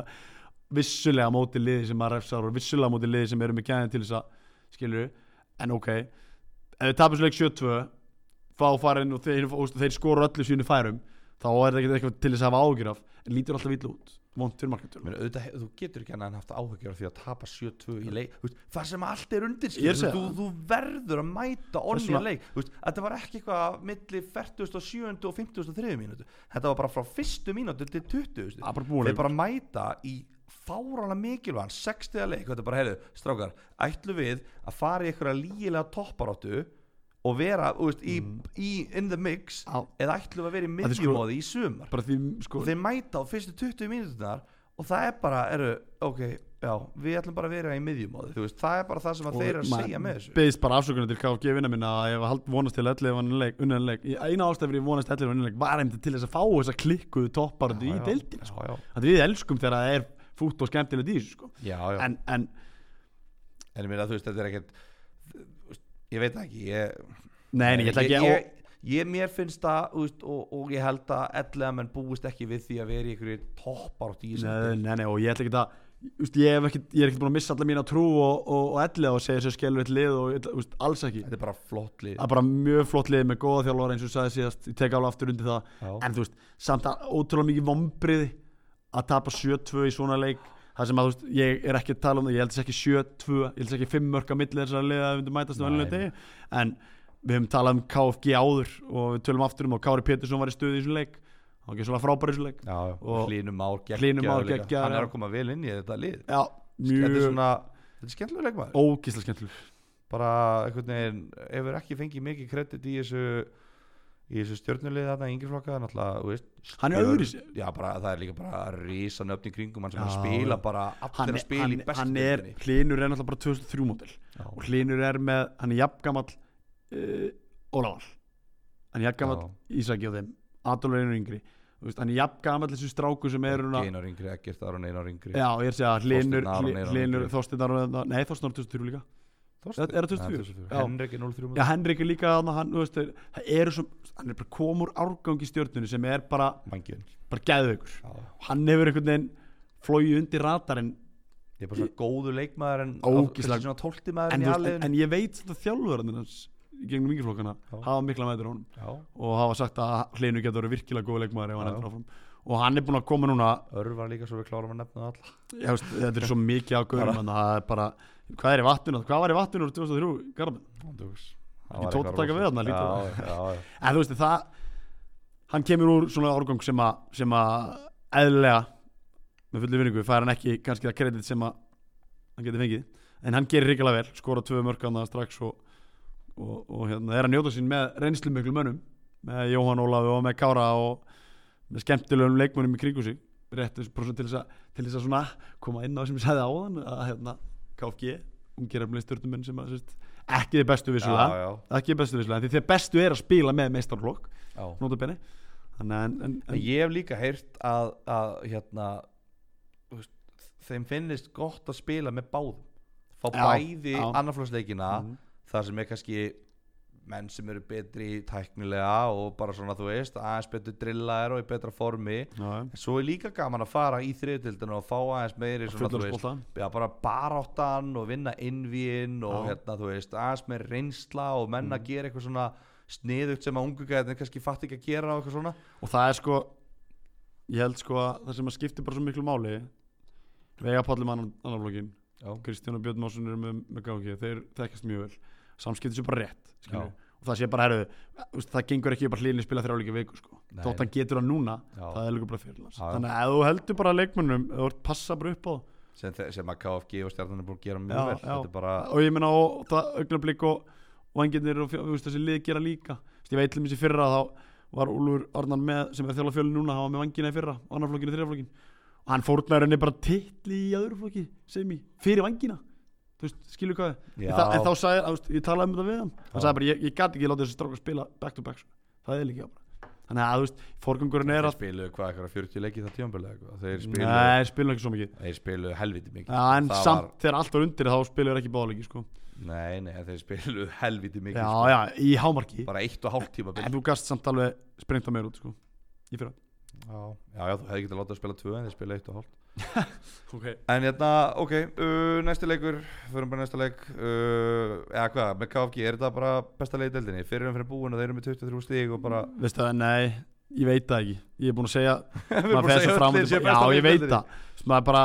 vissulega á móti liði sem að refsar og vissulega á móti liði sem eru með gæðin til þess að skilur en ok ef þið tapast leik 7-2 fá farin og þeir, og þeir skoru öllu sínu færum þá er það ekki eitthvað til þess að hafa ágjur af en lítur alltaf illa út vond fyrir Ég markantur meina, auðvitað, he- þú getur ekki annað en haft áhyggjur af því að tapa 7-2 í leik þú veist, það sem allt er undir Ég er skilur, að þú, segja þú, þú verður að mæta onni í Þessuna- leik þú veist, þetta var ekki eitthvað milli 47. og 53. mínútu þetta var bara frá fyrstu mínútu til 20 Það er bara þeir búin leikur. bara mæta í fárala mikilvæg 60. leik, þetta er bara, heyrðu, strákar ætlu við að fara í einhverja lígilega topparáttu og vera þú veist, í, í in the mix Mm. Á. eða ætlu við að vera í er sko- miðjumóði í sumar bara því sko og þeir mæta á fyrstu 20 mínúturnar og það er bara, eru, ok já, við ætlum bara að vera í miðjumóði þú veist, það er bara það sem að og þeir eru að maður segja með þessu beðist bara afsökunar til KFG vinna minna að ég var hald- vonast til öllu unnanleik, unnanleik eina ástæð fyrir ég vonast öllu unnanleik var einmitt til þess að fá þess að klikkuðu topparöndu í Já, já, deildina sko. já, Þannig við elskum þegar það er fútt og skemmtilegt í þessu sko. já, já, já. En, en, en ég meina, þú veist, þetta er ekkert þú veist, ég veit það ekki ég, nei, nei, ég ætla ekki ég, ég, ég mér finnst það, þú veist, og, og ég held að ellega menn búist ekki við því að vera í einhverju toppárt í Nei, þessum deild. nei, nei, og ég ætla ekki að Úst, ég, hef ekkert, ég er ekkert búin að missa alla mína trú og, og, og ellega og segja þessu skelvið lið og ég ætla- úst, alls ekki þetta er bara flott lið það er bara mjög flott lið með góða þjálfara eins og ég sagði síðast, ég tek alveg aftur undir það Já. en þú veist, samt að ótrúlega mikið vombrið að tapa 7-2 í svona leik það sem að þú veist, ég er ekki að tala um það ég held þess ekki 7-2, ég held þess ekki 5 mörg að milli þessar liða að við myndum mætast á Nei. ennlega degi en við höfum talað um KFG áður og við tölum aftur um að Kári Pétursson var í stöðu í þessum leik hann var ekki svona frábær í þessum leik já, og- hlínum ár Hlynur Már geggjaður líka. geggjaður, hann já. er að koma vel inn í þetta lið já, þetta er mjög svona, þetta er skemmtilega leikmaður ógisla skemmtileg bara einhvern veginn hefur ekki fengið mikið kredit í þessu í þessu stjórnulegið þarna yngirflokka náttúrulega, þú veist, Hann er stjörn- öðruvísi. já bara það er líka bara risan öfn í kringum hann sem Já. hann spila bara allir hann, að er- spila hann, í bestu hann er, deildinni. Hlynur er náttúrulega bara 2003 mótil Já. og Hlynur er með, hann er jafngamall uh, Ólafar hann er jafngamall Ísaki og þeim Adolf Einar yngri, Þú veist, hann er jafngamall þessu stráku sem er hún að Einar yngri, Eggert Aron Einar yngri Já, ég er að segja að Hlynur, Þorsteinn Aron Einar Hlynur, yngri. Þorsteinn Aron Einar- Nei, Þorsteinn Aron 2003 líka Þorsteinn. er það 24? Nei, Já. Henrik er 03 Já, Henrik er líka þarna, hann, þú veist, þeir- það eru svo Hann er bara komur árgang í stjörnunni sem er bara, mangiðin bara gæðveikur Já. Hann hefur einhvern veginn flóið undir radarinn ég er bara svona góðu leikmaður en Ógeðslega- kannski svona tólti maður en en, í þú veist, en, aðliðin en ég veit að þjálfurarnir hans í gegnum yngirflokkana Já. hafa mikla mætur á honum já, og hafa sagt að Hlynur getur verið virkilega góð leikmaður ef hann Já. heldur áfram og hann er búinn að koma núna örvar líka svo við klárum að nefna alla ég veist, þetta er svo mikið ágöðum það er bara, hvað er í vatninu hvað var í vatninu úr 2003 garmin Ekki tótt að taka við þarna, lítur það. já, já, já. en þú veist það hann kemur úr svona árgang sem að sem að eðlega með fullu vinningu fær hann ekki kannski það kredit sem að hann getur fengið en hann gerir ríkilega vel skora tvö mörkana strax og, og, og hérna er að njóta sín með reynslu miklu mönnum með Jóhann Ólafi og með Kára og með skemmtilegum leikmönnum í kringu sig rétt eins og bara svona til þess að til þess að svona koma inn á sem ég sagði áðan að hérna KFG ungir efnileg stjórnumenn sem að sérst, ekki þið bestu vissulega já, já, ekki bestu visslega, því þegar bestu er að spila með meistarflokk, já. notabene þannig að en, en, En en, ég hef líka heyrt að, að hérna, þú veist, þeim finnist gott að spila með báðum fá Já, bæði já. annarflóðsleikina Mhm. þar sem er kannski menn sem eru betri tæknilega og bara svona þú veist aðeins betur drillaðir og í betra formi já, en svo er líka gaman að fara í þriðutildinu og fá aðeins meiri svona þú veist fullarsbólta já, bara baráttan og vinna innvíinn og Já. Mhm. hérna þú veist aðeins með reynsla og menn að gera eitthvað svona sniðugt sem að ungu gæðin kannski fatt ekki að gera og eitthvað svona og það er sko ég held sko að það sem að skipti bara svo miklu máli Veiga Palli með annan, annan blokkin Já. Kristján og Björn Másson eru með, með gangi þeir þekkast mjög vel samskipti sér bara rétt skilur. og það sé bara herðu úst, það gengur ekki bara hlýðinni spila þrjáleika viku sko. Nei. þótt hann getur það núna Já. það er líka bara fyrir hans Já, já. þannig að ef þú heldur bara leikmönnum ef þú ert passa bara upp á það sem, þe- sem að KFG og stjarnan er búin að gera mjög Já, vel já. þetta er bara og ég meina og það augnablík og vanginir og fjö- þú veist, þessi lið gera líka Þess, ég veit til mér sér fyrra að þá var Úlfur Arnan með sem er þjóla fjölin núna hann var með vangina í fyrra, annarflokkinu, þriðaflokkin og hann fórnaður henni bara titli í öðruflokki sem í, fyrir vangina þú veist, skilur hvað Já. ég, það, en þá sagði, þú veist, ég talaði um þetta við hann hann Já. sagði bara, ég, ég gat ekki láta þessu stráka spila back to back, sko. það er líka bara þannig að, þú veist, forgangurinn er þeir að spiluðu hvað eitthvað 40 leiki það tímanbili þeir spiluðu nei, spila ekki svo mikið þeir spiluðu helviti mikið ja, en Það samt, þegar allt var undir þá spila ekki báleiki, sko. nei, nei, en þeir spiluðu helviti mikið já, sko. já, í hámarki bara eitt og hálft tíma En þú gast samt alveg sprengt á mér út sko Í fyrra já, já, já, þú hefði getið látað að spila tvö en þeir spiluðu eitt og hálft okay. en hérna, ok, uh, næsti leikur förum bara í næsta leik uh, eða hvað, með KFG er þetta bara besta leik í deildinni fyrir um fyrir búin og þeir eru með 23 stík og bara Veistu það, nei, ég veit það ekki Ég er búin að segja, Við erum búin maður að fer segja svo fram öll og lið séu tilbaka. besta Já, lið ég veit deildinni. það Svo Það er bara,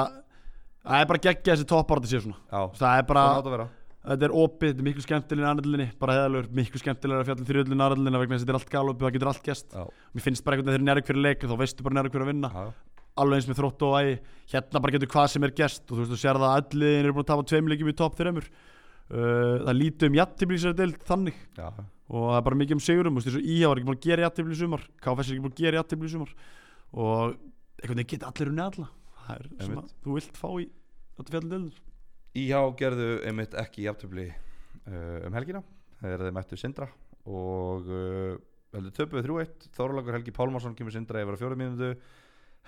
það er bara geggja þessi toppar sé svona já, Það er bara, svona átt að vera þetta er opið, þetta er miklu skemmtilegin aðræðlinni Bara heðalur, miklu skemmtilegin að fjallin þrjöðlin aðræðlinna Vegna þess að þetta er allt galopið, það getur allt gæst Já. Mér finnst bara einhvern veginn þegar nærið fyrir leik Þá veistu bara nærið fyrir að vinna Já, Alveg eins með þrótt og ægi Hérna bara getur hvað sem er gæst Og þú veist, þú sér það að allir eru búin að tapa tveim leikjum í topp þreymur uh, Það lítið um jættibli í sér deild þannig já, og það er bara mikið um sigurum þú veist, eins og íhjáð er ekki búin að gera játtifli í sumar KFS er ekki búin að gera játtifli í sumar og einhvern veginn geta allir unni alla það er sem að Einmitt. þú vilt fá í þetta fjallin deilur Íhá gerðu einmitt ekki jafntöfli uh, um helgina þegar þeir mættu Sindra og uh, heldur töpuðu 3-1 Þorlagur Helgi Pálmarsson kemur Sindra yfir á fjóru mínútu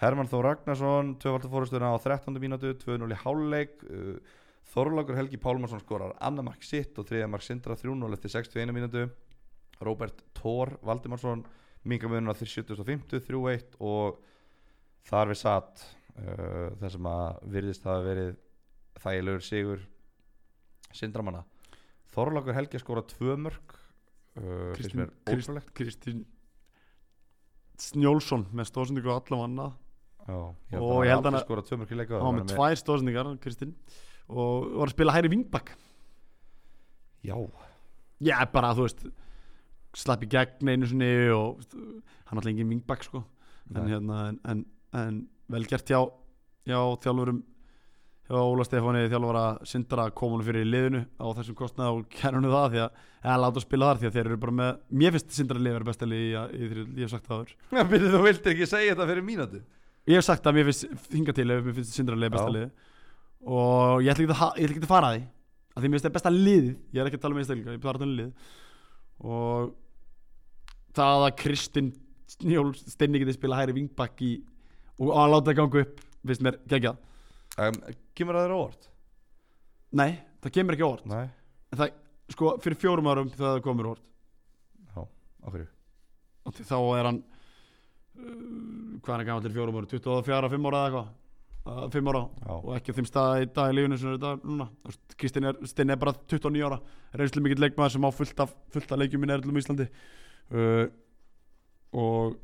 Herman Þór Ragnarsson tvöfaldur fórustuna á 13. mínútu 2-0 í háluleik uh, Þorlagur Helgi Pálmarsson skorar annar mark sitt og þriða mark Sindra 3-0 eftir 61 mínútu Róbert Thor Valdimarsson mingar mununa 3.75 3-1 og þar við satt uh, þar sem að virðist hafa verið þægilegur sigur sindramanna Þorlákur Helgi að skora tvö mörg uh, finnst mér Krist- ótrúlegt Kristín Snjólfsson með stóðsendingu á alla manna Já, Og ég hann held hann að að- skora tvö mörg í leika hann var með tvær stóðsendingar Kristín og var að spila hæri vingbak Já, ég er bara þú veist slapp í gegn einu sinni og þú veist, hann alltaf engin vingbak sko en, Nei. hérna, en, en, en vel gert hjá, hjá þjálfurum hjá Óla Stefáni þjálfara sindara komunum fyrir í liðinu á þessum kostnaði og kærunni það því að eða láta að spila þar því að þeir eru bara með mér finnst sindara liðið vera besta liðið í, í, í, ég hef sagt það áður byrðu þú vildir ekki segja þetta fyrir mínútu ég hef sagt að mér finnst hinga til ef mér finnst sindara liðið besta Já. liðið og ég ætla ekki að, ha- ég ætla ekki að fara að því að því mér finnst það besta liðið ég er ekki að tala um einstaklinga, ég er bara að tala um lið og það að Kristinn Snjól Steini getið spila hæri vingbakk í og að láta það ganga upp finnst mér geggjað um, Kemur það þér á orð? Nei, það kemur ekki á orð Nei, En það, sko, fyrir fjórum árum þegar það komur á orð á hverju? Og því þá er hann uh, hvað er hann gamall til fjórum árum 24, 5 ára eða eitthvað uh, 5 ára Já, og ekki á þeim stað í dag í lífinu sem er í dag núna Þú veist, Kristinn er, Steinn er bara 29 ára reynslu mikill leikmaður sem á fullt af, fullt af leikjum í nærlum í Íslandi uh, og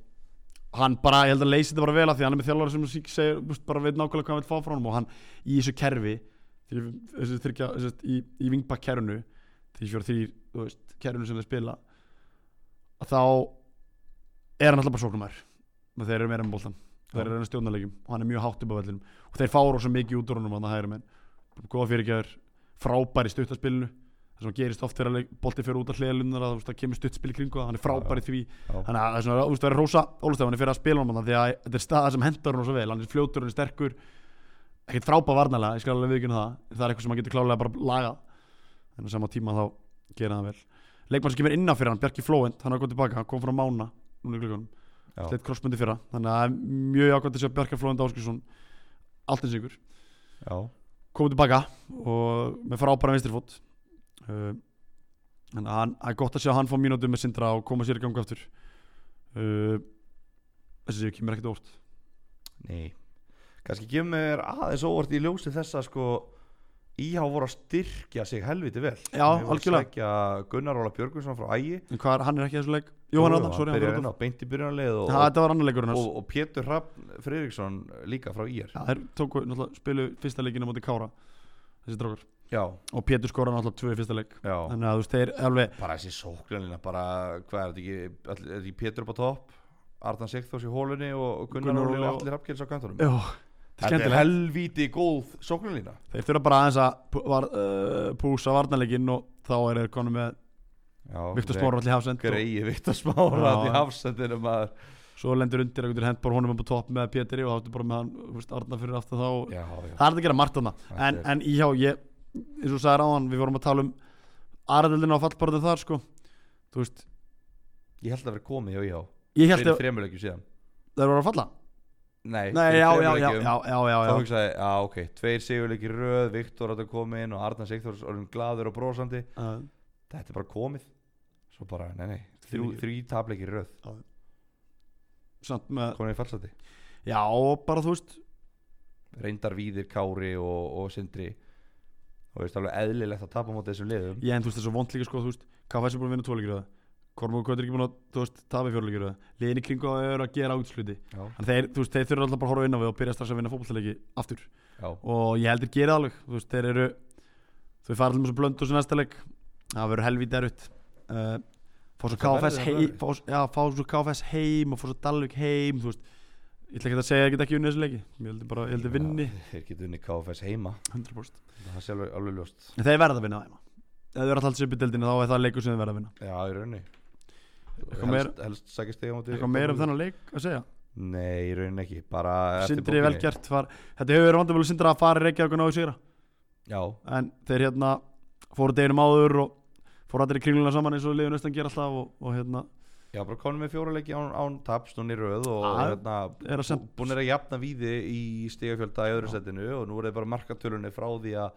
hann bara, ég held að leysi þetta bara vel að því hann er með þjálfari sem sík segir, þú veist, bara veit nákvæmlega hvað hann vil fá frá hann og hann í þessu kerfi því, þessu þyrkja, þessu, í, í vingbakk kerfinu því fjóra þrýr, þú veist, kerfinu sem þeir spila að þá er hann alltaf bara sóknumær og þeir eru meira með boltan Já. þeir eru að stjórnarleikjum og hann er mjög hátt upp á vellinum og þeir fára svo mikið út úr honum að það hægri menn góða fyrirgjör, frábær í stuttaspilinu það sem gerist oft þegar leik- bolti fyrir út af hliðalunar að þú veist, það kemur stuttspil í kringu það, hann er frábær í því já, þannig að það er svona, þú veist, það er rosa Ólafstefan fyrir að spila honum þarna, því að þetta er staða sem hendur honum svo vel hann er fljótur, hann er sterkur ekkert frábær varnalega, ég skal alveg viðkynna það það er eitthvað sem hann getur klálega bara lagað en á sama tíma þá gera hann vel leikmann sem kemur innan fyrir hann, Bjarki Flóent hann er góð tilbaka, hann kom frá Mána núna í glöggunum já, sleitt krossmyndi fyrra þannig að það er mjög ákvæmt að sjá Bjarka Flóðund Áskilsson allt eins ykkur já komið tilbaka og með frábæra vinstrifót uh, þannig að hann- það er gott að sjá að hann fá mínútu með Sindra og koma sér í gangu aftur uh, þessi séu kemur ekkert á óvart Nei Kannski kemur mér aðeins óvart í ljósi þessa sko Íhá voru að styrkja sig helviti vel Já, Þeir voru að algjörlega. sækja Gunnar Óla Björgvinsson frá Ægi en hvað er, hann er ekki í þessu leik Jóhann Ráðan, sorry, hann byrjar fyrir inn á beint í byrjunarlið og, það þetta var annar leikurinn og, hans og Pétur Hrafn Friðriksson líka frá IR Já, þeir tóku, náttúrulega, spilu fyrsta leikinu á móti Kára þessi drákar Já, og Pétur skora náttúrulega tvö í fyrsta leik já þannig að þú veist, þeir alveg Bara þessi sóknarlina, bara hvað er þetta ekki, all, er þetta ekki Pétur upp á topp Arðan Sigþós í hólunni og Gunnar, Gunnar Gunnar Óli og Óli og- allir Hrafnkjels á kantunum já, þetta er Þetta er skemmtilegt helviti góð sóknarlina þeir þurfa bara aðeins að pú- var, uh, púsa varnarleikinn og þá er þeir konum með Já, Viktor Smára allir hafsend og Greið Viktor Smára Já, í já. hafsendinu maður svo lendur undir einhvern hend bara honum upp á topp með Pétri og þá ertu bara með hann, þú veist, Arna fyrir aftur þá og Já, já það er þetta að gera margt þarna Þetta en, er- en íhjá, ég, eins og sagði ráðan við vorum að tala um aðræðildina á fallbarðu þar sko, þú veist Ég held að vera komið hjá IH ég held Fyrir að þremur leikjum síðan þeir voru að falla Nei, nei, fyrir já, já, þremur já, leikjum. já, já, já, Þá já. hugsaði, já ok, tveir sigurleikir í röð Viktor átt að koma inn og Arnar Sigþórs orðin gladur og brosandi Uh, Þetta er bara komið Svo bara, nei, nei, þrjú, Þrjú- þrjú tapleikir í röð samt með, Komin í fallsati já, og bara þú veist Reyndar Víðir, Kári og, og Sindri Og veist alveg eðlilegt að tapa móti þessum liðum ég en þú veist þessu vond líka sko, þú veist KFS er búin að vinna tvoleikir það Kormók Kötur er ekki búin að, þú veist, tafi fjóruleikir það liðin í kringu eru að gera átsluti Já, en þeir, þú veist, þeir þurfa alltaf bara að horfa inn á við og byrja strax að vinna fótballtaleiki aftur já, og ég heldur gera alveg þú veist, þeir eru þau fara allir með svo blöndu sem næsta leik það verður helvítið erut uh, fá svo Það verður KFS það heim verður. fá, s- já, fá svo KFS heim og fá svo Dalvik heim þú veist ég ætla ekki að segja að ég get ekki unnið þessu leiki ég heldur bara, ég heldur vinni Já, Þeir getur unni KFS heima 100% Það er sjálfur alveg ljóst en þeir verða að vinna það heima ef þau eru alltaf alls upp í deildinu þá er það leikur sem þau verða að vinna Já, í rauninni Eitthvað meira- Helst, helst sækist þegar móti eitthvað meira um þennan leik að segja Nei, í rauninni ekki, bara eftir Sindri bókinni. velgjart var þetta hefur verið vandamölu Sindri að fara í Reykjavík og ná í sigra Já, en þeir hérna fóru deginum áður og fóru allir í kringluna saman eins og liðun austan gera alltaf og, og hérna já, bara konum við fjóruleiki án, án taps núna í röð og Ah, hérna, er að sem búin er að jafna víði í stigafjölda í öðru Já. setinu og nú er þið bara markatölunni frá því að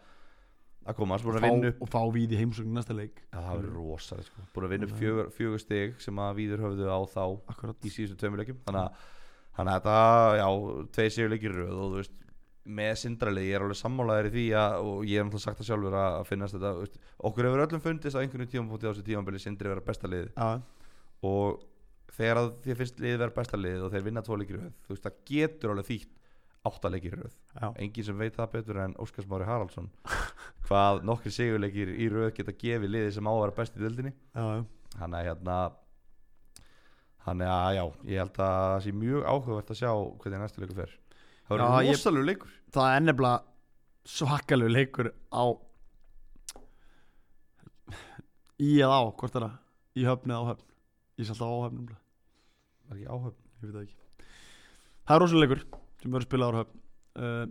að komast, búin fá, að vinna upp og fá víð í heimsókn í næsta leik Já, það verður rosalega sko, búin að vinna upp Þannig að- fjögur, fjögur stig sem að víður höfðu á þá akkurat í síðustu tveimilegjum þannig að, þannig að þetta, já, tvei sigurleikir í röð og þú veist með sindralið, ég er alveg sammálaðir í því að, og ég hef náttúrulega sagt það sjálfur að, að finnast þetta, þú veist, okkur hefur öllum fundist á einhvernjum tímapunkti á þessu tímabili sindri vera besta liðið Já, og þegar að þér finnst liðið vera besta liðið og þeir vinna tvo leikir í röð þú veist það getur alveg þýtt átta leikir í röð já, enginn sem veit það betur en Óskars Mári Haraldsson hvað nokkri sigurleikir í röð geta gefið liðið sem á að vera best í dildinni já, já. hann er hérna hann er að já ég held að það sé mjög áhugavert að sjá hvernig næstu leikur fer það Já, verður ég- rosalegu leikur það er nefnilega svakalegu leikur á í eða á, hvort er það í höfn eða á höfn ég sé alltaf á höfn nefnilega. það er ekki áhöfn ég veit það ekki það er rosalega leikur sem verður spilað á höfn uh,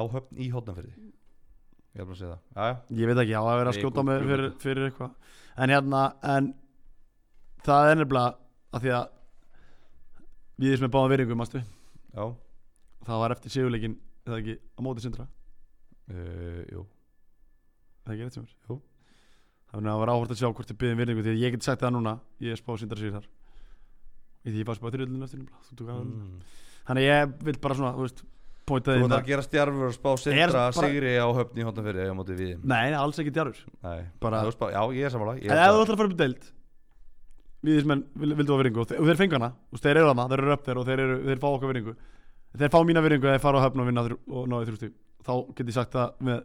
áhöfn í hotnafyrði ég hef bara að segja það já já Ég veit ekki, á að vera að Nei, skjóta Google mig fyrir, Google. fyrir eitthvað En hérna, en Það er nefnilega að því að Við erum með báðan verðingum, mástu já Það var eftir sigurleikin, er það ekki, á móti sindra Er uh, jú Það ekki rétt sem er Jú. Þannig að það var áhvert að sjá hvort þið byggðum verðingu Því að ég get sagt það núna, ég er spáð sindra sigur þar Í því ég var spáð þrjöldinu eftir nefnilega Þú tók að mm. mm. Þannig að ég vil bara svona, þú veist Pointa Þú því ert að gera stjarfur og spá sindra bara- sigri á höfn í hotnafyrði eða mótið við Nei, nei, alls ekki djarur Nei, Bara- þú spá, já ég er samanlega ég En ef þú held að- ætlar að fara upp í deild Viðismenn vildu á veringu og, þe- og þeir fengu hana og þeir eru hana, þeir eru upp þeir og þeir, eru, þeir fá okkar veringu þeir fá mína veringu eða þeir fara á höfn og vinna þrjú, og náðu þrjústu þá get ég sagt það með,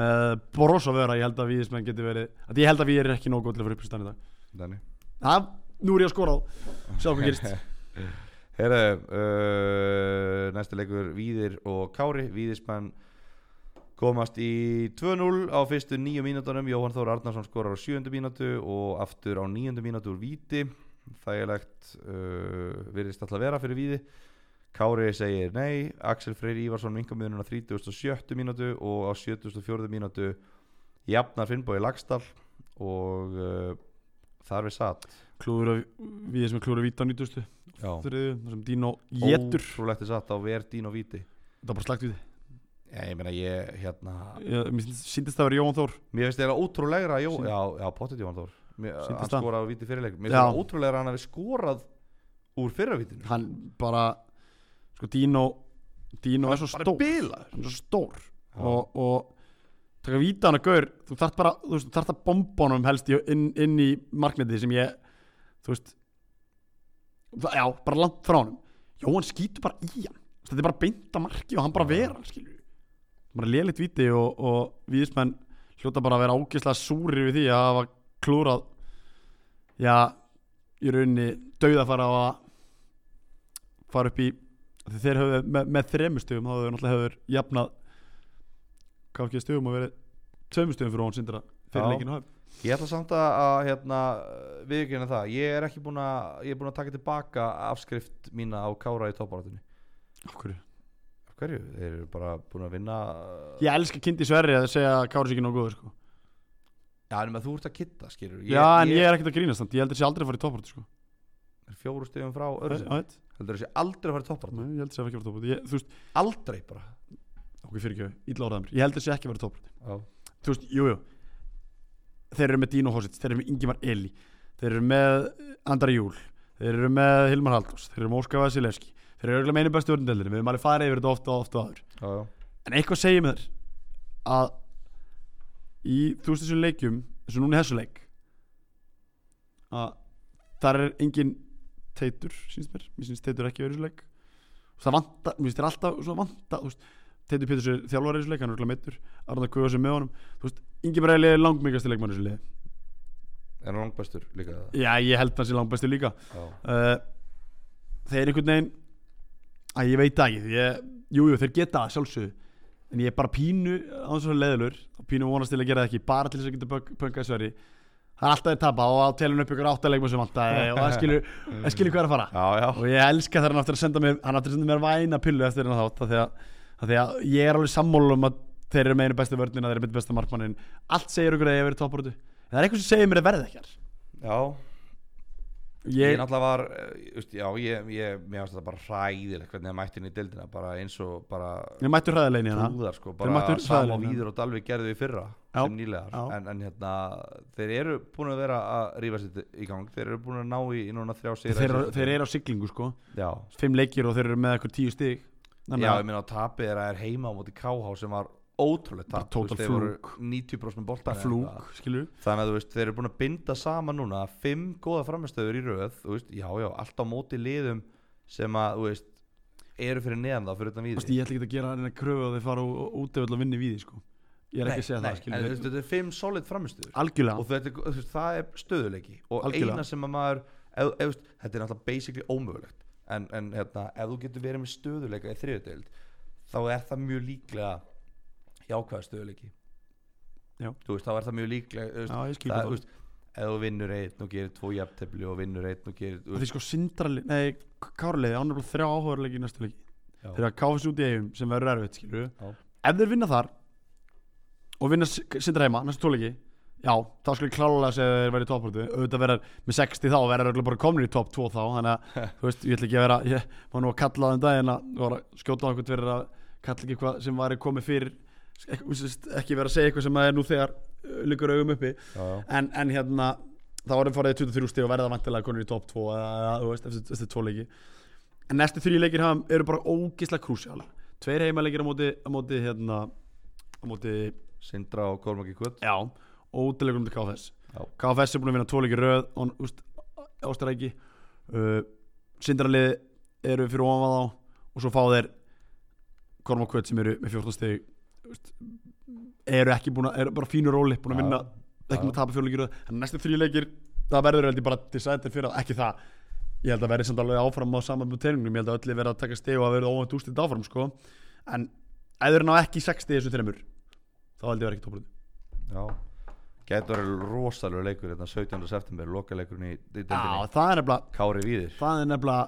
með bros að vera ég held að viðismenn geti verið að ég held að við erum ekki nógu góð til að fara upp í stann í dag Þannig. það, nú er ég að skora á sjá hvað gerist Herðu, uh, næsta leikur Víðir og Kári Víðismann komast í 2-0 á fyrstu nýju mínútonum Jóhann Þór Arnarsson skorar á sjöndu mínútu og aftur á níundu mínútu úr Víti þægilegt uh, virðist alltaf vera fyrir Víði Kári segir nei, Axel Freyr Ívarsson vinkamöðunum á 37. mínútu og á 74. mínútu jafnar Finnbói Lagstall og uh, þar við satt klúður að viðismenn klúður að víta á nýtustu Já. þriðu, þar sem Dino getur Ótrúlegt er satt á Verdín og Víti það er bara slagt við Já, ég meina ég, hérna því mér sýndist það að vera Jóhann Þór Mér finnst þetta ótrúlegra, jó, Sýn- já, já, pottet Jóhann Þór Mér Mér- Sýndist hann það. skorað á víti fyrirleikum Mér Já. finnst það ótrúlega að hann hafi skorað úr fyrravítinu hann bara sko Dino Dino er svo bara stór bilaður hann er svo stór Já. og, og taka víta hann að gaur þú þarft bara, þú veist, þú þarft að bomba honum helst í, inn, inn í marknetið sem ég þú veist það, já, bara langt frá honum Jó, hann skýtur bara í hann Þú veist, þetta er bara beint að marki og hann bara Já. vera skilju, bara lélitt víti og, og viðismenn hljóta bara að vera ágislega súrir við því að hafa klúrað já, í rauninni dauða fara á að fara upp í af því þeir höfðu með, með þremur stugum þá höfðu náttúrulega höfður jafnað KFG stugum og verið tveimur stugum fyrir hún sindra fyrir Já. leikinu höf Ég ætla samt að, að hérna, viðkynna það Ég er ekki búin að, ég er búin að taka tilbaka afskrift mína á Kára í topparátinu af hverju? Af hverju? Þeir eru bara búin að vinna Ég elska Kindi Sverri að segja að Kári sé ekki nóg góður sko. Já, en að þú ert að kitta, skilur Já, en ég er ekkert að grínast þannig, ég heldur sé aldrei að fara í toppartu sko. er fjóru stegum frá Já, öðru veit. Heldur þessi aldrei að fara í topparátinu Nei, Ég heldur sé ekki að fara í toppartu Ég- Þú veist, Aldrei bara okkur fyrir ekki, illa orðaðum Ég heldur sé ekki að fara í toppartu Já, þú veist, jújú jú. þeir eru með Dino Hosits, þeir eru með Ingimar Eli þeir eru með eh, Andra Júl þeir eru með Hilmar Halldórs, þeir eru með Óskar Vasilevski, þeir eru örugglega með einu bestu örndeldinni, við höfum alveg farið yfir þetta ofta og ofta áður já, já en eitthvað segir mér að í þú veist þessum leikjum þessum núna í þessu leik að þar er engin teitur, sínst mér mér sínst teitur ekki verið í þessu leik og það vanta, mér finnst þér alltaf svo vanta þú veist, Teitur Péturs er þjálfari í þessu leik, hann er örugglega meittur Arnar Guðas er með honum þú veist, Ingi Bræli er langmengasti leikmann í þessu leik En langbæstur líka já, ég held hans í langbæsti líka Já, uh, þeir einhvern veginn að ég veit það ekki ég, jú, jú, þeir geta það sjálfsögðu en ég er bara pínu á þessu leðilur og pínu vonast til að gera það ekki bara til þess að geta punk- punkað sverri það er alltaf að tapa og á telunum upp ykkur áttalegma sem vanta og það skilur, það skilur hvað er að fara já, já. og ég elska þegar hann aftur að senda mér hann aftur að senda mér væna pillu eftir hann þátt af því að, af því að ég er alveg sammála um að þeir eru með einu bestu vörnina, þeir eru með besta markmannin allt segir okkur að ég hef verið topparötu en það er eitthvað sem segir mér að verða ekkert já. Ég, ég, náttúrulega var, eh, just, já, ég, ég, mér finnst þetta bara hræðilegt hvernig það mætti inn í deildina, bara eins og bara ég mættu hérna. hræðilegin í hana trúðar, sko, mættu bara sama hræðilegir, víður og dalvi gerðu í fyrra Já, sem nýlegar, já. en, en hérna, þeir eru búin að vera að rífa sér í gang, þeir eru búin að ná í, í núna þrjá sigra. í þeir, seinni þeir leiknum. eru á siglingu sko já, fimm leikir og þeir eru með eitthvað tíu stig þannig já, ég að minna á tapið er að er heima á móti KH sem var ótrúlega Bara tap, þú veist, total þeir voru flúk. 90% boltan flúk, skilur Þannig að þú veist, þeir eru búin að binda saman núna fimm góða framistöður í röð þú veist, já, já, allt á móti liðum sem að, þú veist, eru fyrir neðan þá fyrir utan víði Vast, ég ætla ekki að gera henni að kröfu að þeir fara út ef allar vinni við því sko ég er ekki að segja það en, þú skilur veist, þetta er fimm solid framistöður algjörlega, og þetta, er- þú veist, það er stöðuleiki og Algjörlega. eina sem að maður ef, ef, þú veist, þetta er náttúrulega basically ómögulegt en, en hérna, ef þú getur verið með stöðuleika í þriðuteild þá er það mjög líklega jákvæða stöðuleiki Já. þú veist, þá er það mjög líklega þú veist, já ég skilur það, það þú veist, ef þú vinnur einn og gerir tvo jafntefli og vinnur einn og gerir þú Af Því sko sindrali, nei, kárliði Án er bara þrjá áhugarleiki í næstu leiki Já. Þeir eru að káfa sér út í eigum sem verður erfitt skilur Já. Ef þeir vinna þar Og vinna S- sindra heima, næstu tóleiki Já, þá skulle ég klálega segja að þeir verið í topparötu Auðvitað verður með 60 þá verður öll bara komnir í topp 2 þá Þannig að, þú veist, ég ætla ekki að vera Ég var nú að kalla það um daginn að Ég var að skjóta á einhvern fyrir að kalla ekki eitthvað sem væri komið fyrir Ek- þú veist, Ekki vera að segja eitthvað sem er nú þegar uh, liggur augum uppi já, já. en, en hérna þá erum farið í 23 stig og verða vantilega konur í top 2 eða, eða þú veist, eftir, eftir tvo leiki en næstu þrjú leikir hafum, eru bara ógislega krúsjál tveir heimaleikir á móti, á móti hérna á móti, Sindra og Kormaki Kvöt já, ótilegur um til KFS Já. KFS er búin að vinna tvo leikir röð og úst, ástæræki uh, sindralið eru fyrir ofan þá og svo fá þeir Korma Kvöt sem eru með 14 stig þú veist, eru ekki búin að eru bara fínur róli, búin að Já. vinna ekki með að tapa fjóluleikir þannig að næstu þrjú leikir það verður heldur bara decided fyrir að ekki það ég held að verði samt alveg áfram á saman með teiningnum ég held að öllu verði að taka steg og að verða óvænt ústilt áfram sko. en ef þeir ná ekki 60 þessu þreymur þá held ég verði ekki topurinn Já Gæti verið rosalegu leikur hérna 17. september lokaleikurinn í, í deildinni Já, það er nefnilega Kári Víðir það er nefnilega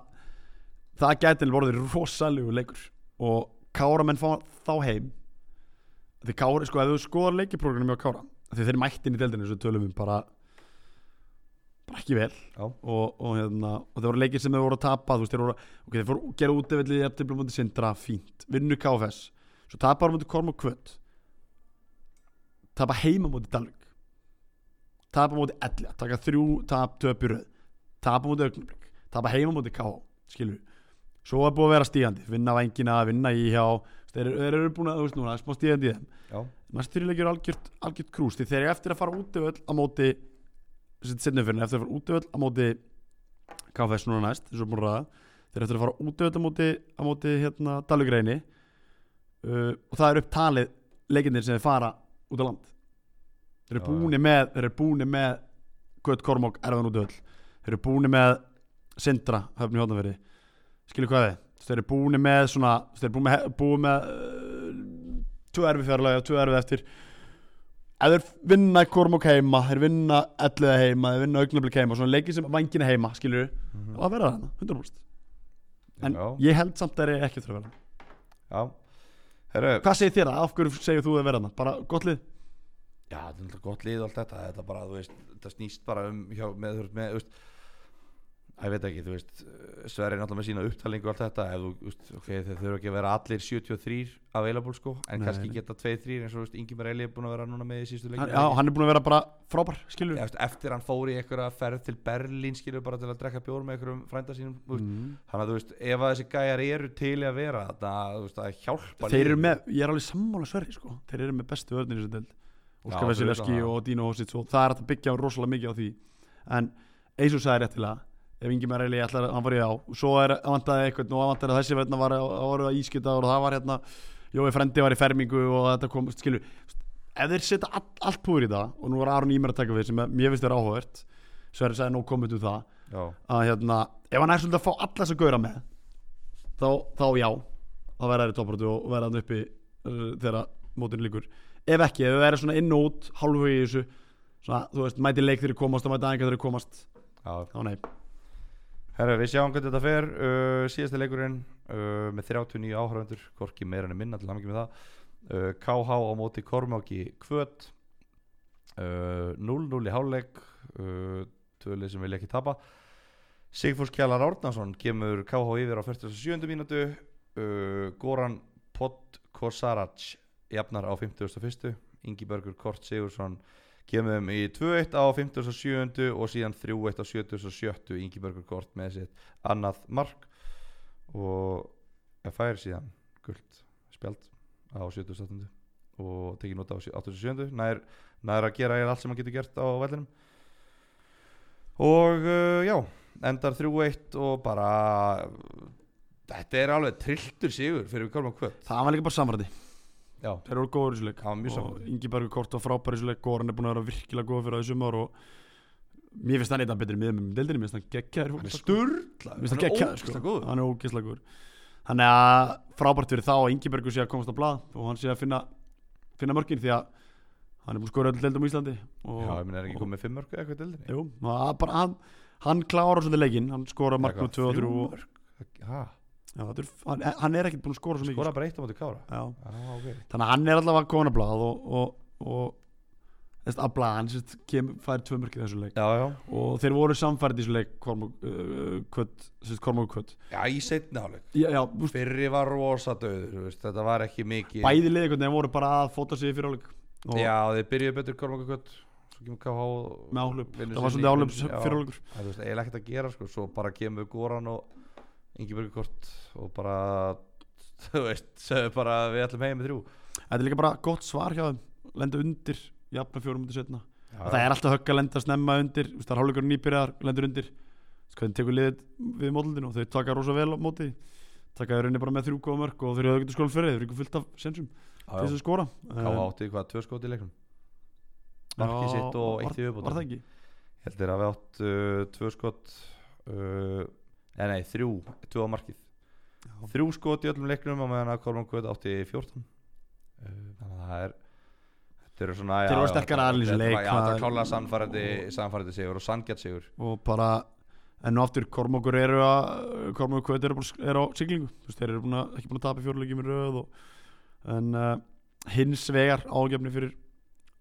það gæti nefnilega orðið rosalegu leikur og Kára menn fá þá heim því Kára, sko, ef þú skoðar leikiprógrunum hjá Kára, því þeir mættin í deildinu svo tölum við bara bara ekki vel Já. og, og, hérna, og þeir voru leikir sem þeir voru að tapa þú veist, þeir voru, ok, þeir voru gera út eða ég eftir blómandi sindra, fínt, vinnu KFS svo tapar á móti Korm og Kvöt tapa heima á móti Dalvik tapa móti ellja, taka þrjú tap töp í röð, tapa móti augnablik tapa heima móti KH, skilur svo er búið að vera stígandi, vinna vengina vinna í hjá, þeir, þeir eru búin að þú veist núna, smá stígandi í þeim já, næstu þrjuleikir er algjört, algjört krús því þeir eru eftir að fara út í öll á móti setnum fyrir, eftir að fara út í öll á móti KFS núna næst þessu búin að ræða, þeir eru eftir að fara út í öll á móti, á móti hérna Dalugreini uh, og það er upp talið leikindir sem þeir fara út á land þeir eru Já, búni með þeir eru búni með Gött Kormók erðan út í öll, þeir eru búni með Sindra, höfni hóttanverði skilur hvað við, þeir eru búni með svona, þeir eru búni með, búni með uh, tvö erfi fjarlæga, tvö erfi eftir ef þeir vinna Kormók heima, þeir vinna elliða heima, þeir vinna augnablik heima, svona leikir sem vangina heima, skilur við, Mhm. og að vera þarna 100% en já, ég held samt að þeir eru ekki að þurfa að vera þarna. já. Herru, hvað segir þér það, af hverju segir þú að vera þarna bara gott lið, já, þetta er náttúrulega gott lið og allt þetta þetta bara, þú veist, þetta snýst bara um hjá, með, þú veist, með, þú veist Æ, ég veit ekki, þú veist, Sverri er náttúrulega með sína upptalingu og allt þetta, ef þú, þú veist, ok, þeir þurfa ekki að vera allir 73 available, sko, en Nei, kannski nei. geta 2-3 eins og, þú veist, Ingemar Eli er búin að vera núna með í sístu hann, leikinu. já, hann er búin að vera bara frábær, skilur Já, veist, eftir hann fór í einhverja ferð til Berlín skilur bara til að drekka bjór með einhverjum frænda sínum þú veist. Mm. þannig að þú veist, ef að þessi gæjar eru til í að vera þarna, þú veist, að hjálpa Þeir eru liðinu. með, ég er alveg sammála sverri sko Þeir eru með bestu vörnir í þessu deild Óskar Já, Vesilevski fyrir utan það. og Dino Hosits og það er hægt að byggja rosalega mikið á því en eins og sagði réttilega ef Ingemar Reilly ætlar að hann var í á og svo er hann vantaði eitthvað og hann vantaði að þessi verðna var að voru að ískita og það var hérna Jói Frendi var í fermingu og þetta kom skilu, ef þeir setja all, allt púður í það og nú var Aron Ímar að taka við sem ég veist er áhugavert Sverri sagði nóg komið um það já, að hérna, ef hann er svolítið að fá alla þess að gauðra með þá, þá já þá verða þær í topparötu og verða hann uppi uh, þegar mótin líkur ef ekki, ef við verðum svona inn og út hálfvegi í þessu svona, þú veist, mæti leik þegar þeir komast og mæti aðeins þegar þeir komast já. þá nei, Herra, við sjáum hvernig þetta fer uh, síðasta leikurinn uh, með 39 áhörfundur hvorki meira enn minna til hann með það uh, KH á móti Kormáki Kvöt uh, 0-0 í háluleik uh, tvölið sem vilja ekki tapa Sigfús Kjallar Árnason kemur KH yfir á 47. mínútu uh, Goran Podkosarac jafnar á 51. Ingi Bergur Kort Sigursson kemur þeim í 2-1 á 57. og síðan 3-1 á 77. Ingi Bergur Kort með sitt annað mark og ég fær síðan gult spjald á 77. og tekið nota á 87. nær, nær að gera eiginlega allt sem hann getur gert á vellinum og uh, já endar 3-1 og bara þetta er alveg trilltur sigur fyrir við kálum á kvöld það var líka bara samræði já, þeir eru góður í þessu leik það var mjög saman og Ingi Bergur Kort var frábær í þessu leik Goran er búin að vera virkilega góð fyrir þessu mör og mér finnst hann eitthvað betri miður með deildinni, mér finnst hann geggjaður í hann er fótbolta, sko. sturla Mér finnst það geggjaður ógeðslega sko. góður Hann er ógeðslega góður Þannig að frábært fyrir þá að Ingibergur sé að komast á blað og hann sé að finna, finna mörkin því að hann er búin að skora öll deildum í Íslandi og, já, ég meina er ekki komið fimm mörg eða eitthvað deildinni Jú, það er bara hann, hann klára svolítið leikinn, hann skora marknum 2 og 3 og, já, þetta er, hann, e- hann er ekkert búin að skora svo mikið skora bara eitt á móti kára sko. Já. ah, okay. Þannig að hann er allavega komin á blað og, og, og þess að blað, hann sérst kem, fær tvö mörkið þessu leik já, já, og þeir voru samfærið í þessu leik Kormók uh, Kvöt, sérst Kormók Kvöt já, í setna áleik Já, já, þú veist, fyrri var rosa döður veist, þetta var ekki mikið bæði liðið einhvern veginn voru bara að fóta sig í fyrirháleik og já, þeir byrjuðu betur kálum okkur kvöld svo kemur KH og- með áhlaup, vinnur það var sinn svolítið leik- áhlaup já. fyrirháleikur Það er, þú veist, eiginlega ekkert að gera sko, svo bara kemur Goran og Ingi Börgukort og bara, þú veist, segðu bara við ætlum heim með þrjú. þetta er líka bara gott svar hjá þeim lenda undir, jafnveg fjórum mútið setna og það er alltaf högg að lenda snemma undir þú veist, það er hálfleikur nýbyrjar, lendur undir Þú veist, hvernig tekur liðið við mótlundinu og þau taka rosa vel á móti því. taka þau rauninni bara með þrjú góða mörg og þau eru auðvitað skólan fyrir þau eru ekki fullt af sensum til já, þess já. að skora Ká Um, átti hvað, tvö skot í leiknum? já, Markið sitt og eitt í var það viðbótum. ekki? Heldur að við átt uh, tvö skot, uh, eh, nei, þrjú, tvö á markið. Já. Þrjú skot í öllum leiknum á meðan að Kolman Guð átti 14. Uh, þannig að það er, þetta eru svona, Þeir voru já, sterkari þetta- aðilinn í þessum þetta var- leik, Já, þetta það- er klálega sannfærandi, sannfærandi sigur og sangjart sigur. og bara en nú aftur Kormokur eru að Kormokur Kvöt eru, bara- eru á siglingu Þú veist, þeir eru búin að, ekki búin að tapa fjóruleikjum í röð og, en uh, hins vegar ágefni fyrir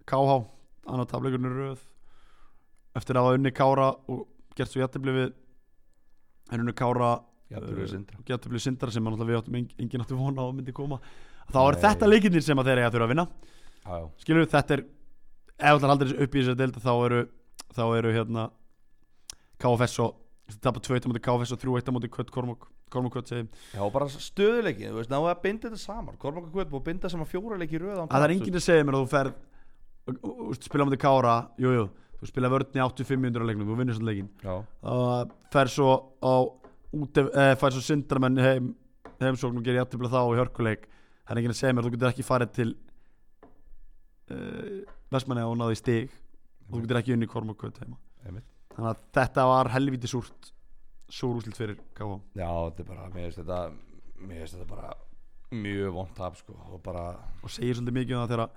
KH annar tapleikurinn í röð eftir að hafa unni Kára og gert svo jættibli við en unni Kára Já, þú eru sindra. jættibli sindar sem náttúrulega eh, við áttum engin, engin áttu vona á að myndi koma þá er Nei. þetta leikinnir sem að þeir eiga að þurfa að vinna Já, já. skilur þetta er ef allar haldir þessu upp í þessari deilda þá eru þá eru hérna KFS og tapa 2-1 á móti KFS og 3-1 á móti Kött Kormok Kormok Kött segi að Já, og bara stöðuleikin, þú veist, náðu að binda þetta saman Kormaka Kvöld búið að binda saman fjóra leiki í röð án það er taps, enginn að segja mér að þú ferð og- og- og spila á móti Kára jú, jú, þú spila vörðni 8500 á leiknum þú vinnur svona leikin þú veist. Já, og eh, fer svo á út, eh, fer svo sindramenn heim, heimsókn og gerir jættiflega þá í hörkuleik það er enginn að segja mér að þú getur ekki farið til uh, Vestmanni og náði stig og þú getur ekki unni Kormok Kött heima Mhm. einmitt þannig að þetta var helviti súrt súr úslit fyrir KH Já, þetta er bara, mér finnst þetta mér finnst þetta bara mjög vont tap, sko, og bara og segir svolítið mikið um það þegar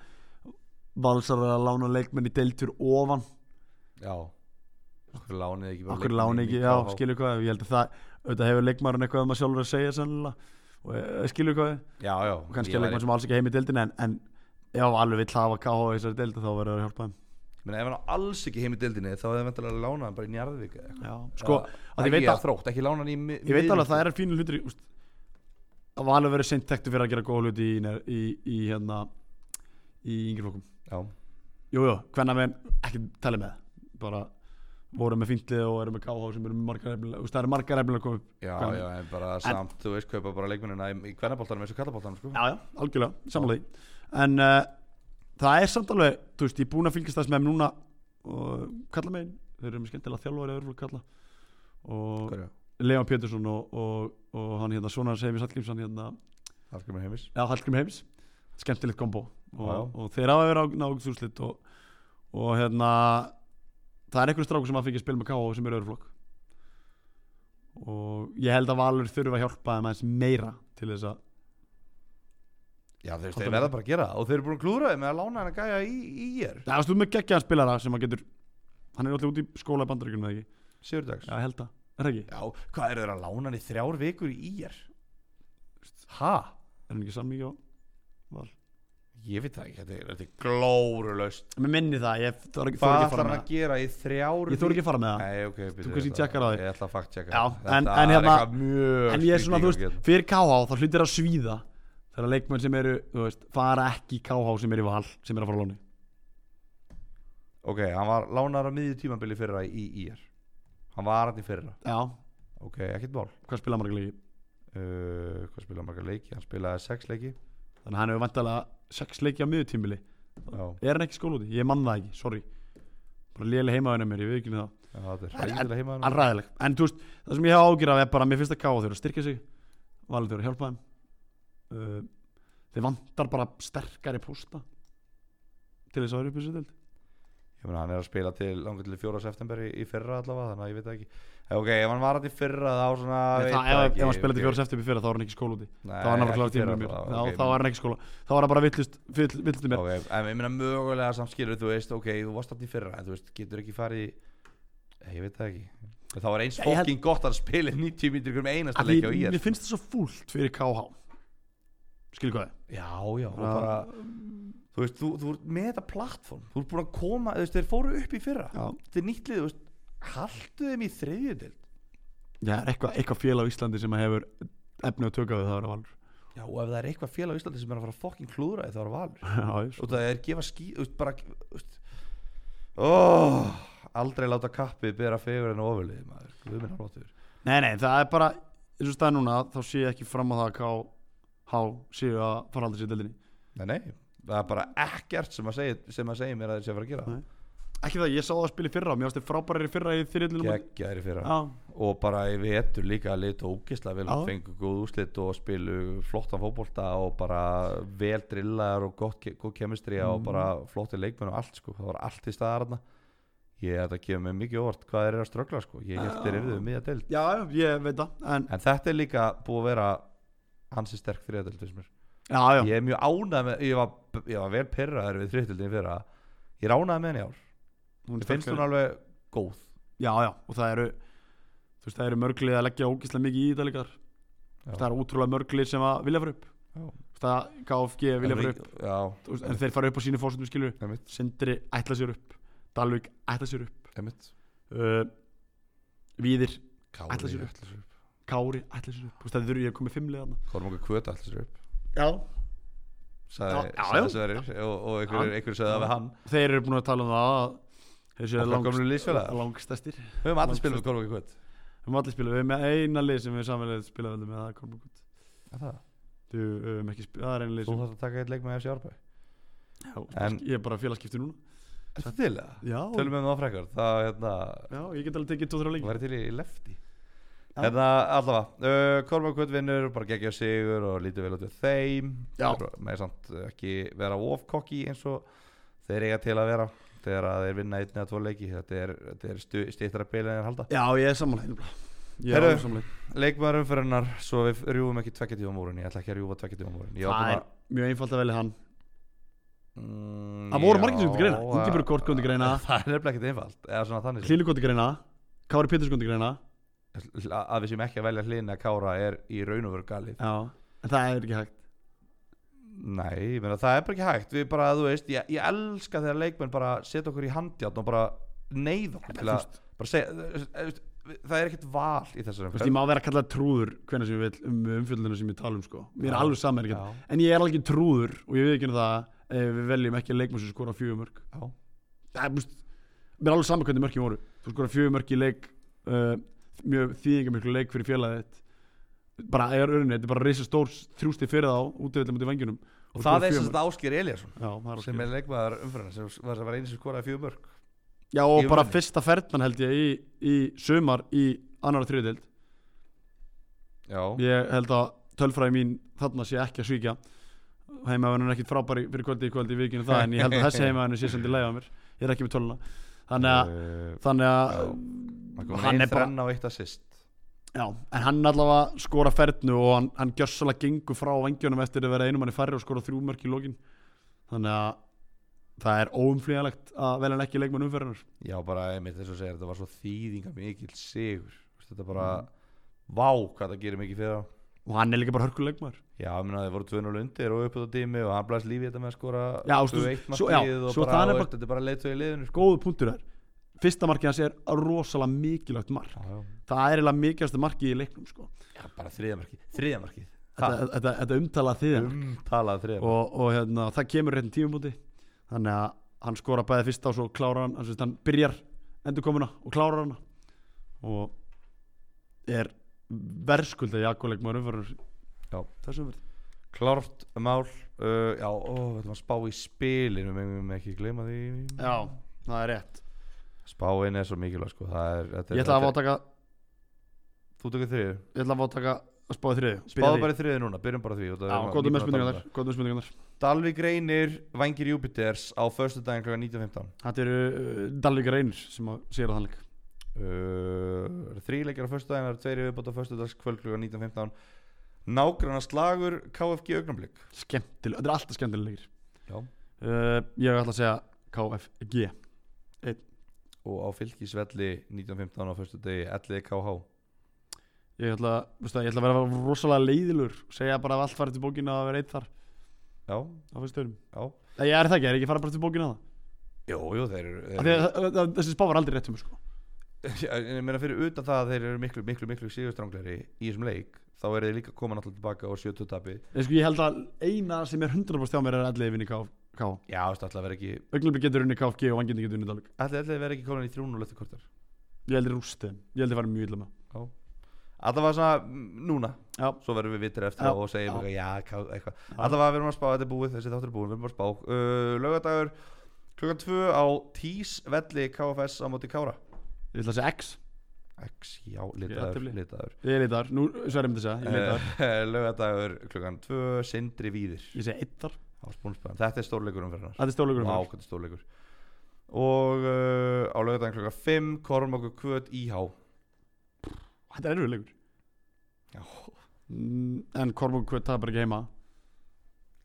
Valsar er að lána leikmenn í deiltur ofan já, okkur lánið ekki bara okkur leikmenn lána í ekki, KH? já, skilur hvað ég held að það, auðvitað hefur leikmarinn eitthvað um að sjálfur að segja sannlega og eh, skilur hvað, Já, já, og kannski ég er væri- leikmann sem alls ekki heim í deildin en, en já, alveg vill hafa KH í þessari deildu þá verður það að hjálpa þeim Ég meina, ef hann á alls ekki heim í dildinni þá hefði hann vantilega lánað hann bara í Njarðvík eða eitthvað. já, sko, að ég Ekki veit að þrótt, ekki lánað hann í mi- ég veit alveg miðjum. að það er fínu hlutir í- úst, að Valur verður seint tektu fyrir að gera góða hluti í, í, í hérna í yngri flokkum Já, Jújú, jú, hvenna við ekki tala með bara vorum með fíntlið og erum með KH sem eru með margar efnilega, þú veist, það eru margar efnilega að koma upp já, Hvað- já, en bara samt, þú veist, kaupa bara leikmennina í, í kvennaboltanum eins og kallaboltanum, sko Já, já, algjörlega, samanlega en uh, það er samt alveg þú veist, ég er búinn að fylgjast þess með þeim núna og kalla megin, þeir eru með skemmtilega þjálfari að örflug kalla og Hverju? Leon Pétursson og, og, og hann hérna, svona hans Heimis Hallgrímsson hérna, Hallgrímur Heimis eða Hallgrím Heims skemmtilegt kombo og, Já. og þeir hafa verið á náðugsúslit og, og hérna það er einhverjum strákur sem að fengið spil með K.O. sem er öðruflokk og ég held að Valur þurfa að hjálpa þeim aðeins meira til þess að Já, þú veist, Halldór þeir verða bara að gera það og þeir eru búin að klúra þeim með að lána hann að gæja í, í er það er stúð með geggjaðan spilara sem að getur hann er alltaf út í skóla í bandaríkunum eða ekki Sigurdags já, ég held það, er það ekki, Já, hvað eru þeir að lána hann í þrjár vikur í IR? Ha? er hann ekki sammingi á Val Ég veit það ekki, þetta er, þetta er glórulaust mér minni það, ég þarf ekki, þor Hvað ekki að ætlar fara hann með að gera í þrjár það ég þór ekki að fara með það Nei, ok, býttu, ég kannski ætla- tjekkar á því. Ég ætla að fakt tjekka Já, Þetta en- en er hérna- eitthvað mjög en ég er svona, skrítið þú veist, í gangi hérna. fyrir KH þá hlutir að svíða þegar leikmenn sem eru, þú veist, fara ekki í KH sem eru í val, sem eru að fara á lóni Ok, hann var lánar á miðju tímabili fyrra í IR Hann var hann í fyrra já, Ok, ekkert mál hvað spila marga leiki uh, Hvað spilaði hann marga leiki? Hann spilaði sex leiki þannig að hann hefur vantalega sex leiki á miðutímbili Já, er hann ekki skóla úti, ég mann það ekki, sorry bara léli heimaðinu mér, ég veit ekki um það já, þetta er En- hræðilega heima hann ræðileg, en þú veist, það sem ég hef ágjur af er bara, mér finnst að KH þurfa að styrkja sig valið þurfa að hjálpa þeim uh, þeir vantar bara sterkari pústa til þess að vera upp í þessu deild. Ég meina, hann er að spila til langar til 4. september í, í fyrra allavega, þannig að ég veit það ekki. Eh, Ok, ef hann var hann í fyrra þá svona, Nei, veit það- það ef- ekki. ef hann spilaði ok. okay. fjóra september fyrir þá var hann ekki skóla úti Nei, Það var ekki náttúrulega fyrra tíma mér allavega, Já, ok, þá var hann ekki í skóla Þá var hann bara villust, vill, villust mér Ok, en ég meina mögulega samt skilur, þú veist, ok, þú varst hann í fyrra, en þú veist, getur ekki farið, Eh, ég veit það ekki. En Það var eins Ég held- fokkin gott að spila 90 mínútur í hverjum einasta Af leikja á E því ég. Mér finnst það svo fúlt fyrir KH Skil hvað þið? Já, já, og bara, þú veist, þú, þú ert með þetta plattform, þú ert búin að koma, þú veist, þeir fóru upp í fyrra. Já, Þetta er nýtt lið, þú veist, haldu þeim í þriðjudel. já eitthvað eitthva félag á Íslandi sem hefur efni og tökaði það að vera valur Já, og ef það er eitthvað félag á Íslandi sem er að fara fokkin klúðra því þá er valur. Já, ég og það er gefa ský þú veist, bara þú veist, oh, aldrei láta kappið bera fegur en ofurlið maður Guð minn hálfatur Nei, nei, það er bara eins og staði núna, þá sé ég ekki fram á það að KH séu að fara aldrei sér deildinni nei, nei, það er bara ekkert sem að segja sem að segja mér að þeir sé að fara að gera Nei. Ekki það, ég sá það að spila í fyrra Mér varst þið frábærir í fyrra í þyrillinu geggja þeir í fyrra Já, og bara í vetur líka að lita ógislega vel Já. fengu góð úslit og spilu flottan fótbolta og bara vel drillar og gott, ke- góð kemistri og Mm. bara flotti leikmenn og allt sko, það var allt í staðarna ég þetta kemur mér mikið óvart hvað þeir eru að ströggla sko, ég held þeir Já. eru við miða deild já, já, ég veit það En, En þetta er líka búið að vera hansi sterk þriðadöld finnst mér. já, já, Ég er mjög ánægð með, ég var, ég var vel pyrraður við þriðadöldin fyrir að ég er ánægð með henni í ár. hún Mér finnst hún alveg góð. Já, já, og það eru þú veist, það eru mörglið að leggja ógislega mikið í þetta líkar það eru ótrúlega mörglið sem að vilja fara upp Já. Þú veist, það KFG vilja fara upp Já, þú veist, en þeir fara upp á sínu fórsöndum skilur einmitt, Sindri ætla sér upp, Dalvik ætla sér upp einmitt. uh, Víðir, Kári Ætla sér upp. ætla sér upp. Kári ætla sér upp Þú veist, það þurfi að koma fimmlega þarna Kormunga Kvöt ætla sér upp. Já. Sagði, Já, já, sagði já. Sverrir og, og einhverjur Já. einhver sagði það við hann. þeir eru búin að tala um það að Þessi er Okkar gömlu liðsfélagar. langstæstir Við Við höfum allir Langflest. spilað með Kolbæk í kvöld höfum allir spilað, við höfum með eina lið sem við samanlega spilaðum með það er Kormák Gutt. Þú Þú, við höfum ekki spilað, það er eina lið sem þarfst að taka eitt leik með FC Árbæ Já, En- Ég er bara félagskipti núna Þetta til það Já, Tölum við um það frekar Það hérna já ég get alveg tekið tóð þrjá Það leik væri til í lefti Já. Hérna allavega uh, Kolbæk kvöld vinnur Bara geggja sigur Og lítið vel út við þeim Já. Með samt ekki vera ofkokki eins og Þeir eiga til að vera Þegar að þeir vinna einn eða tvo leiki Þetta er, þetta er stu, stýttra beilin en halda Já, ég er samanlega Ég er Heyrðu, alveg samanlega Leikmaður umferðarnar Svo við rjúfum ekki tvekja tíma múrin Ég ætla ekki að rjúfa tvekja tíma múrin Ég Það ákvað er mjög einfalt að velja hann Mm, Það voru já, margir sem komu til greina. að- Ingibjörg Kort kom til greina. Það er nefnilega ekkert einfalt Eða svona þannig séð. Hlínu gott í greina, Kári Péturs gott í greina Hl- Að við séum ekki að velja hlinn að kára er í raun og veru galið Já, en það er ekki hægt Nei, ég meina, það er bara ekki hægt Við bara, þú veist, ég, ég elska þegar leikmenn bara setja okkur í handjátt og bara neyða okkur til Þú að veist, bara segja, þú veist, þú veist, Það er ekkert val í þessar þú veist, ég má vera að kalla trúður hvernig sem ég vil um umfjöldinu sem ég tala um sko Mér er Já. alveg saman ekki Já, En ég er alveg trúður og ég við ekki um það ef við veljum ekki leikmann sem skora fjögumörk já, Það er, þú veist, mér er alveg saman hvernig mörkin voru Þú skora fjögumörk í leik uh, mjög þýðingamiklu leik fyrir félagið þitt bara er örunni, þetta er bara reysa stór þrjústi fyrir þá útöðlega mútið vengjunum Og það er sem þetta Ásker Eliasson Já, það er sem óskil. er leikmaður umfyrirna sem var, sem var einu sem skoraði fjögur mörg Já og í bara umræðunni. fyrsta ferðman held ég í, í sumar í annar og þriðdeild Já, Ég held að tölfræði mín þarna sé ekki að svíkja Heimavönnun er ekkit frábæri fyrir kvöldi í kvöldi í vikinu það En ég held að þessi heimavönnun sé sem þið leiða mér Ég er ekki með töluna Þannig að, Eh, þannig að já. það kom hann einn er bara- þrenna og eitt assist já, En hann allavega skora ferðnu Og hann, hann gjössalega gengur frá vengjónum Eftir að vera einum manni færri og skora þrjú mörk í lokin Þannig að það er óumflýjanlegt Að velja hann ekki leikmann umferðinar Já, bara einmitt þess að segja, þetta var svo þýðinga mikill sigur Þú veist, Þetta bara, Mm. vá hvað það gerir mikið fyrir hann Og hann er líka bara hörkuleikmaður Já, ég meina þeir voru 2-0 undir og upp á tími og hann blæst lífið þetta með að skora Já, þú veist, 2-1 svo- já, markið og svo bara, það er og bara- þetta er bara leiðtögi í liðinu sko. Góðu punktur þar Fyrsta markið hans er rosalega mikilvægt mark Já, já, Það er eiginlega mikilvægasta markið í leiknum sko. já, bara þriðja markið, þriðja markið þetta, þetta, þetta umtalað þýðan Umtalað þriðja markið og, og hérna, það kemur réttin tímumúti þannig að hann skora bæði fyrst á svo klárar hann, hann, sérst, hann byrjar endurkomuna og klárar hana og er verðskulda Jakob leikmaður umfyrir Já. þessum verð Klárt mál, uh, já, ó, við ætlum að spá í spilin, við megum ekki gleyma því Já, það er rétt Spáin er svo mikilvæg sko, það er þetta er- Ég ætla að þetta er- átaka Þú tökur þriðju, ég ætla að átaka að spáði þriði spáðu bara í þriðju núna, byrjum bara á því út af- Já, við erum nýbúin að góðum með tala um spurningarnar góðum með spurningarnar Dalvík reynir Vangir Júpiters á förstu daginn kl. 19.15 Þetta eru uh, Dalvíkar Einir sem að sér að þannleik uh, Þrý leikir á förstu daginn það eru tveiri viðbótt á förstu dags kvöld kl. 19.15 Nágranna slagur KFG augnablik Skemmtileg, þetta er alltaf skemmtilegir Já. uh, Ég ætla að segja KFG og á fylgisvelli 19.15 á E förstu degi 11 KH Ég ætla, veistu, það, ég ætla að vera rosalega leiðilur segja bara að allt farið til bókina að vera einn þar Já, á fyrstu örum já Nei, ég er það ekki, ég er ekki farið bara til bókina að Jú, jú, þeir eru, það þeir Þegar, eru það- það- það- Þessi spá var aldrei rétt um sko. Já, en Ég meina fyrir utan það að þeir eru miklu, miklu, miklu síðustrangleri í þessum leik þá eru þeir líka koma náttúrulega tilbaka á 70 tapi Ég, sko, ég held að eina sem er 100% hjá mér er allir vinni KFG Já, þú veist, ætlaði verið ekki Ögnlöfi getur unni KFG og vangindi getur unni Dalvik ætlaði verið ekki komin í 3-0 eftir kortar Ég held ég rústi þeim, ég held ég farið mjög illa með Alltaf var svona mm, núna Já. Svo verðum við vittir eftir Já, já, og segjum já. eitthvað, já, ká- eitthvað Alltaf var við erum að spá, þetta er búið, þessi þáttur er búið, við erum að spá uh, Laugadagur klukkan 2 á Tís velli KFS á móti Kára Ég ætla að segja X, X, já, jafntefli. litaður, litaður ég er leitar, nú sverjum þetta segja, ég er leitar Eh, Laugadagur klukkan 2, Sindri Víðir Ég segja eittar, á Spúnsbæðan Þetta er stórleikur umferðarnar þetta er stólugur Vá, hvað er stórleikur Og uh, á laugadagur klukkan 5 Kormokur Kvöt IH Þetta er erfiðlegur Já. Mm, En Kormók Kvöt tapar ekki heima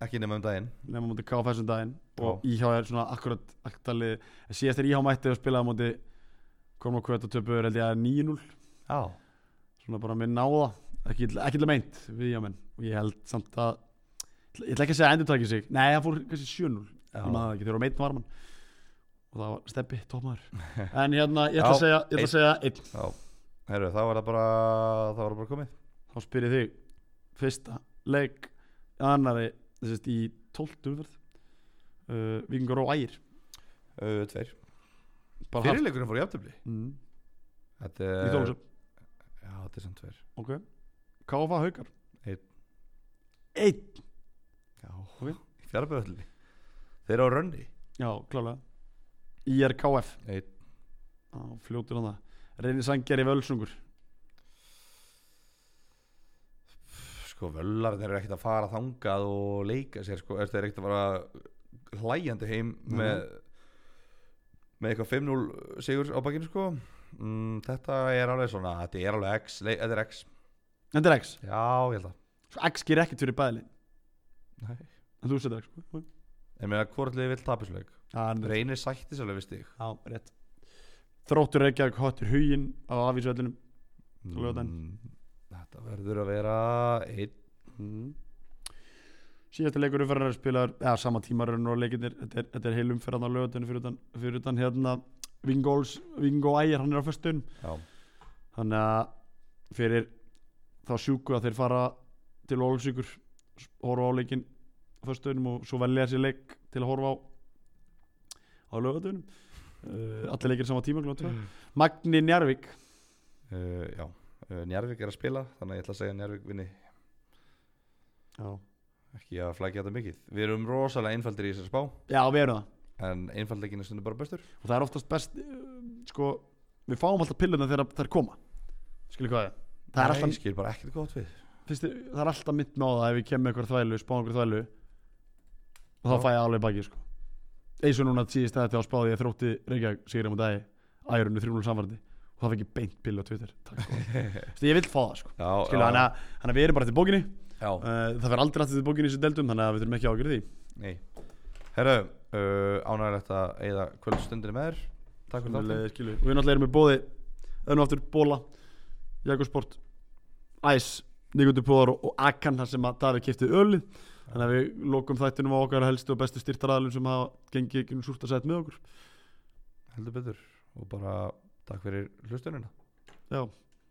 Ekki nema um daginn nema mútið KFS um daginn og Já. IH er svona akkurat aktalið síðast er IH mættið og spilaði mútið Korma Kvöt og töpuður held ég að 9-0 Já svona bara með náða ekki, illa- ekki illa meint við IH menn og ég held samt að ég ætla ekki að segja endur takið sig nei það fór kannski 7-0 Já. ég maður það ekki þegar meitin var mann og það var steppi tómaður en hérna ég ætla að segja ég ætla að segja einn Já, herru, þá var það bara, þá var það bara komið þá spyr ég þig fyrsta leik annari þessist í 12. umferð uh, Víkingur og Ægir uh, Tveir bara hart fyrirleikurinn fór í aftöfli mm. Þetta í er þólusum, Já, þetta er samt tver ok KFA haukar Einn. einn Já, Ok. í fjárbæðalli Þeir eru á rönni já, klálega IRKF Einn. á, fljótur hann það reynir sangjar í völsungur Sko, völlarnir eru ekkert að fara þangað og leika sér sko, Þeir eru ekkert að fara hlæjandi heim Nei. með með eitthvað 5-0 sigur á bakinu sko mm, Þetta er alveg svona Þetta er alveg X, leik, þetta er X þetta er X Já, ég held að Svo X gerir ekkert fyrir bæðli Nei. en þú setur X sko. En meðan hvort liði vill tapisleik Já, hann er- Reynir sætti sérlega við stig Já, rétt Þróttur Reykjavík hottir huginn á afísvöllunum Laugardaginn. Mm, Þetta verður að vera einn mm. Síðasta leikur umferðar spilar, eða sama tíma raunur og leikinir, þetta er, þetta er heil umferðan á lögutunum fyrir utan, fyrir utan hérna Vingóls, Vingó Ægir, hann er á föstun Já, þannig að fyrir þá sjúku að þeir fara til Ólfsvíkur horfa á leikin á föstunum og svo velja sér leik til að horfa á á lögutunum uh, allir leikir sama tíma glóta Magni Njarvík uh, já. Uh, Njarvík er að spila þannig að ég ætla að segja að Njarvík vinni Já, ekki að flækja þetta mikið Við erum rosalega einfaldir í þessari spá Já við erum það en einfaldleikin er stundum bara bestur og það er oftast best uh, sko, við fáum alltaf pilluna þegar þær koma skilur hvað ég á við? það er Nei, alltaf, ég skil bara ekkert gott við fyrst, það er alltaf mitt með á það ef ég kem með eitthvað þvælu, spá einhver þvælu og þá Já. fæ ég alveg baki sko. eins og núna síðist þetta á spáði ég þrótti Reykjavík sigur á múti ægi ærunni 3-0 samvarði og það fekk ég beint pillu á Twitter Takk, sko. Þú veist, ég vil fá það sko. Já, skilur, hann, að, hann að við erum bara til bókinni uh, já, það fer aldrei aftur til bókinni sem deldum þannig að við þurfum ekki ágjörði því nei Herra, uh, ánægilegt að eigða kvöldstundinni með þér Takk fyrir þáttum Sömuleiðis, skilur. og við náttúrulega erum í bóði önn og aftur Bóla, Jakobsport Æs, Nikundur Póðar og og Akan þar sem að Davík kiptið ölið þannig að við lokum þættinum á okkar helstu og bestu styrtaraðalum sem hafa gengið ekki súrt að setja með okkur Heldur betur og bara takk fyrir hlustunina Já,